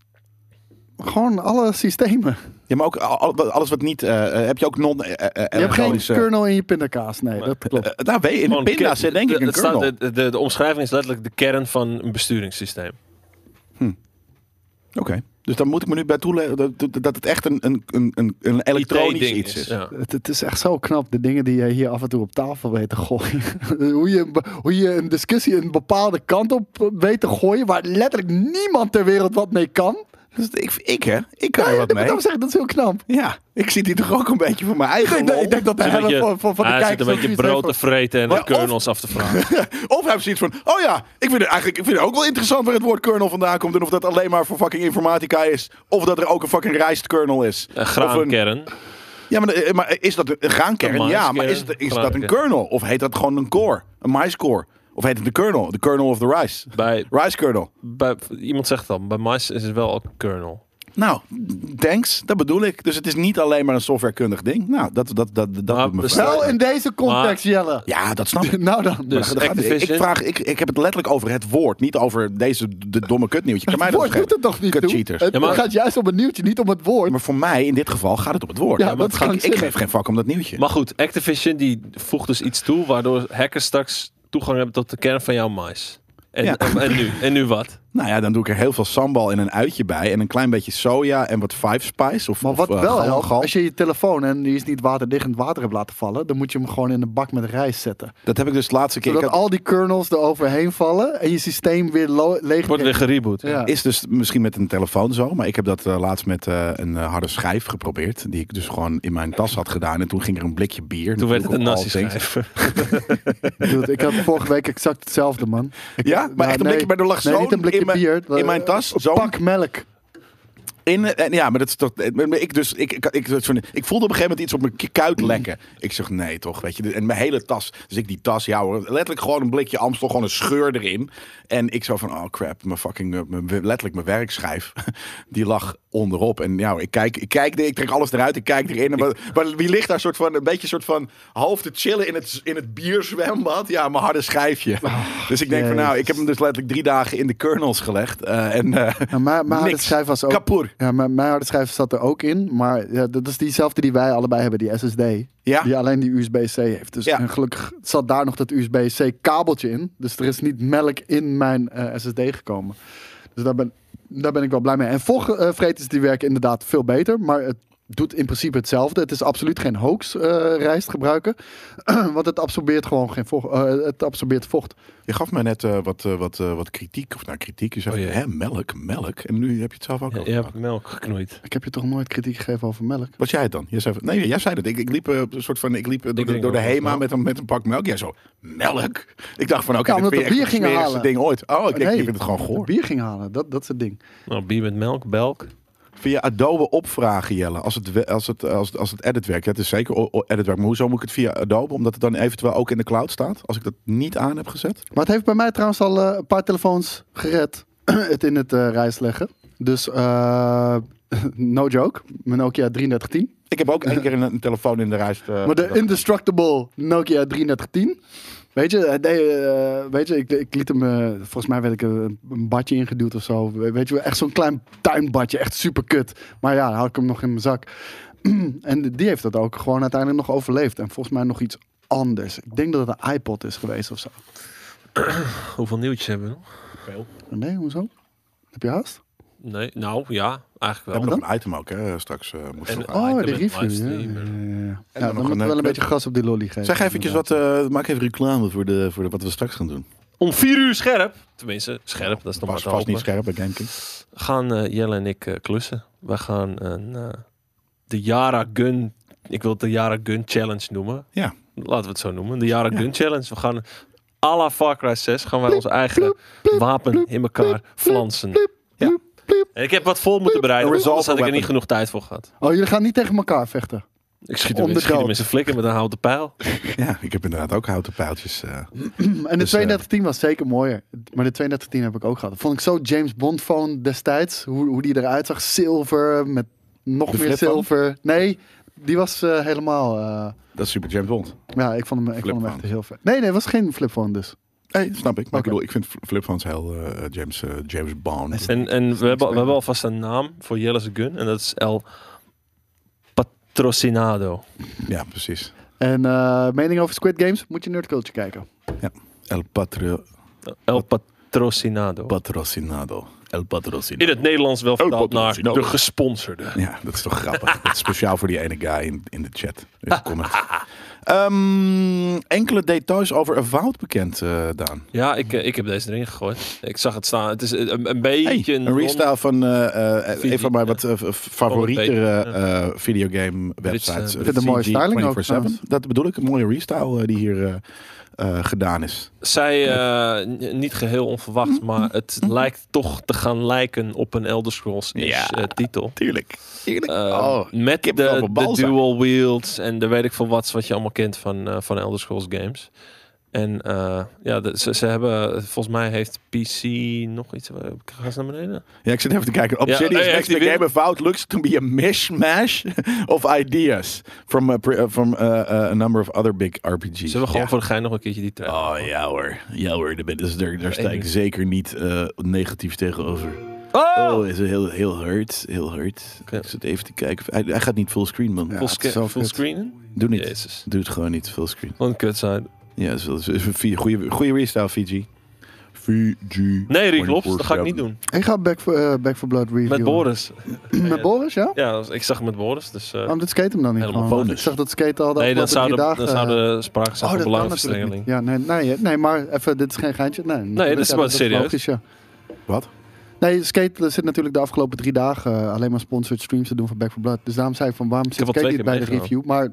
Speaker 2: Gewoon alle systemen.
Speaker 1: Ja, maar ook al- al- alles wat niet... eh, eh, heb je ook non... eh, eh,
Speaker 2: Je hebt geen
Speaker 1: elektronische-
Speaker 2: kernel in je pindakaas. Nee, dat klopt.
Speaker 1: Eh, daar weet je, in de
Speaker 3: Gewoon
Speaker 1: pinda
Speaker 3: kern-
Speaker 1: zit denk ik
Speaker 3: de-
Speaker 1: een
Speaker 3: het staat-
Speaker 1: kernel.
Speaker 3: de, de, de omschrijving is letterlijk de kern van een besturingssysteem.
Speaker 1: Oké, dus dan moet ik me nu bij toeleggen dat, dat- dat het echt een, een, een, een- een elektronisch
Speaker 3: IT-ding
Speaker 1: iets is.
Speaker 3: Ja.
Speaker 2: Het, het is echt zo knap, de dingen die je hier af en toe op tafel weet te gooien. hoe, je, een be- hoe je een discussie een bepaalde kant op weet te gooien, waar letterlijk niemand ter wereld wat mee kan.
Speaker 1: Dus ik, ik hè, ik kan er
Speaker 2: Ja,
Speaker 1: wat mee.
Speaker 2: dat, dat is heel knap.
Speaker 1: Ja, ik zit hier toch ook een beetje voor mijn eigen
Speaker 2: Ik denk,
Speaker 1: lol.
Speaker 2: ik denk dat de
Speaker 3: Hij
Speaker 2: helft van, van, van de
Speaker 3: Ah, hij zit
Speaker 2: kijkers
Speaker 3: een
Speaker 2: ook
Speaker 3: beetje
Speaker 2: zoiets
Speaker 3: brood te
Speaker 2: heeft
Speaker 3: vreten en
Speaker 1: Maar
Speaker 3: de kernels af te vragen.
Speaker 1: Of hebben ze iets van, oh ja, ik vind, het eigenlijk, ik vind het ook wel interessant waar het woord kernel vandaan komt. En of dat alleen maar voor fucking informatica is. Of dat er ook een fucking rijstkernel is.
Speaker 3: Een
Speaker 1: Of een-
Speaker 3: graankern.
Speaker 1: ja, maar, eh, maar is dat een graankern?
Speaker 3: Een
Speaker 1: Ja, maar
Speaker 3: maiskern,
Speaker 1: is, het, is dat een
Speaker 3: graankern.
Speaker 1: kernel? Of heet dat gewoon een core? Een maiscore? Of heet het de kernel? De kernel of the rice?
Speaker 3: Bij,
Speaker 1: Rice kernel.
Speaker 3: bij, iemand zegt dan, bij mais is het wel ook een kernel.
Speaker 1: Nou, thanks. Dat bedoel ik. Dus het is niet alleen maar een softwarekundig ding. Nou, dat, dat, dat, dat, dat
Speaker 3: Maar
Speaker 1: doet me
Speaker 3: we
Speaker 1: vrij.
Speaker 3: staan-
Speaker 2: Wel in deze context, Jelle.
Speaker 1: Ja, dat snap ik.
Speaker 2: Nou dan.
Speaker 3: Dus
Speaker 1: Maar dat gaat- ik,
Speaker 3: Activision-
Speaker 1: vraag, ik, ik heb het letterlijk over het woord, niet over deze de domme kutnieuwtje. Kan mij dat
Speaker 2: woord doet
Speaker 1: schelen?
Speaker 2: het toch niet
Speaker 1: Kut
Speaker 2: toe?
Speaker 1: cheaters.
Speaker 2: Het
Speaker 3: Ja, maar-
Speaker 2: gaat juist om het nieuwtje, niet om het woord.
Speaker 1: Maar voor mij, in dit geval, gaat het om het woord.
Speaker 2: Ja, dat is
Speaker 1: ik, ik
Speaker 2: krankzinnig.
Speaker 1: geef geen vak om dat nieuwtje.
Speaker 3: Maar goed, Activision die voegt dus iets toe waardoor hackers straks toegang hebben tot de kern van jouw mais. En,
Speaker 1: Ja.
Speaker 3: en, en nu, en nu wat?
Speaker 1: nou ja, dan doe ik er heel veel sambal en een uitje bij. En een klein beetje soja en wat five spice. Of,
Speaker 2: Maar
Speaker 1: of,
Speaker 2: wat
Speaker 1: eh,
Speaker 2: wel
Speaker 1: gal-
Speaker 2: helpt,
Speaker 1: gal.
Speaker 2: als je je telefoon en die is niet waterdicht in het water hebt laten vallen, dan moet je hem gewoon in een bak met rijst zetten.
Speaker 1: Dat heb ik dus de laatste keer.
Speaker 2: Zodat
Speaker 1: ik had-
Speaker 2: al die kernels eroverheen vallen en je systeem weer lo- leeg
Speaker 3: Het wordt weer gereboot.
Speaker 2: Ja.
Speaker 1: Is dus misschien met een telefoon zo, maar ik heb dat eh, laatst met eh, een eh, harde schijf geprobeerd. Die ik dus gewoon in mijn tas had gedaan. En toen ging er een blikje bier.
Speaker 3: Toen werd het een
Speaker 1: Natuurlijk
Speaker 3: nazi
Speaker 1: al things.
Speaker 3: schrijver.
Speaker 2: Dude, ik had vorige week exact hetzelfde, man. Ik-
Speaker 1: Ja, maar
Speaker 2: nou,
Speaker 1: echt een
Speaker 2: nee,
Speaker 1: blikje, maar er lag
Speaker 2: nee,
Speaker 1: zo'n
Speaker 2: niet eh, een blikje
Speaker 1: in mijn-
Speaker 2: bier.
Speaker 1: in mijn tas,
Speaker 2: Een
Speaker 1: zo'n-
Speaker 2: pak melk.
Speaker 1: In, en ja, maar dat is toch. maar Ik, dus, ik, ik, ik, soort van- ik voelde op een gegeven moment iets op mijn ki- kuit lekken. Ik zeg nee, toch? Weet je, en mijn hele tas. Dus ik die tas, ja hoor. Letterlijk gewoon een blikje Amstel, gewoon een scheur erin. En ik zo van, oh crap, mijn fucking. eh, mijn- letterlijk mijn werkschijf. Die lag onderop. En ja, hoor, ik kijk, ik kijk, ik trek alles eruit, ik kijk erin. En, maar, maar wie ligt daar soort van, een beetje soort van half te chillen in het, in het bierzwembad? Ja, mijn harde schijfje. dus ik denk van, nou, ik heb hem dus letterlijk drie dagen in de kernels gelegd. eh, en. eh,
Speaker 2: Ja, Nou, maar, maar harde
Speaker 1: Niks.
Speaker 2: schijf was ook.
Speaker 1: Kapoor.
Speaker 2: Ja, maar mijn harde schijf zat er ook in. Maar ja, dat is diezelfde die wij allebei hebben, die SSD.
Speaker 1: Ja.
Speaker 2: Die alleen die USB-C heeft. Dus
Speaker 1: Ja.
Speaker 2: en gelukkig zat daar nog dat USB-C kabeltje in. Dus er is niet melk in mijn eh, SSD gekomen. Dus daar ben, daar ben ik wel blij mee. En vochtvreters die werken inderdaad veel beter. Maar het doet in principe hetzelfde. Het is absoluut geen hoax eh, rijst gebruiken. want het absorbeert gewoon geen vocht. eh, het absorbeert vocht.
Speaker 1: Je gaf mij net eh, wat, eh, wat, eh, wat kritiek, of nou kritiek. Je zei,
Speaker 3: Oh
Speaker 1: van,
Speaker 3: jee.
Speaker 1: hè, melk, melk. En nu heb je het zelf ook
Speaker 3: Ja,
Speaker 1: al
Speaker 3: je hebt
Speaker 1: gepakt.
Speaker 3: melk geknoeid.
Speaker 2: Ik heb je toch nooit kritiek gegeven over melk?
Speaker 1: Wat jij het dan? Jij zei, van- nee, jij zei dat. Ik, ik liep eh, een soort van, ik liep eh, door, de,
Speaker 3: drink
Speaker 1: door de
Speaker 3: ook wel
Speaker 1: Hema
Speaker 3: melk.
Speaker 1: met een, met een pak melk. Jij zo, melk? Ik dacht van, oké,
Speaker 2: Ja,
Speaker 1: dit vind
Speaker 2: omdat we
Speaker 1: je echt
Speaker 2: bier
Speaker 1: het
Speaker 2: gingen
Speaker 1: smerigste
Speaker 2: halen.
Speaker 1: ding ooit. Oh, ik denk,
Speaker 2: Nee.
Speaker 1: je vindt het gewoon goor.
Speaker 2: Bier ging halen, dat, dat soort ding.
Speaker 3: Nou, bier met melk, belk.
Speaker 1: Via Adobe opvragen, Jelle, als het, we- als het, als het, als het edit werkt. Ja, het is zeker o- o- edit werk. Maar hoezo moet ik het via Adobe? Omdat het dan eventueel ook in de cloud staat. Als ik dat niet aan heb gezet.
Speaker 2: Maar het heeft bij mij trouwens al eh, een paar telefoons gered. het in het eh, reis leggen. Dus eh, no joke. Mijn Nokia 3310.
Speaker 1: Ik heb ook één keer een, een telefoon in de reis. eh,
Speaker 2: Maar de
Speaker 1: dat-
Speaker 2: indestructible Nokia 3310. Weet je, hij deed, eh, weet je ik, ik liet hem, eh, volgens mij werd ik een, een badje ingeduwd of zo. We- Weet je, wel, echt zo'n klein tuinbadje, echt super kut. Maar ja, dan had ik hem nog in mijn zak. en die heeft dat ook gewoon uiteindelijk nog overleefd. En volgens mij nog iets anders. Ik denk dat het een iPod is geweest of zo.
Speaker 3: Hoeveel nieuwtjes hebben we nog?
Speaker 2: Nee, hoezo? Heb je haast?
Speaker 3: Nee, nou ja,
Speaker 1: We
Speaker 3: eigenlijk
Speaker 1: hebben
Speaker 3: wel.
Speaker 1: nog een item ook, hè? Straks eh moest
Speaker 3: En-
Speaker 1: nog aan.
Speaker 3: Ah, ik
Speaker 2: Oh,
Speaker 3: heb
Speaker 2: de
Speaker 3: het
Speaker 2: review. Ja, ja,
Speaker 3: livestream.
Speaker 2: ja, ja. ja,
Speaker 1: dan
Speaker 2: dan,
Speaker 1: nog
Speaker 2: moet
Speaker 1: een,
Speaker 2: ik wel
Speaker 1: eh,
Speaker 2: een beetje gas op die lolly geven.
Speaker 1: Zeg eventjes wat, eh, maak even reclame voor, de, voor de, wat we straks gaan doen.
Speaker 3: Om vier uur scherp. Tenminste, scherp, dat is nog maar
Speaker 1: Was
Speaker 3: te
Speaker 1: vast
Speaker 3: hopen.
Speaker 1: niet scherp bij GameKing.
Speaker 3: gaan eh, Jelle en ik eh, klussen. We gaan een, eh, de Yara Gun. Ik wil het de Yara Gun Challenge noemen.
Speaker 1: Ja.
Speaker 3: Laten we het zo noemen. De Yara Gun Challenge. We gaan à la Far Cry 6 gaan wij ons eigen wapen in elkaar flansen.
Speaker 1: Ja.
Speaker 3: En ik heb wat voor moeten bereiden.
Speaker 1: Een
Speaker 3: want Anders had ik er
Speaker 1: resolver
Speaker 3: niet genoeg tijd voor gehad.
Speaker 2: Oh, jullie gaan niet tegen elkaar vechten.
Speaker 3: Ik schiet
Speaker 2: Om
Speaker 3: hem,
Speaker 2: de
Speaker 3: ik schiet hem
Speaker 2: dood.
Speaker 3: in zijn flikker met een houten pijl.
Speaker 1: Ja, ik heb inderdaad ook houten pijltjes. eh.
Speaker 2: En de
Speaker 1: Dus, eh,
Speaker 2: 3210 was zeker mooier. Maar de 3210 heb ik ook gehad. Vond ik zo James Bond phone destijds. Hoe, hoe die eruit zag. Zilver met nog
Speaker 1: De
Speaker 2: meer
Speaker 1: flip phone?
Speaker 2: zilver. Nee, die was eh, helemaal... eh,
Speaker 1: dat is super James Bond.
Speaker 2: ja, ik vond hem, ik vond hem echt
Speaker 1: Flipphone.
Speaker 2: heel vet. Nee, nee, het was geen flip phone dus.
Speaker 1: Hey, snap ik. Maar ik
Speaker 2: Oké.
Speaker 1: bedoel, ik vind Flip Hans heel eh, James, eh, James Bond.
Speaker 3: En, en we, hebben, we hebben alvast een naam voor Jelle's Gun. En dat is El Patrocinado.
Speaker 1: Ja, precies.
Speaker 2: En eh, mening over Squid Games? Moet je Nerd Culture kijken.
Speaker 1: El patro,
Speaker 3: El Patrocinado.
Speaker 1: Patrocinado. El
Speaker 3: In
Speaker 1: Patrocinado.
Speaker 3: het Nederlands wel vertaald naar
Speaker 1: patrocinado.
Speaker 3: de gesponsorde.
Speaker 1: Ja, dat is toch grappig. dat is speciaal voor die ene guy in, in de chat. In de comments. Ehm, enkele details over Avowed bekend, eh, Daan.
Speaker 3: Ja, ik, eh, ik heb deze erin gegooid. Ik zag het staan. Het is eh, een, een beetje
Speaker 1: Hey, een
Speaker 3: non-
Speaker 1: restyle van eh, eh,
Speaker 3: Video-
Speaker 1: een van mijn wat eh, favoriete
Speaker 3: Beter,
Speaker 1: eh, videogame websites.
Speaker 3: eh,
Speaker 1: eh,
Speaker 2: Ik vind een mooie
Speaker 1: CG
Speaker 2: styling ook
Speaker 1: 24/7.
Speaker 2: trouwens.
Speaker 1: Dat bedoel ik, een mooie restyle eh, die hier eh, eh, gedaan is.
Speaker 3: Zij, eh, n- niet geheel onverwacht, maar het lijkt toch te gaan lijken op een Elder Scrolls
Speaker 1: Ja.
Speaker 3: titel.
Speaker 1: Tuurlijk. Tuurlijk.
Speaker 3: Eh,
Speaker 1: oh,
Speaker 3: met de,
Speaker 1: kippenvel op
Speaker 3: de
Speaker 1: balzak.
Speaker 3: dual wields en de weet ik veel wat, wat je allemaal kent van, eh, van Elder Scrolls games. En eh, ja, de- ze, ze hebben, volgens mij heeft PC nog iets. eh, Ga eens naar beneden.
Speaker 1: Ja, ik zit even te kijken. Obsidian's next
Speaker 3: hey,
Speaker 1: big
Speaker 3: Activision.
Speaker 1: game about looks to be a mishmash of ideas from, a, pre- eh, from eh, eh, a number of other big RPGs.
Speaker 3: Ze hebben gewoon
Speaker 1: Ja.
Speaker 3: voor de gein nog een keertje die trein.
Speaker 1: Oh ja hoor, ja hoor, daar, ben- dus daar, daar sta ik
Speaker 3: Enig.
Speaker 1: zeker niet eh, negatief tegenover. Oh, is heel, heel hard, heel hard.
Speaker 3: Oké.
Speaker 1: Ik zit even te kijken. Hij, hij gaat niet fullscreen, man.
Speaker 2: Ja,
Speaker 3: Full,
Speaker 2: het is
Speaker 3: sca-
Speaker 2: zo
Speaker 3: full
Speaker 2: kut.
Speaker 3: screenen?
Speaker 1: Doe niet.
Speaker 3: Jezus.
Speaker 1: Doe het gewoon niet, fullscreen.
Speaker 3: Wat een kut zijn.
Speaker 1: Ja, dat is wel- dat is een vi- goede goede restyle, Fiji. Fiji.
Speaker 3: Nee, Rick Lobs, dat ga ik niet doen.
Speaker 2: Ik ga Back for, eh, Back for Blood review.
Speaker 3: Met Boris.
Speaker 2: Met Boris, ja?
Speaker 3: Ja, ik zag hem met Boris, dus... eh,
Speaker 2: Waarom dit skate hem dan niet
Speaker 3: Helemaal
Speaker 2: gewoon?
Speaker 1: bonus.
Speaker 2: Ik zag Oh, dat skate al de
Speaker 3: nee, dan
Speaker 2: afgelopen
Speaker 3: zou, de,
Speaker 2: drie dagen...
Speaker 3: dan zou de sprake zijn
Speaker 2: Oh,
Speaker 3: van
Speaker 2: dat kan natuurlijk
Speaker 3: belangenverstrengeling.
Speaker 2: niet. Ja, nee, nee, nee, maar even, dit is geen geintje. Nee, natuurlijk,
Speaker 3: is
Speaker 2: ja,
Speaker 3: wel
Speaker 2: dat
Speaker 3: serieus.
Speaker 2: logisch, ja.
Speaker 1: Wat?
Speaker 2: Nee, Skate zit natuurlijk de afgelopen drie dagen eh, alleen maar sponsored streams te doen voor Back for Blood. Dus daarom zei ik van waarom zit
Speaker 3: heb al
Speaker 2: Skate
Speaker 3: twee
Speaker 2: niet bij
Speaker 3: keer
Speaker 2: de review, maar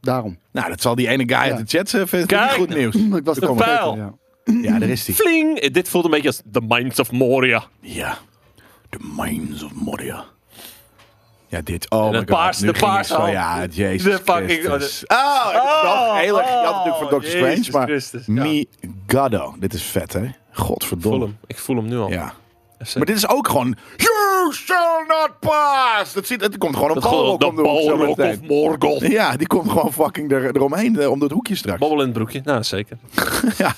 Speaker 2: daarom.
Speaker 1: Nou, dat zal die ene guy uit de chat eh, vinden.
Speaker 3: Kijk.
Speaker 1: Goed nieuws.
Speaker 2: ik was
Speaker 3: De
Speaker 2: er al
Speaker 3: pijl.
Speaker 2: vergeten, ja.
Speaker 1: Ja, daar is hij.
Speaker 3: Fling! Eh, Dit voelt een beetje als The Minds of Moria.
Speaker 1: Ja. The Mines of Moria. Ja, dit. Oh, my
Speaker 3: het
Speaker 1: God.
Speaker 3: paars-
Speaker 1: nu
Speaker 3: de
Speaker 1: ging ik
Speaker 3: paars
Speaker 1: zo-
Speaker 3: al.
Speaker 1: Ja, jezus
Speaker 3: De oh, fucking-
Speaker 1: Christus. Oh, ik dacht heel erg. Je had natuurlijk van Doctor Strange, maar... Mi Gaddo. Dit is vet, hè?
Speaker 3: Ik
Speaker 1: Godverdomme.
Speaker 3: voel hem. Ik voel hem nu al.
Speaker 1: Ja.
Speaker 3: FC.
Speaker 1: Maar dit is ook gewoon... You shall not pass! Dat, ziet, het komt gewoon op
Speaker 3: dat
Speaker 1: Balrog
Speaker 3: gewoon de
Speaker 1: om de hoek zo
Speaker 3: Balrog
Speaker 1: meteen.
Speaker 3: of Morgoth.
Speaker 1: Ja, die komt gewoon fucking er, eromheen eh, om dat hoekje straks.
Speaker 3: Babbel in het broekje. Nou, zeker.
Speaker 1: ja,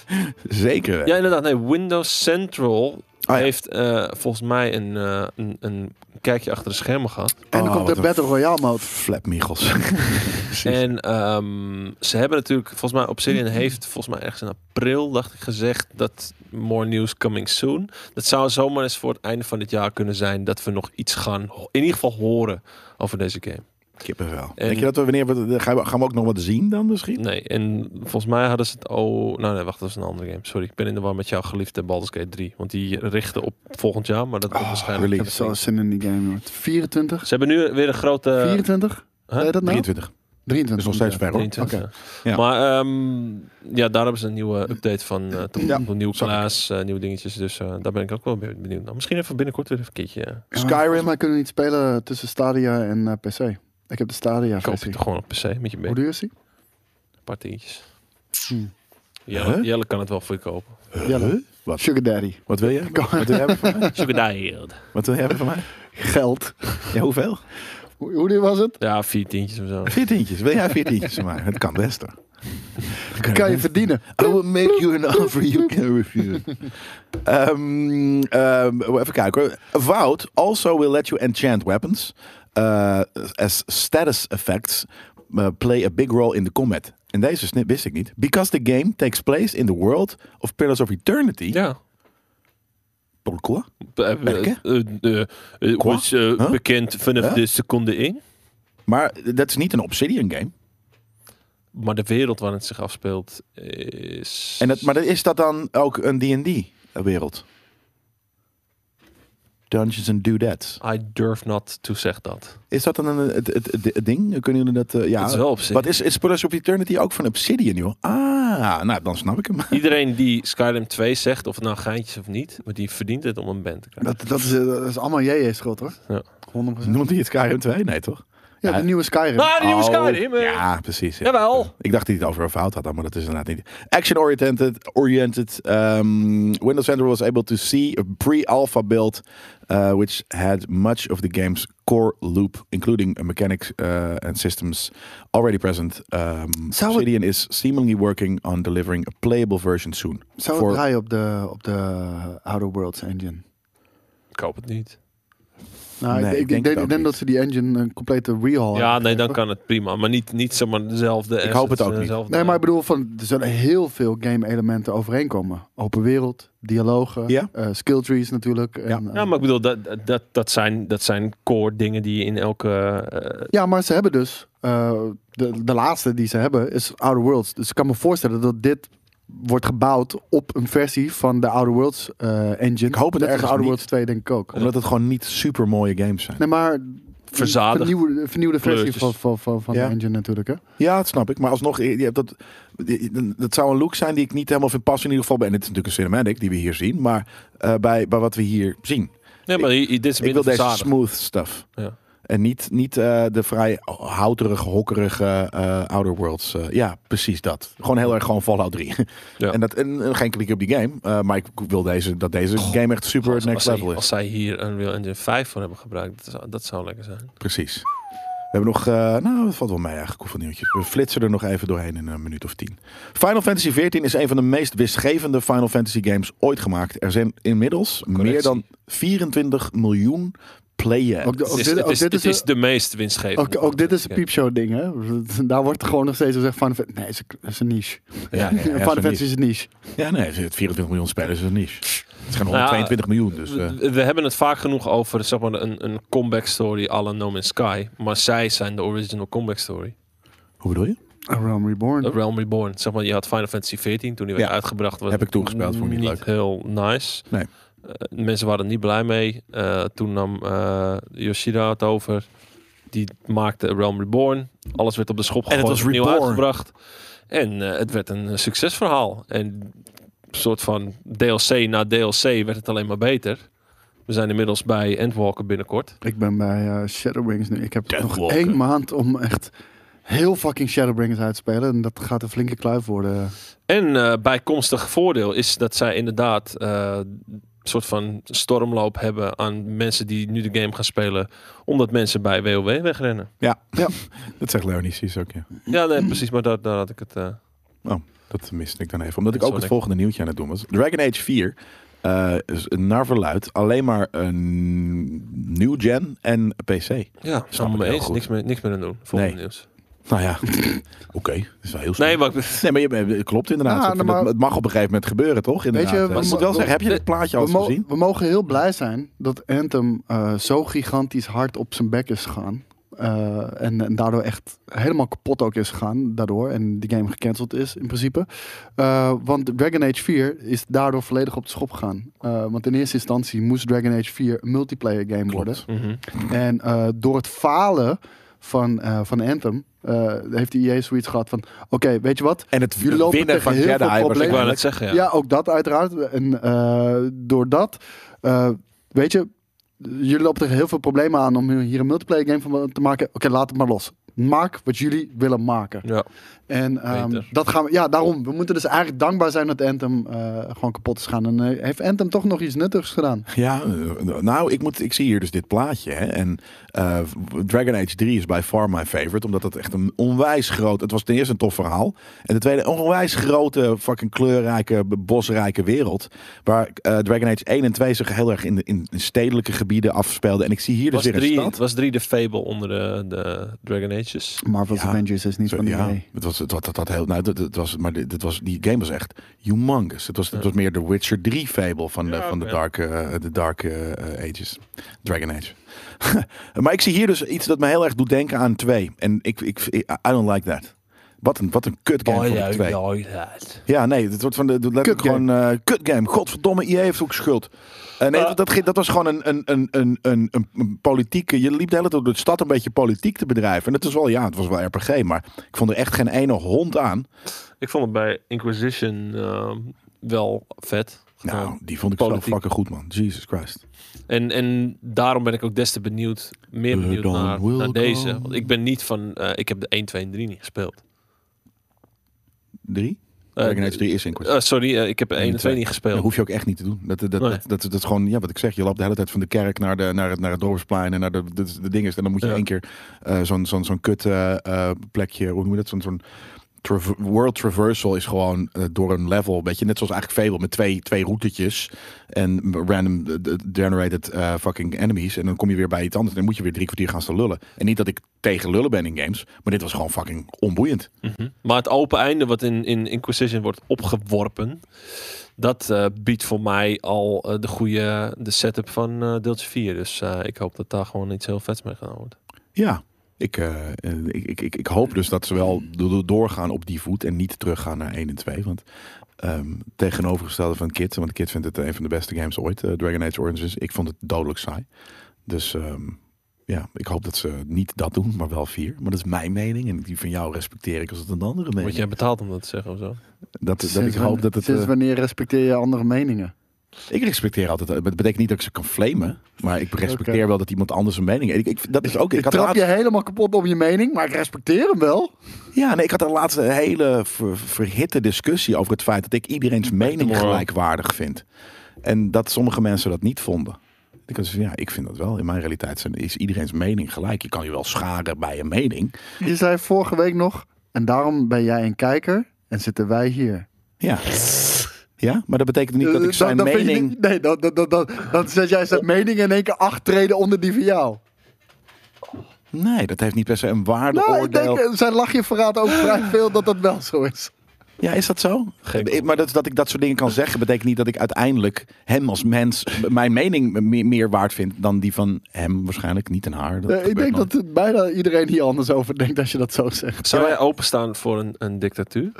Speaker 1: zeker.
Speaker 3: Ja, inderdaad. Nee, Windows
Speaker 2: Oh,
Speaker 3: Central
Speaker 1: ja.
Speaker 3: heeft eh, volgens mij een, eh, een, een kijkje achter de schermen gehad.
Speaker 2: En dan
Speaker 1: Oh,
Speaker 2: komt de
Speaker 1: wat een
Speaker 2: Battle Royale mode.
Speaker 1: Flap Michels. Precies. Mm-hmm.
Speaker 3: En ehm, ze hebben natuurlijk, volgens mij, Obsidian heeft volgens mij ergens in april, dacht ik, gezegd dat more news coming soon. Dat zou zomaar eens voor het einde van dit jaar kunnen zijn dat we nog iets gaan, ho- in ieder geval horen over deze game.
Speaker 1: Kippenvel.
Speaker 3: En-
Speaker 1: Denk je dat we wanneer we gaan, we gaan we ook nog wat zien dan misschien?
Speaker 3: Nee, en volgens mij hadden ze het oh, nou nee, wacht, dat is een andere game. Sorry, ik ben in de war met jouw geliefde Baldur's Gate 3, want die richten op volgend jaar, maar dat wordt waarschijnlijk.
Speaker 1: Ah, release.
Speaker 2: Ik heb zo zin in die game, hoor. 24?
Speaker 3: Ze hebben nu weer een grote.
Speaker 2: 24?
Speaker 3: Eh, Huh?
Speaker 2: Zei je dat nou?
Speaker 1: 23.
Speaker 2: 23.
Speaker 1: Dat is nog steeds ver hoor.
Speaker 3: 23.
Speaker 1: Ja.
Speaker 3: Maar ehm, ja, daar hebben ze een nieuwe update van. eh toch
Speaker 1: Ja,
Speaker 3: een nieuw
Speaker 1: zag ik.
Speaker 3: klaas, eh, nieuwe dingetjes. Dus eh, daar ben ik ook wel be- benieuwd naar. Misschien even binnenkort weer even een keertje. eh,
Speaker 2: Ja, maar
Speaker 1: Skyrim.
Speaker 2: Volgens mij kunnen we niet spelen tussen Stadia en eh, PC. Ik heb de Stadia
Speaker 3: koop je
Speaker 2: versie.
Speaker 3: toch gewoon op PC met je
Speaker 2: Hoe
Speaker 3: been.
Speaker 2: duur is die?
Speaker 3: Een paar tientjes.
Speaker 2: Hm.
Speaker 3: Jelle,
Speaker 1: Hmm. Huh?
Speaker 3: Jelle kan het wel voor je kopen.
Speaker 1: Huh? Wat?
Speaker 2: Sugar Daddy.
Speaker 1: Wat wil je? Wat wil je hebben van mij?
Speaker 3: Zoek het daar hier.
Speaker 1: Wat wil je hebben van mij?
Speaker 2: Geld.
Speaker 1: Ja, hoeveel?
Speaker 2: Hoe, hoe duur was het?
Speaker 3: Ja, vier tientjes of zo.
Speaker 1: Vier tientjes. Wil jij vier tientjes van mij? Het kan best hoor. Het
Speaker 2: Kan je
Speaker 1: best.
Speaker 2: verdienen?
Speaker 1: I will make you an offer you can refuse. Ehm, ehm, even kijken hoor. Vault also will let you enchant weapons uh, as status effects uh, play a big role in the combat. En deze snip wist ik niet. Because the game takes place in the world of Pillars of Eternity.
Speaker 3: Ja.
Speaker 1: Pourquoi?
Speaker 3: Eh,
Speaker 1: Merken?
Speaker 3: eh, eh, eh,
Speaker 1: Qua?
Speaker 3: was eh,
Speaker 1: Huh?
Speaker 3: bekend vanaf
Speaker 1: Ja?
Speaker 3: de seconde in.
Speaker 1: Maar dat is niet een Obsidian game.
Speaker 3: Maar de wereld waarin het zich afspeelt is...
Speaker 1: En dat, maar is dat dan ook een D&D wereld? Dungeons and Do That.
Speaker 3: I durf not to zeg dat.
Speaker 1: Is dat dan een, het, het, het- het ding? Kunnen jullie dat... eh, ja,
Speaker 3: Het is wel op zich.
Speaker 1: Wat is, is Pillars of Eternity ook van Obsidian, joh? Ah, nou, dan snap ik hem.
Speaker 3: Iedereen die Skyrim 2 zegt, of het nou geintjes of niet, maar die verdient het om een band te krijgen.
Speaker 2: Dat, dat, is, eh, dat is allemaal JJ's schuld hoor.
Speaker 3: Ja.
Speaker 2: 100%.
Speaker 1: Noemt hij het Skyrim 2? Nee, toch?
Speaker 2: Ja,
Speaker 1: Ja.
Speaker 2: de nieuwe Skyrim.
Speaker 3: Nou, de nieuwe
Speaker 1: Oh,
Speaker 3: Skyrim! eh.
Speaker 1: Ja, precies. ja.
Speaker 3: Jawel!
Speaker 1: Ik dacht dat hij het over een fout had, maar dat is inderdaad niet. Action-oriented, oriented. ehm, Windows Central was able to see a pre-alpha build, uh, which had much of the game's core loop, including mechanics uh, and systems already present. Um,
Speaker 2: Zou het-
Speaker 1: Obsidian is seemingly working on delivering a playable version soon.
Speaker 2: Zou
Speaker 1: Voor-
Speaker 2: het draaien op de, op de Outer Worlds engine?
Speaker 3: Ik hoop het niet.
Speaker 2: Nou,
Speaker 1: Nee,
Speaker 2: ik,
Speaker 1: ik
Speaker 2: ik
Speaker 1: denk
Speaker 2: denk,
Speaker 1: het ook
Speaker 2: denk
Speaker 1: niet.
Speaker 2: dat ze die engine een complete rehaul
Speaker 3: ja,
Speaker 2: hebben
Speaker 3: nee, dan
Speaker 2: gegeven.
Speaker 3: kan het prima. Maar niet, niet zomaar dezelfde
Speaker 1: Ik hoop het
Speaker 3: assets
Speaker 1: ook
Speaker 3: en
Speaker 1: niet.
Speaker 3: dezelfde-
Speaker 2: Nee, maar ik bedoel, van, er zullen heel veel game-elementen overeenkomen. Open wereld, dialogen,
Speaker 1: Ja.
Speaker 2: eh, skill trees natuurlijk. En, eh,
Speaker 3: Ja, maar ik bedoel, dat, dat, dat, zijn, dat zijn core dingen die je in elke... eh,
Speaker 2: ja, maar ze hebben dus... eh, de, de laatste die ze hebben is Outer Worlds. Dus ik kan me voorstellen dat dit wordt gebouwd op een versie van de Outer Worlds eh, engine.
Speaker 1: Ik hoop het
Speaker 2: Net als
Speaker 1: ergens
Speaker 2: Outer
Speaker 1: niet.
Speaker 2: Worlds 2 denk ik ook.
Speaker 1: Omdat het gewoon niet super mooie games zijn.
Speaker 2: Nee, maar...
Speaker 3: Verzadigd.
Speaker 2: Vernieuwde, vernieuwde versie
Speaker 3: Kleurtjes.
Speaker 2: van, van, van, van
Speaker 1: Ja.
Speaker 2: de engine natuurlijk, hè?
Speaker 1: Ja, dat snap ik. Maar alsnog, je hebt dat, dat zou een look zijn die ik niet helemaal vind passen. In ieder geval bij, en dit is natuurlijk een cinematic die we hier zien. Maar eh, bij, bij wat we hier zien.
Speaker 3: nee, maar hier- hier- dit is
Speaker 1: ik wil
Speaker 3: minder
Speaker 1: deze
Speaker 3: verzadigd.
Speaker 1: smooth stuff.
Speaker 3: Ja.
Speaker 1: En niet, niet eh, de vrij houterige, hokkerige eh, Outer Worlds. eh, ja, precies dat. Gewoon heel erg gewoon Fallout 3.
Speaker 3: Ja.
Speaker 1: en, dat, en, en geen klik op die game. eh, maar ik wil deze, dat deze game echt super
Speaker 3: Als-
Speaker 1: next
Speaker 3: als,
Speaker 1: level
Speaker 3: zij,
Speaker 1: is.
Speaker 3: als zij hier Unreal Engine 5 voor hebben gebruikt, dat zou, dat zou lekker zijn.
Speaker 1: Precies. We hebben nog, eh, nou, dat valt wel mee eigenlijk, hoeveel nieuwtjes. We flitsen er nog even doorheen in een minuut of tien. Final Fantasy XIV is een van de meest wisgevende Final Fantasy games ooit gemaakt. Er zijn inmiddels meer dan 24 miljoen players.
Speaker 2: Ook de-
Speaker 3: Het
Speaker 2: ook
Speaker 3: is,
Speaker 2: dit-
Speaker 3: het
Speaker 2: ook
Speaker 3: is,
Speaker 2: dit
Speaker 3: het
Speaker 2: is
Speaker 3: is de meest winstgevende.
Speaker 2: Ook, ook dit is een
Speaker 3: game.
Speaker 2: piepshow ding, hè? Daar wordt gewoon nog steeds gezegd van... Nee, is een, is een niche.
Speaker 1: Ja, nee, ja, zo'n
Speaker 2: Final Fantasy
Speaker 1: niche.
Speaker 2: is een niche.
Speaker 1: Ja, nee, 24 miljoen spelers is een niche. Het zijn
Speaker 2: Nou,
Speaker 3: ja,
Speaker 1: 122 miljoen, dus... eh,
Speaker 3: We, we hebben het vaak genoeg over zeg maar, een, een comeback story à la No Man's Sky. Maar zij zijn de original comeback story.
Speaker 1: hoe bedoel je?
Speaker 2: A Realm Reborn.
Speaker 3: A Realm Reborn. Zeg maar, je had Final Fantasy 14 toen die werd
Speaker 1: Ja.
Speaker 3: uitgebracht. Was
Speaker 1: Heb ik
Speaker 3: het
Speaker 1: toegespeeld, vond ik niet leuk.
Speaker 3: heel nice.
Speaker 1: Nee.
Speaker 3: Eh, de mensen waren er niet blij mee. Eh, toen nam eh, Yoshida het over. Die maakte A Realm Reborn. Alles werd op de schop
Speaker 1: het
Speaker 3: gegooid.
Speaker 1: was
Speaker 3: opnieuw
Speaker 1: reborn.
Speaker 3: uitgebracht. En eh, het werd een eh, succesverhaal. En een soort van DLC na DLC werd het alleen maar beter. We zijn inmiddels bij Endwalker binnenkort.
Speaker 2: Ik ben bij eh, Shadowbringers nu. Ik heb nog
Speaker 1: Deathwalker.
Speaker 2: één maand om echt heel fucking Shadowbringers uit te spelen. En dat gaat een flinke kluif worden.
Speaker 3: En eh, bijkomstig voordeel is dat zij inderdaad eh, een soort van stormloop hebben aan mensen die nu de game gaan spelen. Omdat mensen bij WoW wegrennen.
Speaker 1: Ja, ja. dat zegt Leonicis ook, ja.
Speaker 3: Ja, nee, precies. Maar daar, daar had ik het... eh,
Speaker 1: Dat miste ik dan even. Omdat ik
Speaker 3: Dat
Speaker 1: ook
Speaker 3: zal
Speaker 1: het
Speaker 3: ik-
Speaker 1: volgende nieuwtje aan het doen was. Dragon Age 4 eh is naar verluidt alleen maar een new gen en PC.
Speaker 3: ja,
Speaker 1: Snap
Speaker 3: allemaal
Speaker 1: ik
Speaker 3: mee
Speaker 1: heel
Speaker 3: eens.
Speaker 1: goed.
Speaker 3: Niks meer, niks meer aan doen. Volgende
Speaker 1: Nee.
Speaker 3: nieuws.
Speaker 1: Nou ja, oké. Dat is wel heel snel. Nee,
Speaker 3: Nee, maar ik-
Speaker 1: maar je, eh, klopt inderdaad.
Speaker 2: Ja, nou,
Speaker 1: Ik vind
Speaker 2: maar-
Speaker 1: het, het mag op een gegeven moment gebeuren, toch? Inderdaad.
Speaker 2: je,
Speaker 1: Eh,
Speaker 2: we
Speaker 1: ik moet
Speaker 2: mo-
Speaker 1: wel zeggen, heb je
Speaker 3: we-
Speaker 1: dit plaatje al
Speaker 2: We,
Speaker 1: eens
Speaker 2: mo-
Speaker 1: gezien?
Speaker 2: we mogen heel blij zijn dat Anthem eh, zo gigantisch hard op zijn bek is gegaan. Eh, en, en daardoor echt helemaal kapot ook is gegaan. Daardoor. En die game gecanceld is in principe. Eh, want Dragon Age 4 is daardoor volledig op de schop gegaan. Eh, want in eerste instantie moest Dragon Age 4 een multiplayer game worden.
Speaker 3: Mhm.
Speaker 2: En eh, door het falen van, eh, van Anthem eh, heeft de EA zoiets gehad van... Oké, weet je wat?
Speaker 1: En het
Speaker 2: Jullie lopen
Speaker 1: winnen
Speaker 2: tegen
Speaker 1: van
Speaker 2: heel veel
Speaker 1: Jedi
Speaker 2: problemen.
Speaker 3: ik wou
Speaker 1: waarschijnlijk.
Speaker 3: net zeggen.
Speaker 2: Ja,
Speaker 3: Ja.
Speaker 2: ook dat uiteraard. En eh door dat, eh, weet je... Jullie lopen tegen heel veel problemen aan om hier een multiplayer game van te maken. Oké, laat het maar los. Maak wat jullie willen maken.
Speaker 3: Ja.
Speaker 2: En ehm,
Speaker 3: Beter.
Speaker 2: dat gaan we, ja, daarom. We moeten dus eigenlijk dankbaar zijn dat Anthem eh, gewoon kapot is gaan. En eh, heeft Anthem toch nog iets nuttigs gedaan?
Speaker 1: Ja, eh, nou, ik, moet, ik zie hier dus dit plaatje. Hè, en eh, Dragon Age 3 is by far my favorite. Omdat dat echt een onwijs groot... Het was ten eerste een tof verhaal. En ten tweede een onwijs grote, fucking kleurrijke, b- bosrijke wereld. Waar eh, Dragon Age 1 en 2 zich heel erg in, de- in, in stedelijke gebieden afspeelden. En ik zie hier dus
Speaker 3: Was
Speaker 1: weer een
Speaker 3: drie,
Speaker 1: stad.
Speaker 3: was drie de Fable onder de, de Dragon Ages?
Speaker 2: Marvel's
Speaker 1: Ja.
Speaker 2: Avengers is niet
Speaker 1: Zo,
Speaker 2: van E die
Speaker 1: ja, het was, het, dat, dat heel, nou, dat, dat was, maar dit, dit was, die game was echt humongous. Het was, het
Speaker 3: Ja.
Speaker 1: was meer de Witcher 3 fable van, de,
Speaker 3: Ja,
Speaker 1: van de
Speaker 3: oké.
Speaker 1: Dark, eh, de dark eh, eh, Ages. Dragon Age. maar ik zie hier dus iets dat me heel erg doet denken aan 2. En ik, ik, I don't like that. Wat een, wat een kut game van 2. Ja. nee, het wordt van de, de letterlijk
Speaker 2: Kut game.
Speaker 1: gewoon eh kut game. Godverdomme, IE heeft ook schuld. Eh, nee,
Speaker 3: Ah.
Speaker 1: dat, dat, ging- dat was gewoon een, een, een, een, een, een- een politieke. Je liep de hele tijd door de stad een beetje politiek te bedrijven. En het is wel, ja, het was wel RPG, maar ik vond er echt geen ene hond aan.
Speaker 3: Ik vond het bij Inquisition ehm, wel vet. gedaan.
Speaker 1: Nou, die vond ik
Speaker 3: politiek.
Speaker 1: zo fucking goed, man. Jesus Christ.
Speaker 3: En, en daarom ben ik ook des te benieuwd, meer
Speaker 1: The
Speaker 3: benieuwd
Speaker 1: dawn
Speaker 3: naar,
Speaker 1: will
Speaker 3: naar deze.
Speaker 1: come.
Speaker 3: Want ik ben niet van, eh, ik heb de 1, 2 en 3 niet gespeeld.
Speaker 1: Drie?
Speaker 3: Eh,
Speaker 1: Dragon Age 3 is in kwestie.
Speaker 3: eh, sorry, eh, ik heb 1 en 2 niet
Speaker 1: Dat
Speaker 3: gespeeld.
Speaker 1: hoef je ook echt niet te doen. Dat, dat, dat,
Speaker 3: Nee.
Speaker 1: dat, dat, dat is gewoon, ja, wat ik zeg, je loopt de hele tijd van de kerk naar, de, naar, het, naar het dorpsplein en naar de, de, de dinges. En dan moet je
Speaker 3: Ja.
Speaker 1: één keer eh, zo'n zo'n zo'n kut eh, eh, plekje, hoe noem je dat? Zo'n zo'n traver- world traversal is gewoon eh, door een level, weet je, net zoals eigenlijk Fable met twee, twee routetjes en random eh, de- generated eh, fucking enemies. En dan kom je weer bij iets anders en dan moet je weer drie kwartier gaan staan lullen. En niet dat ik tegen lullen ben in games, maar dit was gewoon fucking onboeiend.
Speaker 3: Mhm. Maar het open einde wat in, in Inquisition wordt opgeworpen, dat eh, biedt voor mij al eh, de goede de setup van eh, deeltje 4. Dus eh, ik hoop dat daar gewoon iets heel vets mee gedaan wordt.
Speaker 1: Ja, ik, eh, eh, ik, ik, ik, ik hoop dus dat ze wel do- do- doorgaan op die voet en niet teruggaan naar 1 en 2. Want ehm, tegenovergestelde van Kit, want Kit vindt het een van de beste games ooit, eh, Dragon Age Origins. Ik vond het dodelijk saai. Dus ehm, ja, ik hoop dat ze niet dat doen, maar wel vier. Maar dat is mijn mening en die van jou respecteer ik als het een andere mening.
Speaker 3: Word jij betaald om dat te zeggen of zo?
Speaker 1: dat, dat ik
Speaker 2: Sinds
Speaker 1: hoop
Speaker 2: wanneer-
Speaker 1: dat het...
Speaker 2: Sinds
Speaker 1: eh,
Speaker 2: wanneer respecteer je andere meningen?
Speaker 1: ik respecteer altijd, het betekent niet dat ik ze kan flamen, maar ik respecteer
Speaker 2: Oké.
Speaker 1: wel dat iemand anders een mening heeft. Ik, ik, dat is ook, ik,
Speaker 2: Ik,
Speaker 1: had
Speaker 2: trap
Speaker 1: laatst-
Speaker 2: je helemaal kapot op je mening, maar ik respecteer hem wel.
Speaker 1: Ja, nee, ik had daar laatst een hele ver- verhitte discussie over het feit dat ik iedereen's mening
Speaker 3: tomorrow.
Speaker 1: gelijkwaardig vind. En dat sommige mensen dat niet vonden. Ik dacht, ja, ik vind dat wel. In mijn realiteit zijn- is iedereen's mening gelijk. Je kan je wel scharen bij een mening.
Speaker 2: Je zei vorige week nog, en daarom ben jij een kijker en zitten wij hier.
Speaker 1: Ja. Ja, maar dat betekent niet dat ik zijn
Speaker 2: Eh, vind je
Speaker 1: mening...
Speaker 2: niet- nee, dan, dan, dan, dan, dan zet jij zijn mening in één keer acht treden onder die van jou.
Speaker 1: Nee, dat heeft niet per se een
Speaker 2: Nou, ik
Speaker 1: waardeoordeel.
Speaker 2: denk, eh, zijn lachje verraadt ook vrij veel dat dat wel zo is.
Speaker 1: Ja, is dat zo?
Speaker 3: Geen
Speaker 1: Ik- maar dat, dat ik dat soort dingen kan zeggen, betekent niet dat ik uiteindelijk hem als mens, mijn mening meer, meer waard vind dan die van hem waarschijnlijk, niet en haar. Dat
Speaker 2: Eh, ik
Speaker 1: gebeurt
Speaker 2: denk
Speaker 1: nooit.
Speaker 2: dat het bijna iedereen hier anders over denkt als je dat zo zegt.
Speaker 3: Zou jij openstaan voor een, een dictatuur?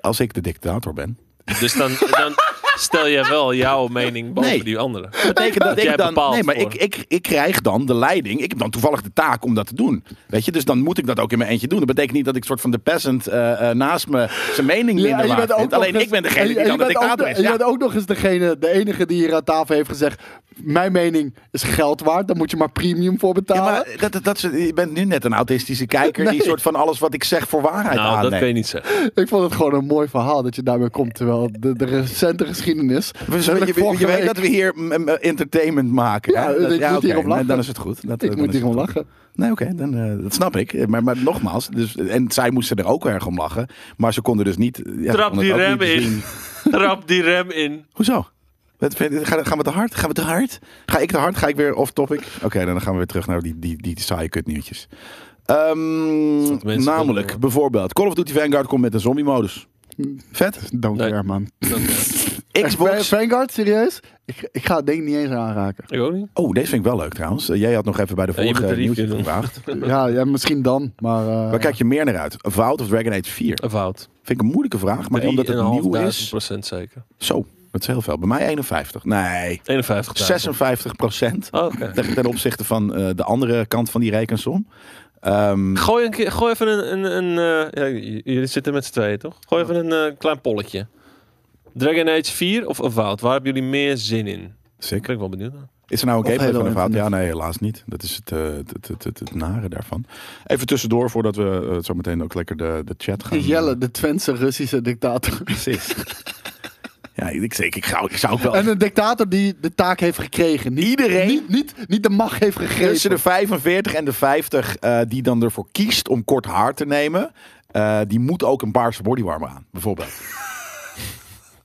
Speaker 1: Als ik de dictator ben.
Speaker 3: Dus dan, dan, stel jij wel jouw mening boven
Speaker 1: Nee.
Speaker 3: die andere.
Speaker 1: Dat betekent dat
Speaker 3: jij
Speaker 1: ik dan.
Speaker 3: bepaalt
Speaker 1: Nee, maar
Speaker 3: voor.
Speaker 1: ik, ik, ik krijg dan de leiding. Ik heb dan toevallig de taak om dat te doen. Weet je, dus dan moet ik dat ook in mijn eentje doen. Dat betekent niet dat ik soort van de peasant eh, eh, naast me zijn mening
Speaker 2: Ja,
Speaker 1: minder
Speaker 2: en je
Speaker 1: maak.
Speaker 2: bent ook nog
Speaker 1: Alleen
Speaker 2: eens-
Speaker 1: ik ben degene
Speaker 2: en je-
Speaker 1: die
Speaker 2: en je
Speaker 1: dan de
Speaker 2: bent ook
Speaker 1: dictator is.
Speaker 2: nog- en Je
Speaker 1: Ja.
Speaker 2: bent ook nog eens degene, de enige die hier aan tafel heeft gezegd... mijn mening is geld waard, daar moet je maar premium voor
Speaker 1: Ja,
Speaker 2: betalen.
Speaker 1: maar dat, dat, dat, is- je bent nu net een autistische kijker die
Speaker 2: Nee.
Speaker 1: soort van alles wat ik zeg voor waarheid
Speaker 3: Nou, dat
Speaker 1: aanneemt.
Speaker 3: kun je niet zeggen.
Speaker 2: Ik vond het gewoon een mooi verhaal dat je daarmee komt. Terwijl de, de recente geschiedenis...
Speaker 1: We zullen-
Speaker 2: Namelijk
Speaker 1: je, je
Speaker 2: vorige
Speaker 1: weet
Speaker 2: week-
Speaker 1: dat we hier mm, mm, entertainment maken.
Speaker 2: Ja,
Speaker 1: hè? Dat-
Speaker 2: ik moet
Speaker 1: oké.
Speaker 2: hierom lachen.
Speaker 1: Nee, Dan is het goed. Dat,
Speaker 2: Ik
Speaker 1: dan
Speaker 2: moet
Speaker 1: is het
Speaker 2: hierom
Speaker 1: goed.
Speaker 2: lachen.
Speaker 1: Nee, oké, dan, eh, dat snap ik. Maar, maar nogmaals, dus, en zij moesten er ook erg om lachen. Maar ze konden dus niet. ja, ze
Speaker 3: Trap
Speaker 1: konden
Speaker 3: die
Speaker 1: het ook
Speaker 3: rem
Speaker 1: niet
Speaker 3: in.
Speaker 1: zien.
Speaker 3: Trap die rem in.
Speaker 1: Hoezo? Wat vind- Gaan gaan we te hard? Gaan we te hard? Ga ik te hard? Ga ik weer off topic? Oké, dan gaan we weer terug naar die, die, die saaie kutnieuwtjes. Ehm,
Speaker 3: wat mensen eh, willen,
Speaker 1: namelijk,
Speaker 3: hoor.
Speaker 1: bijvoorbeeld, Call of Duty Vanguard komt met een zombie-modus. Vet.
Speaker 2: Don't
Speaker 3: Nee.
Speaker 2: care, man.
Speaker 3: Dat, eh,
Speaker 1: Xbox.
Speaker 2: Va- Vanguard, serieus? Ik, ik ga het ding niet eens aanraken.
Speaker 3: ik ook niet.
Speaker 1: Oh, deze vind ik wel leuk trouwens. Eh, Jij had nog even bij de
Speaker 3: Ja, je moet
Speaker 1: vorige
Speaker 3: de review
Speaker 1: nieuwtjes
Speaker 3: doen.
Speaker 1: gevraagd.
Speaker 2: Ja, ja misschien dan, maar... eh,
Speaker 1: Waar kijk je meer naar uit? Vault of Dragon Age 4?
Speaker 3: Een fout.
Speaker 1: Vind ik een moeilijke vraag, maar omdat het nieuw is.
Speaker 3: procent zeker.
Speaker 1: Zo, dat is heel veel. Bij mij 51. Nee,
Speaker 3: 51.
Speaker 1: 56 procent.
Speaker 3: Oh, oké.
Speaker 1: Ten ten opzichte van eh, de andere kant van die rekensom. Ehm,
Speaker 3: Gooi, een keer, gooi even een... een, een eh, ja, j- jullie zitten met z'n tweeën, toch? Gooi even een eh, klein polletje. Dragon Age 4 of Avowed? Waar hebben jullie meer zin in? Ik
Speaker 1: sick.
Speaker 3: ben ik wel benieuwd naar.
Speaker 1: Is er nou
Speaker 2: Of
Speaker 1: een gameplay
Speaker 2: Halo
Speaker 1: van een fout? Ja,
Speaker 2: Infinite.
Speaker 1: nee, helaas niet. Dat is het, eh, het, het, het, het, het nare daarvan. Even tussendoor, voordat we eh, zo meteen ook lekker de, de chat gaan.
Speaker 2: Jelle, de Twentse Russische dictator.
Speaker 1: Precies. eh, ja, ik, ik, ik, zou, ik zou ook wel
Speaker 2: En een dictator die de taak heeft gekregen. Niet,
Speaker 1: Iedereen?
Speaker 2: Niet, niet, niet de macht heeft
Speaker 1: Tussen
Speaker 2: gegrepen.
Speaker 1: de 45 en de 50 eh, die dan ervoor kiest om kort haar te nemen, eh, die moet ook een paarse bodywarmer aan, bijvoorbeeld.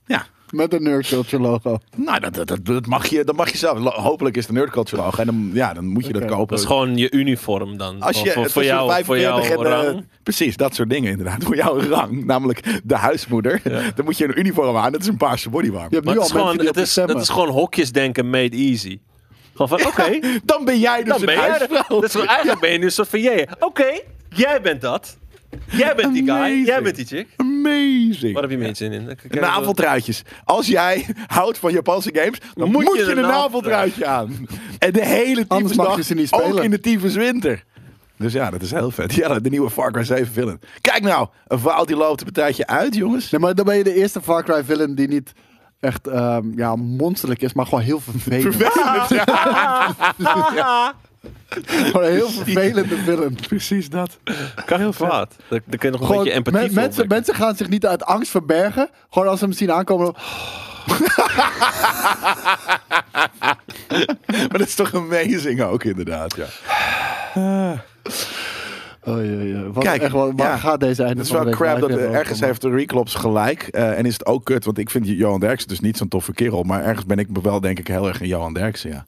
Speaker 1: ja,
Speaker 2: Met een nerd culture logo.
Speaker 1: nou, dat, dat, dat, dat mag je, dat mag je zelf. Lo- Hopelijk is de nerdculture al. En dan, ja, dan moet je
Speaker 2: Oké.
Speaker 1: dat kopen.
Speaker 3: Dat is gewoon je uniform dan.
Speaker 1: Als je
Speaker 3: voor, voor
Speaker 1: tussen de
Speaker 3: jou, voor
Speaker 1: 45
Speaker 3: jou
Speaker 1: en, eh,
Speaker 3: rang.
Speaker 1: Precies, dat soort dingen inderdaad. Voor jouw rang, namelijk de huismoeder. Dan moet je een uniform aan, dat is een paarse bodywarmer.
Speaker 2: Je hebt
Speaker 3: Maar
Speaker 2: nu
Speaker 3: het
Speaker 2: al
Speaker 3: is, gewoon,
Speaker 2: mensen die op
Speaker 3: het,
Speaker 2: je
Speaker 3: is, het
Speaker 2: stemmen.
Speaker 3: is gewoon hokjes denken made easy. Gewoon van, oké,
Speaker 1: Dan ben jij dus
Speaker 3: dan ben
Speaker 1: een
Speaker 3: jij...
Speaker 1: huisvrouw.
Speaker 3: Dat is wel- eigenlijk ben je nu een soort van, jee, oké, jij bent dat. Jij bent die guy,
Speaker 1: Amazing. Nou,
Speaker 3: jij bent die chick.
Speaker 1: Amazing.
Speaker 3: Waar heb je meer zin in? Ik- ik- ik-
Speaker 1: Naveltruitjes. Als jij houdt van Japanse games, dan moet, je, een naveltruitje aan. En de hele
Speaker 2: Anders mag je
Speaker 1: tyfusdag,
Speaker 2: ze niet
Speaker 1: ook
Speaker 2: spelen.
Speaker 1: in de tyfus winter. Dus ja, dat is heel vet. Ja, de nieuwe Far Cry 7 film. Kijk nou, een vaal die loopt een partijtje uit, jongens.
Speaker 2: Nee, maar dan ben je de eerste Far Cry villain die niet echt ehm, ja, monsterlijk is, maar gewoon heel vervelend.
Speaker 1: Vervelend, ja.
Speaker 2: Gewoon een heel vervelende villain.
Speaker 1: Precies dat.
Speaker 3: Kan heel kwaad. Daar, daar kun je nog een
Speaker 2: Gewoon,
Speaker 3: beetje empathie
Speaker 2: men-
Speaker 3: voor
Speaker 2: mensen,
Speaker 3: opwekken.
Speaker 2: mensen gaan zich niet uit angst verbergen. Gewoon als ze hem zien aankomen. dan-
Speaker 1: Maar dat is toch amazing ook, inderdaad. Ja.
Speaker 2: Oei, oei, oei. Wat,
Speaker 1: Kijk,
Speaker 2: echt, wat- waar
Speaker 1: ja.
Speaker 2: gaat deze einde
Speaker 1: Het is
Speaker 2: van
Speaker 1: wel
Speaker 2: de week
Speaker 1: crap
Speaker 2: live
Speaker 1: dat
Speaker 2: weer
Speaker 1: eh,
Speaker 2: over
Speaker 1: ergens
Speaker 2: komen?
Speaker 1: heeft de Reclops gelijk. eh, en is het ook kut, want ik vind Johan Derksen dus niet zo'n toffe kerel. Maar ergens ben ik wel, denk ik, heel erg een Johan Derksen, ja.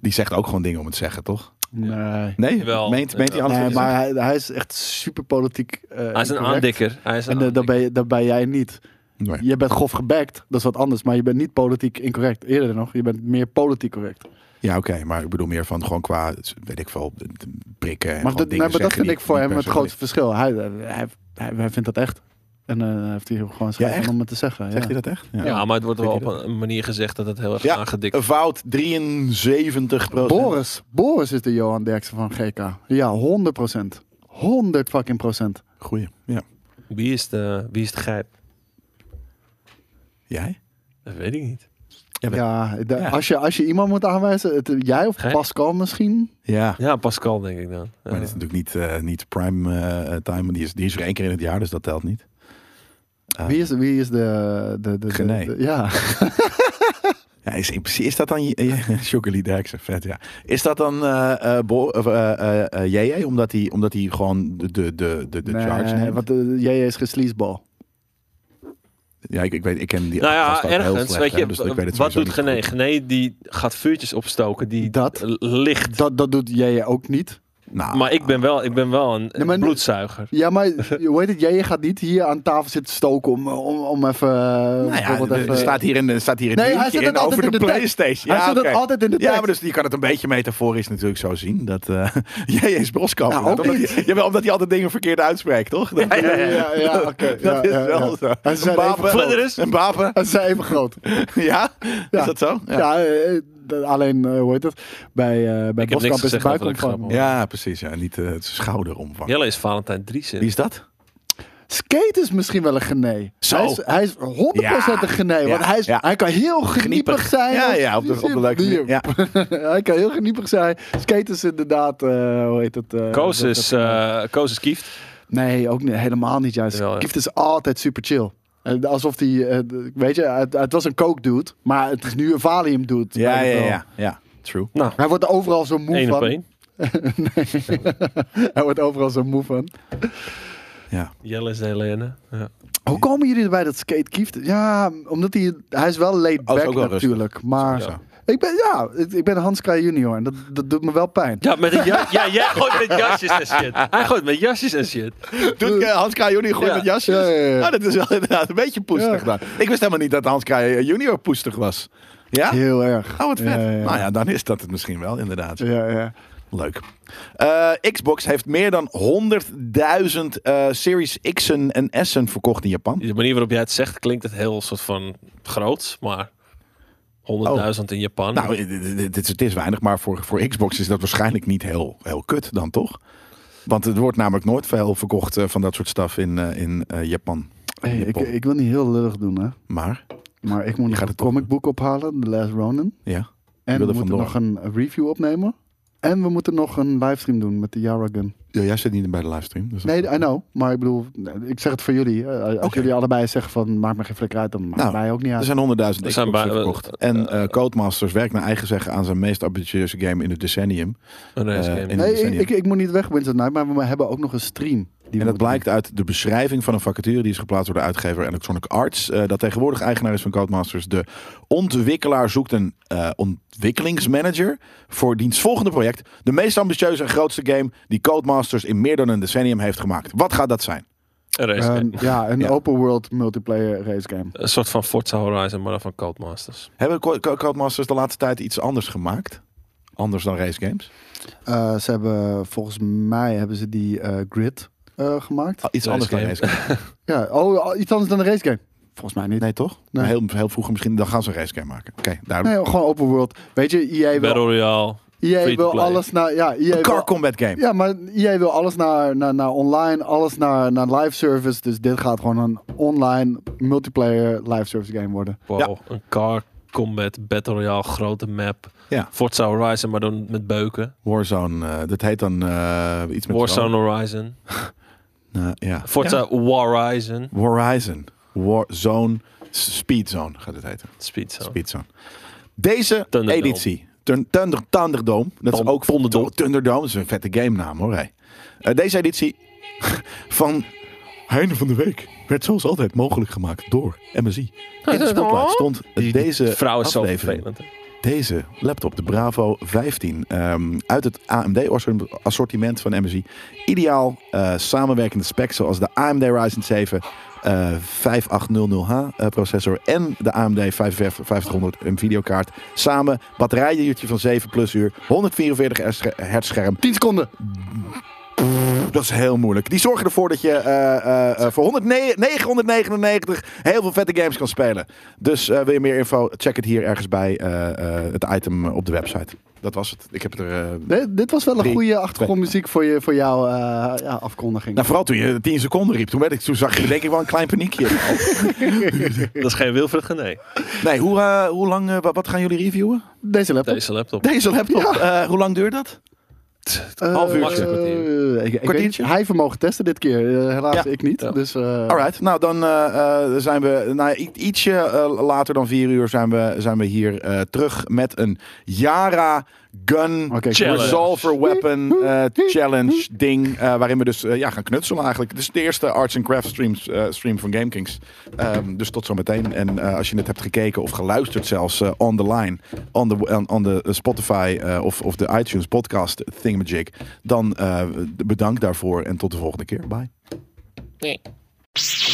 Speaker 1: Die zegt ook gewoon dingen om het te zeggen, toch?
Speaker 2: Nee.
Speaker 1: Nee,
Speaker 3: Wel,
Speaker 1: meent, meent hij
Speaker 3: ja.
Speaker 1: anders?
Speaker 2: Nee,
Speaker 1: wat hij
Speaker 2: maar hij, hij is echt super politiek. eh,
Speaker 3: Hij is een aandikker. Hij is een
Speaker 2: En eh,
Speaker 3: aandikker.
Speaker 2: dat, ben je, dat ben jij niet.
Speaker 1: zegt? Nee.
Speaker 2: Je bent grof gebekt, dat is wat anders. Maar je bent niet politiek incorrect. Eerder nog, je bent meer politiek correct.
Speaker 1: Ja, oké, maar ik bedoel meer van gewoon qua, weet ik veel, de- de prikken en
Speaker 2: Maar,
Speaker 1: gewoon
Speaker 2: dat,
Speaker 1: dingen
Speaker 2: nee, maar dat
Speaker 1: zeggen
Speaker 2: vind ik
Speaker 1: die
Speaker 2: voor
Speaker 1: niet
Speaker 2: hem
Speaker 1: per
Speaker 2: het
Speaker 1: se-
Speaker 2: grootste verschil. Hij, eh, hij, hij, hij vindt dat echt. En eh heeft hij gewoon schijt
Speaker 1: echt?
Speaker 2: om het te zeggen.
Speaker 1: Zegt
Speaker 2: ja.
Speaker 1: hij dat echt? Ja.
Speaker 3: Ja, maar het wordt wel
Speaker 1: Weet
Speaker 3: op
Speaker 1: je
Speaker 3: een een manier gezegd dat het heel erg
Speaker 1: Ja. Oh.
Speaker 3: aangedikt
Speaker 1: Een fout 73
Speaker 2: Boris, Boris is de Johan Derksen van GK. Ja, 100 100 fucking procent.
Speaker 1: Goeie. Ja.
Speaker 3: Wie is de, wie is de grijp?
Speaker 1: Jij?
Speaker 3: Dat weet ik niet.
Speaker 1: Ja, maar-
Speaker 2: Ja, de-
Speaker 1: Ja.
Speaker 2: Als, je, als je iemand moet aanwijzen, het, jij of
Speaker 3: Gijp?
Speaker 2: Pascal misschien?
Speaker 1: Ja.
Speaker 3: Ja, Pascal denk ik dan. Ja.
Speaker 1: Maar dit is natuurlijk niet, eh, niet prime eh, time. Die is, die is er één keer in het jaar, dus dat telt niet. Ah.
Speaker 2: Wie is, wie is de... de, de, de-
Speaker 1: Gené.
Speaker 2: de- ja.
Speaker 1: Ja, is, in principe- is dat dan... Chocolate Derksen, vet ja. Is dat dan eh eh Bo- of, eh, eh, eh, JJ, omdat hij omdat hij gewoon de, de, de, de, de charge
Speaker 2: Nee,
Speaker 1: neemt?
Speaker 2: want eh, jij is gesleesbal.
Speaker 1: Ja, ik, ik, weet, ik ken die
Speaker 3: Nou ja,
Speaker 1: gast ook heel
Speaker 3: ergens.
Speaker 1: slecht,
Speaker 3: Weet
Speaker 1: hè,
Speaker 3: je,
Speaker 1: dus ik weet het
Speaker 3: wat
Speaker 1: sowieso
Speaker 3: doet
Speaker 1: niet
Speaker 3: Gené?
Speaker 1: goed.
Speaker 3: Gené die gaat vuurtjes opstoken die
Speaker 2: Dat?
Speaker 3: l- licht.
Speaker 2: Dat, dat doet jij ook niet.
Speaker 1: Nou,
Speaker 3: Maar ik ben wel, ik ben wel een,
Speaker 2: Nee, maar-
Speaker 3: bloedzuiger.
Speaker 2: Ja, maar hoe heet het? Jij gaat niet hier aan tafel zitten stoken om, om, om even...
Speaker 1: Nou ja, er- er staat hier een, er staat hier een
Speaker 2: Nee, hij
Speaker 1: dingetje
Speaker 2: zit het
Speaker 1: in
Speaker 2: altijd
Speaker 1: over de,
Speaker 2: in de tekst.
Speaker 1: PlayStation.
Speaker 2: Hij
Speaker 1: ja,
Speaker 2: zit het
Speaker 1: oké.
Speaker 2: altijd in de
Speaker 1: Ja, maar
Speaker 2: tekst.
Speaker 1: dus je kan het een beetje metaforisch natuurlijk zo zien. Dat eh jij is broskampioen.
Speaker 2: Nou, ook
Speaker 1: omdat,
Speaker 2: niet.
Speaker 1: hij- jawel, omdat hij altijd dingen verkeerd uitspreekt, toch? Dat,
Speaker 2: Ja, ja, ja, ja, oké. ja,
Speaker 1: dat is
Speaker 2: ja,
Speaker 1: wel
Speaker 2: ja.
Speaker 1: zo.
Speaker 2: Hij
Speaker 1: Een
Speaker 2: zei
Speaker 1: bapen,
Speaker 2: even groot.
Speaker 3: Verder is-
Speaker 1: Een bapen.
Speaker 2: Hij zei even groot.
Speaker 1: Ja? Is dat zo?
Speaker 2: Ja, eh, eh, alleen, eh, hoe heet het? Bij, eh bij
Speaker 3: niks
Speaker 2: Boskamp is de
Speaker 3: gezegd over dat ik
Speaker 2: buikomvang.
Speaker 3: grap
Speaker 1: Ja, precies. Ja. Niet eh, het schouderomvang.
Speaker 3: Jelle is Valentijn Driesen.
Speaker 1: Wie is dat?
Speaker 2: Skate is misschien wel een genee.
Speaker 1: Zo.
Speaker 2: Hij is, hij is 100% een genee. Want
Speaker 1: Ja,
Speaker 2: hij, is,
Speaker 1: ja.
Speaker 2: hij kan heel geniepig
Speaker 1: Kniepig.
Speaker 2: zijn.
Speaker 1: Ja, ja, op de, op de leuke manier. Ja.
Speaker 2: hij kan heel geniepig zijn. Skate is inderdaad, eh, hoe heet het? eh,
Speaker 3: Koos
Speaker 2: dat-
Speaker 3: is,
Speaker 2: dat-
Speaker 3: eh, Koos is kieft.
Speaker 2: Nee, ook niet, helemaal niet juist.
Speaker 3: Jawel, ja.
Speaker 2: Kieft is altijd super chill. En Alsof hij, eh, d- weet je, het, het was een coke dude, maar het is nu een valium dude.
Speaker 1: Ja,
Speaker 2: weet ik
Speaker 1: ja,
Speaker 2: wel.
Speaker 1: ja, ja. True.
Speaker 3: Nou,
Speaker 2: Hij wordt er overal zo moe
Speaker 3: één op
Speaker 2: van.
Speaker 3: één.
Speaker 2: Hij wordt overal zo moe van.
Speaker 1: Ja.
Speaker 3: Jelle is de Helene. Ja.
Speaker 2: Hoe komen jullie erbij dat Skate Kieft? Ja, omdat hij, hij is wel laid
Speaker 1: Oh, is
Speaker 2: back
Speaker 1: ook wel
Speaker 2: natuurlijk. Maar
Speaker 1: Sowieso.
Speaker 2: ik ben, ja, ik, ik ben Hans Kraaij junior en dat, dat doet me wel pijn.
Speaker 3: Ja, met een ja, ja, jij gooit met jasjes en shit. Hij gooit met jasjes en shit.
Speaker 1: Doet eh, Hans Kraaij junior gewoon
Speaker 3: Ja.
Speaker 1: met jasjes?
Speaker 2: Ja, ja, ja.
Speaker 1: Oh, dat is wel inderdaad een beetje poestig
Speaker 2: Ja.
Speaker 1: dan. Ik wist helemaal niet dat Hans Kraaij eh, junior poestig was. Ja?
Speaker 2: Heel erg.
Speaker 1: Oh, wat vet.
Speaker 2: Ja, ja, ja.
Speaker 1: Nou ja, dan is dat het misschien wel, inderdaad.
Speaker 2: Ja, ja.
Speaker 1: Leuk. Eh, Xbox heeft meer dan 100.000 eh, Series X'en en S'en verkocht in Japan.
Speaker 3: De manier waarop jij het zegt klinkt het heel soort van groot, maar 100.000 in Japan.
Speaker 1: Nou, dit- dit- dit is- het is weinig, maar voor, voor Xbox is dat waarschijnlijk niet heel, heel kut dan, toch? Want het wordt namelijk nooit veel verkocht eh, van dat soort staf in, eh, in eh, Japan.
Speaker 2: Hey, ik,
Speaker 1: Japan.
Speaker 2: ik wil niet heel lullig doen, hè.
Speaker 1: Maar,
Speaker 2: Maar ik moet nog
Speaker 1: gaat
Speaker 2: een
Speaker 1: het toch
Speaker 2: comicboek ophalen, The Last Ronin.
Speaker 1: ja.
Speaker 2: En we
Speaker 1: wil er
Speaker 2: moeten nog
Speaker 1: vandoor.
Speaker 2: een review opnemen. En we moeten nog een livestream doen met de Yara Gun.
Speaker 1: Ja, jij zit niet bij de livestream. Dus
Speaker 2: Nee, I know. Maar ik bedoel, ik zeg het voor jullie. Eh, Als
Speaker 1: Oké.
Speaker 2: jullie allebei zeggen van, maak me geen flikker uit, dan maakt
Speaker 1: Nou,
Speaker 2: mij ook niet
Speaker 1: Er
Speaker 2: uit.
Speaker 1: zijn 100.000
Speaker 3: Er
Speaker 1: Xboxen
Speaker 3: zijn bij-
Speaker 1: verkocht. En eh, Codemasters werkt naar eigen zeggen aan zijn meest ambitieuze game in het decennium.
Speaker 3: een race
Speaker 1: eh,
Speaker 3: game.
Speaker 1: en-
Speaker 2: Nee,
Speaker 1: zijn
Speaker 2: ik,
Speaker 1: die-
Speaker 2: ik, ik moet niet weg, Winston Night, maar we hebben ook nog een stream. Die we
Speaker 1: En dat
Speaker 2: moeten
Speaker 1: blijkt uit de beschrijving van een vacature die is geplaatst door de uitgever Electronic Arts. eh, dat tegenwoordig eigenaar is van Codemasters. De ontwikkelaar zoekt een eh, ontwikkelingsmanager voor diens volgende project. De meest ambitieuze en grootste game die Codemasters in meer dan een decennium heeft gemaakt. Wat gaat dat zijn?
Speaker 3: Een race
Speaker 2: doen.
Speaker 3: game.
Speaker 2: Ehm, ja, een
Speaker 1: Ja.
Speaker 2: open world multiplayer race game.
Speaker 3: Een soort van Forza Horizon, maar dan van Codemasters.
Speaker 1: Hebben Co- Co- Codemasters de laatste tijd iets anders gemaakt? Anders dan race games?
Speaker 2: Eh, ze hebben, volgens mij hebben ze die eh, grid eh, gemaakt.
Speaker 1: Ah, Iets
Speaker 3: Race
Speaker 1: anders dan
Speaker 3: game.
Speaker 1: race games?
Speaker 2: Ja, oh, iets anders dan een race game. Volgens mij niet.
Speaker 1: Nee, toch?
Speaker 2: Nee.
Speaker 1: Heel, heel vroeger misschien, dan gaan ze een race game maken. Oké, duidelijk.
Speaker 2: Nee, gewoon open world. Weet je, EA
Speaker 3: Battle
Speaker 2: wil,
Speaker 3: Royale.
Speaker 2: EA
Speaker 3: free to
Speaker 2: wil
Speaker 3: play.
Speaker 2: alles naar... Ja, EA
Speaker 1: Een
Speaker 2: wil,
Speaker 1: car combat game.
Speaker 2: ja, maar EA wil alles naar, naar, naar online, alles naar, naar live service. Dus dit gaat gewoon een online multiplayer live service game worden.
Speaker 3: Wow, een car combat Battle Royale, grote map.
Speaker 1: Ja.
Speaker 3: Forza Horizon, maar dan met beuken.
Speaker 1: Warzone, eh, dat heet dan eh, iets met...
Speaker 3: Warzone Horizon.
Speaker 1: Nou, ja.
Speaker 3: Forza Horizon.
Speaker 1: Horizon. Warzone. S- Speedzone gaat het heten.
Speaker 3: Speedzone.
Speaker 1: Speedzone. Deze
Speaker 3: Thunderdome.
Speaker 1: editie. Thun- Thunder, Thunderdome. Dat is
Speaker 3: Thun-
Speaker 1: ook
Speaker 3: Thunderdome.
Speaker 1: Thunderdome. Dat is een vette game naam hoor. hé. Eh, deze editie van Heine van de Week werd zoals altijd mogelijk gemaakt door MSI. In de spotlight stond deze
Speaker 3: vrouw is zo
Speaker 1: aflevering
Speaker 3: vervelend. hè.
Speaker 1: deze laptop, de Bravo 15, ehm, uit het AMD-assortiment van MSI. Ideaal eh, samenwerkende specs zoals de AMD Ryzen 7 eh, 5800H eh, processor en de AMD 5500 M videokaart. Samen batterijenduurtje van 7 plus uur, 144 hertz scherm.
Speaker 2: 10 seconden.
Speaker 1: Dat is heel moeilijk. Die zorgen ervoor dat je eh, eh, eh, voor 100 ne- 999 heel veel vette games kan spelen. Dus eh, wil je meer info? Check het hier ergens bij eh, eh, het item op de website. Dat was het. Ik heb het er. eh,
Speaker 2: Dit, dit was wel een
Speaker 1: Drie.
Speaker 2: goede achtergrondmuziek voor, je, voor jouw eh, ja, afkondiging.
Speaker 1: Nou, vooral toen je 10 seconden riep. Toen, werd ik, toen zag je denk ik wel een klein paniekje.
Speaker 3: Dat is geen Wilfred Gené.
Speaker 1: Nee, hoe, eh, hoe lang, eh, wa- wat gaan jullie reviewen?
Speaker 2: Deze laptop.
Speaker 3: Deze laptop.
Speaker 1: Deze laptop. Eh, hoe lang duurt dat?
Speaker 2: Eh,
Speaker 1: half uurtje.
Speaker 2: eh,
Speaker 3: Kwartier.
Speaker 2: ik, ik
Speaker 1: Kwartiertje?
Speaker 2: weet- hij vermogen testen dit keer. Eh, helaas,
Speaker 1: Ja.
Speaker 2: ik niet.
Speaker 3: Ja.
Speaker 2: Dus, eh,
Speaker 1: Alright, nou dan eh, eh, zijn we nou, i- ietsje eh, later dan 4 uur zijn we, zijn we hier eh, terug met een Yara Gun
Speaker 2: Oké,
Speaker 3: Challenge.
Speaker 1: Resolver Weapon eh, Challenge ding. eh, waarin we dus eh, ja, gaan knutselen eigenlijk. Dit is de eerste Arts and Crafts streams, eh, stream van GameKings. Ehm, dus tot zometeen. En eh, als je net hebt gekeken of geluisterd zelfs eh, on the line. On the, on, on the Spotify eh, of, of de iTunes podcast thingamajig. Dan eh, bedankt daarvoor en tot de volgende keer. Bye.
Speaker 4: Nee.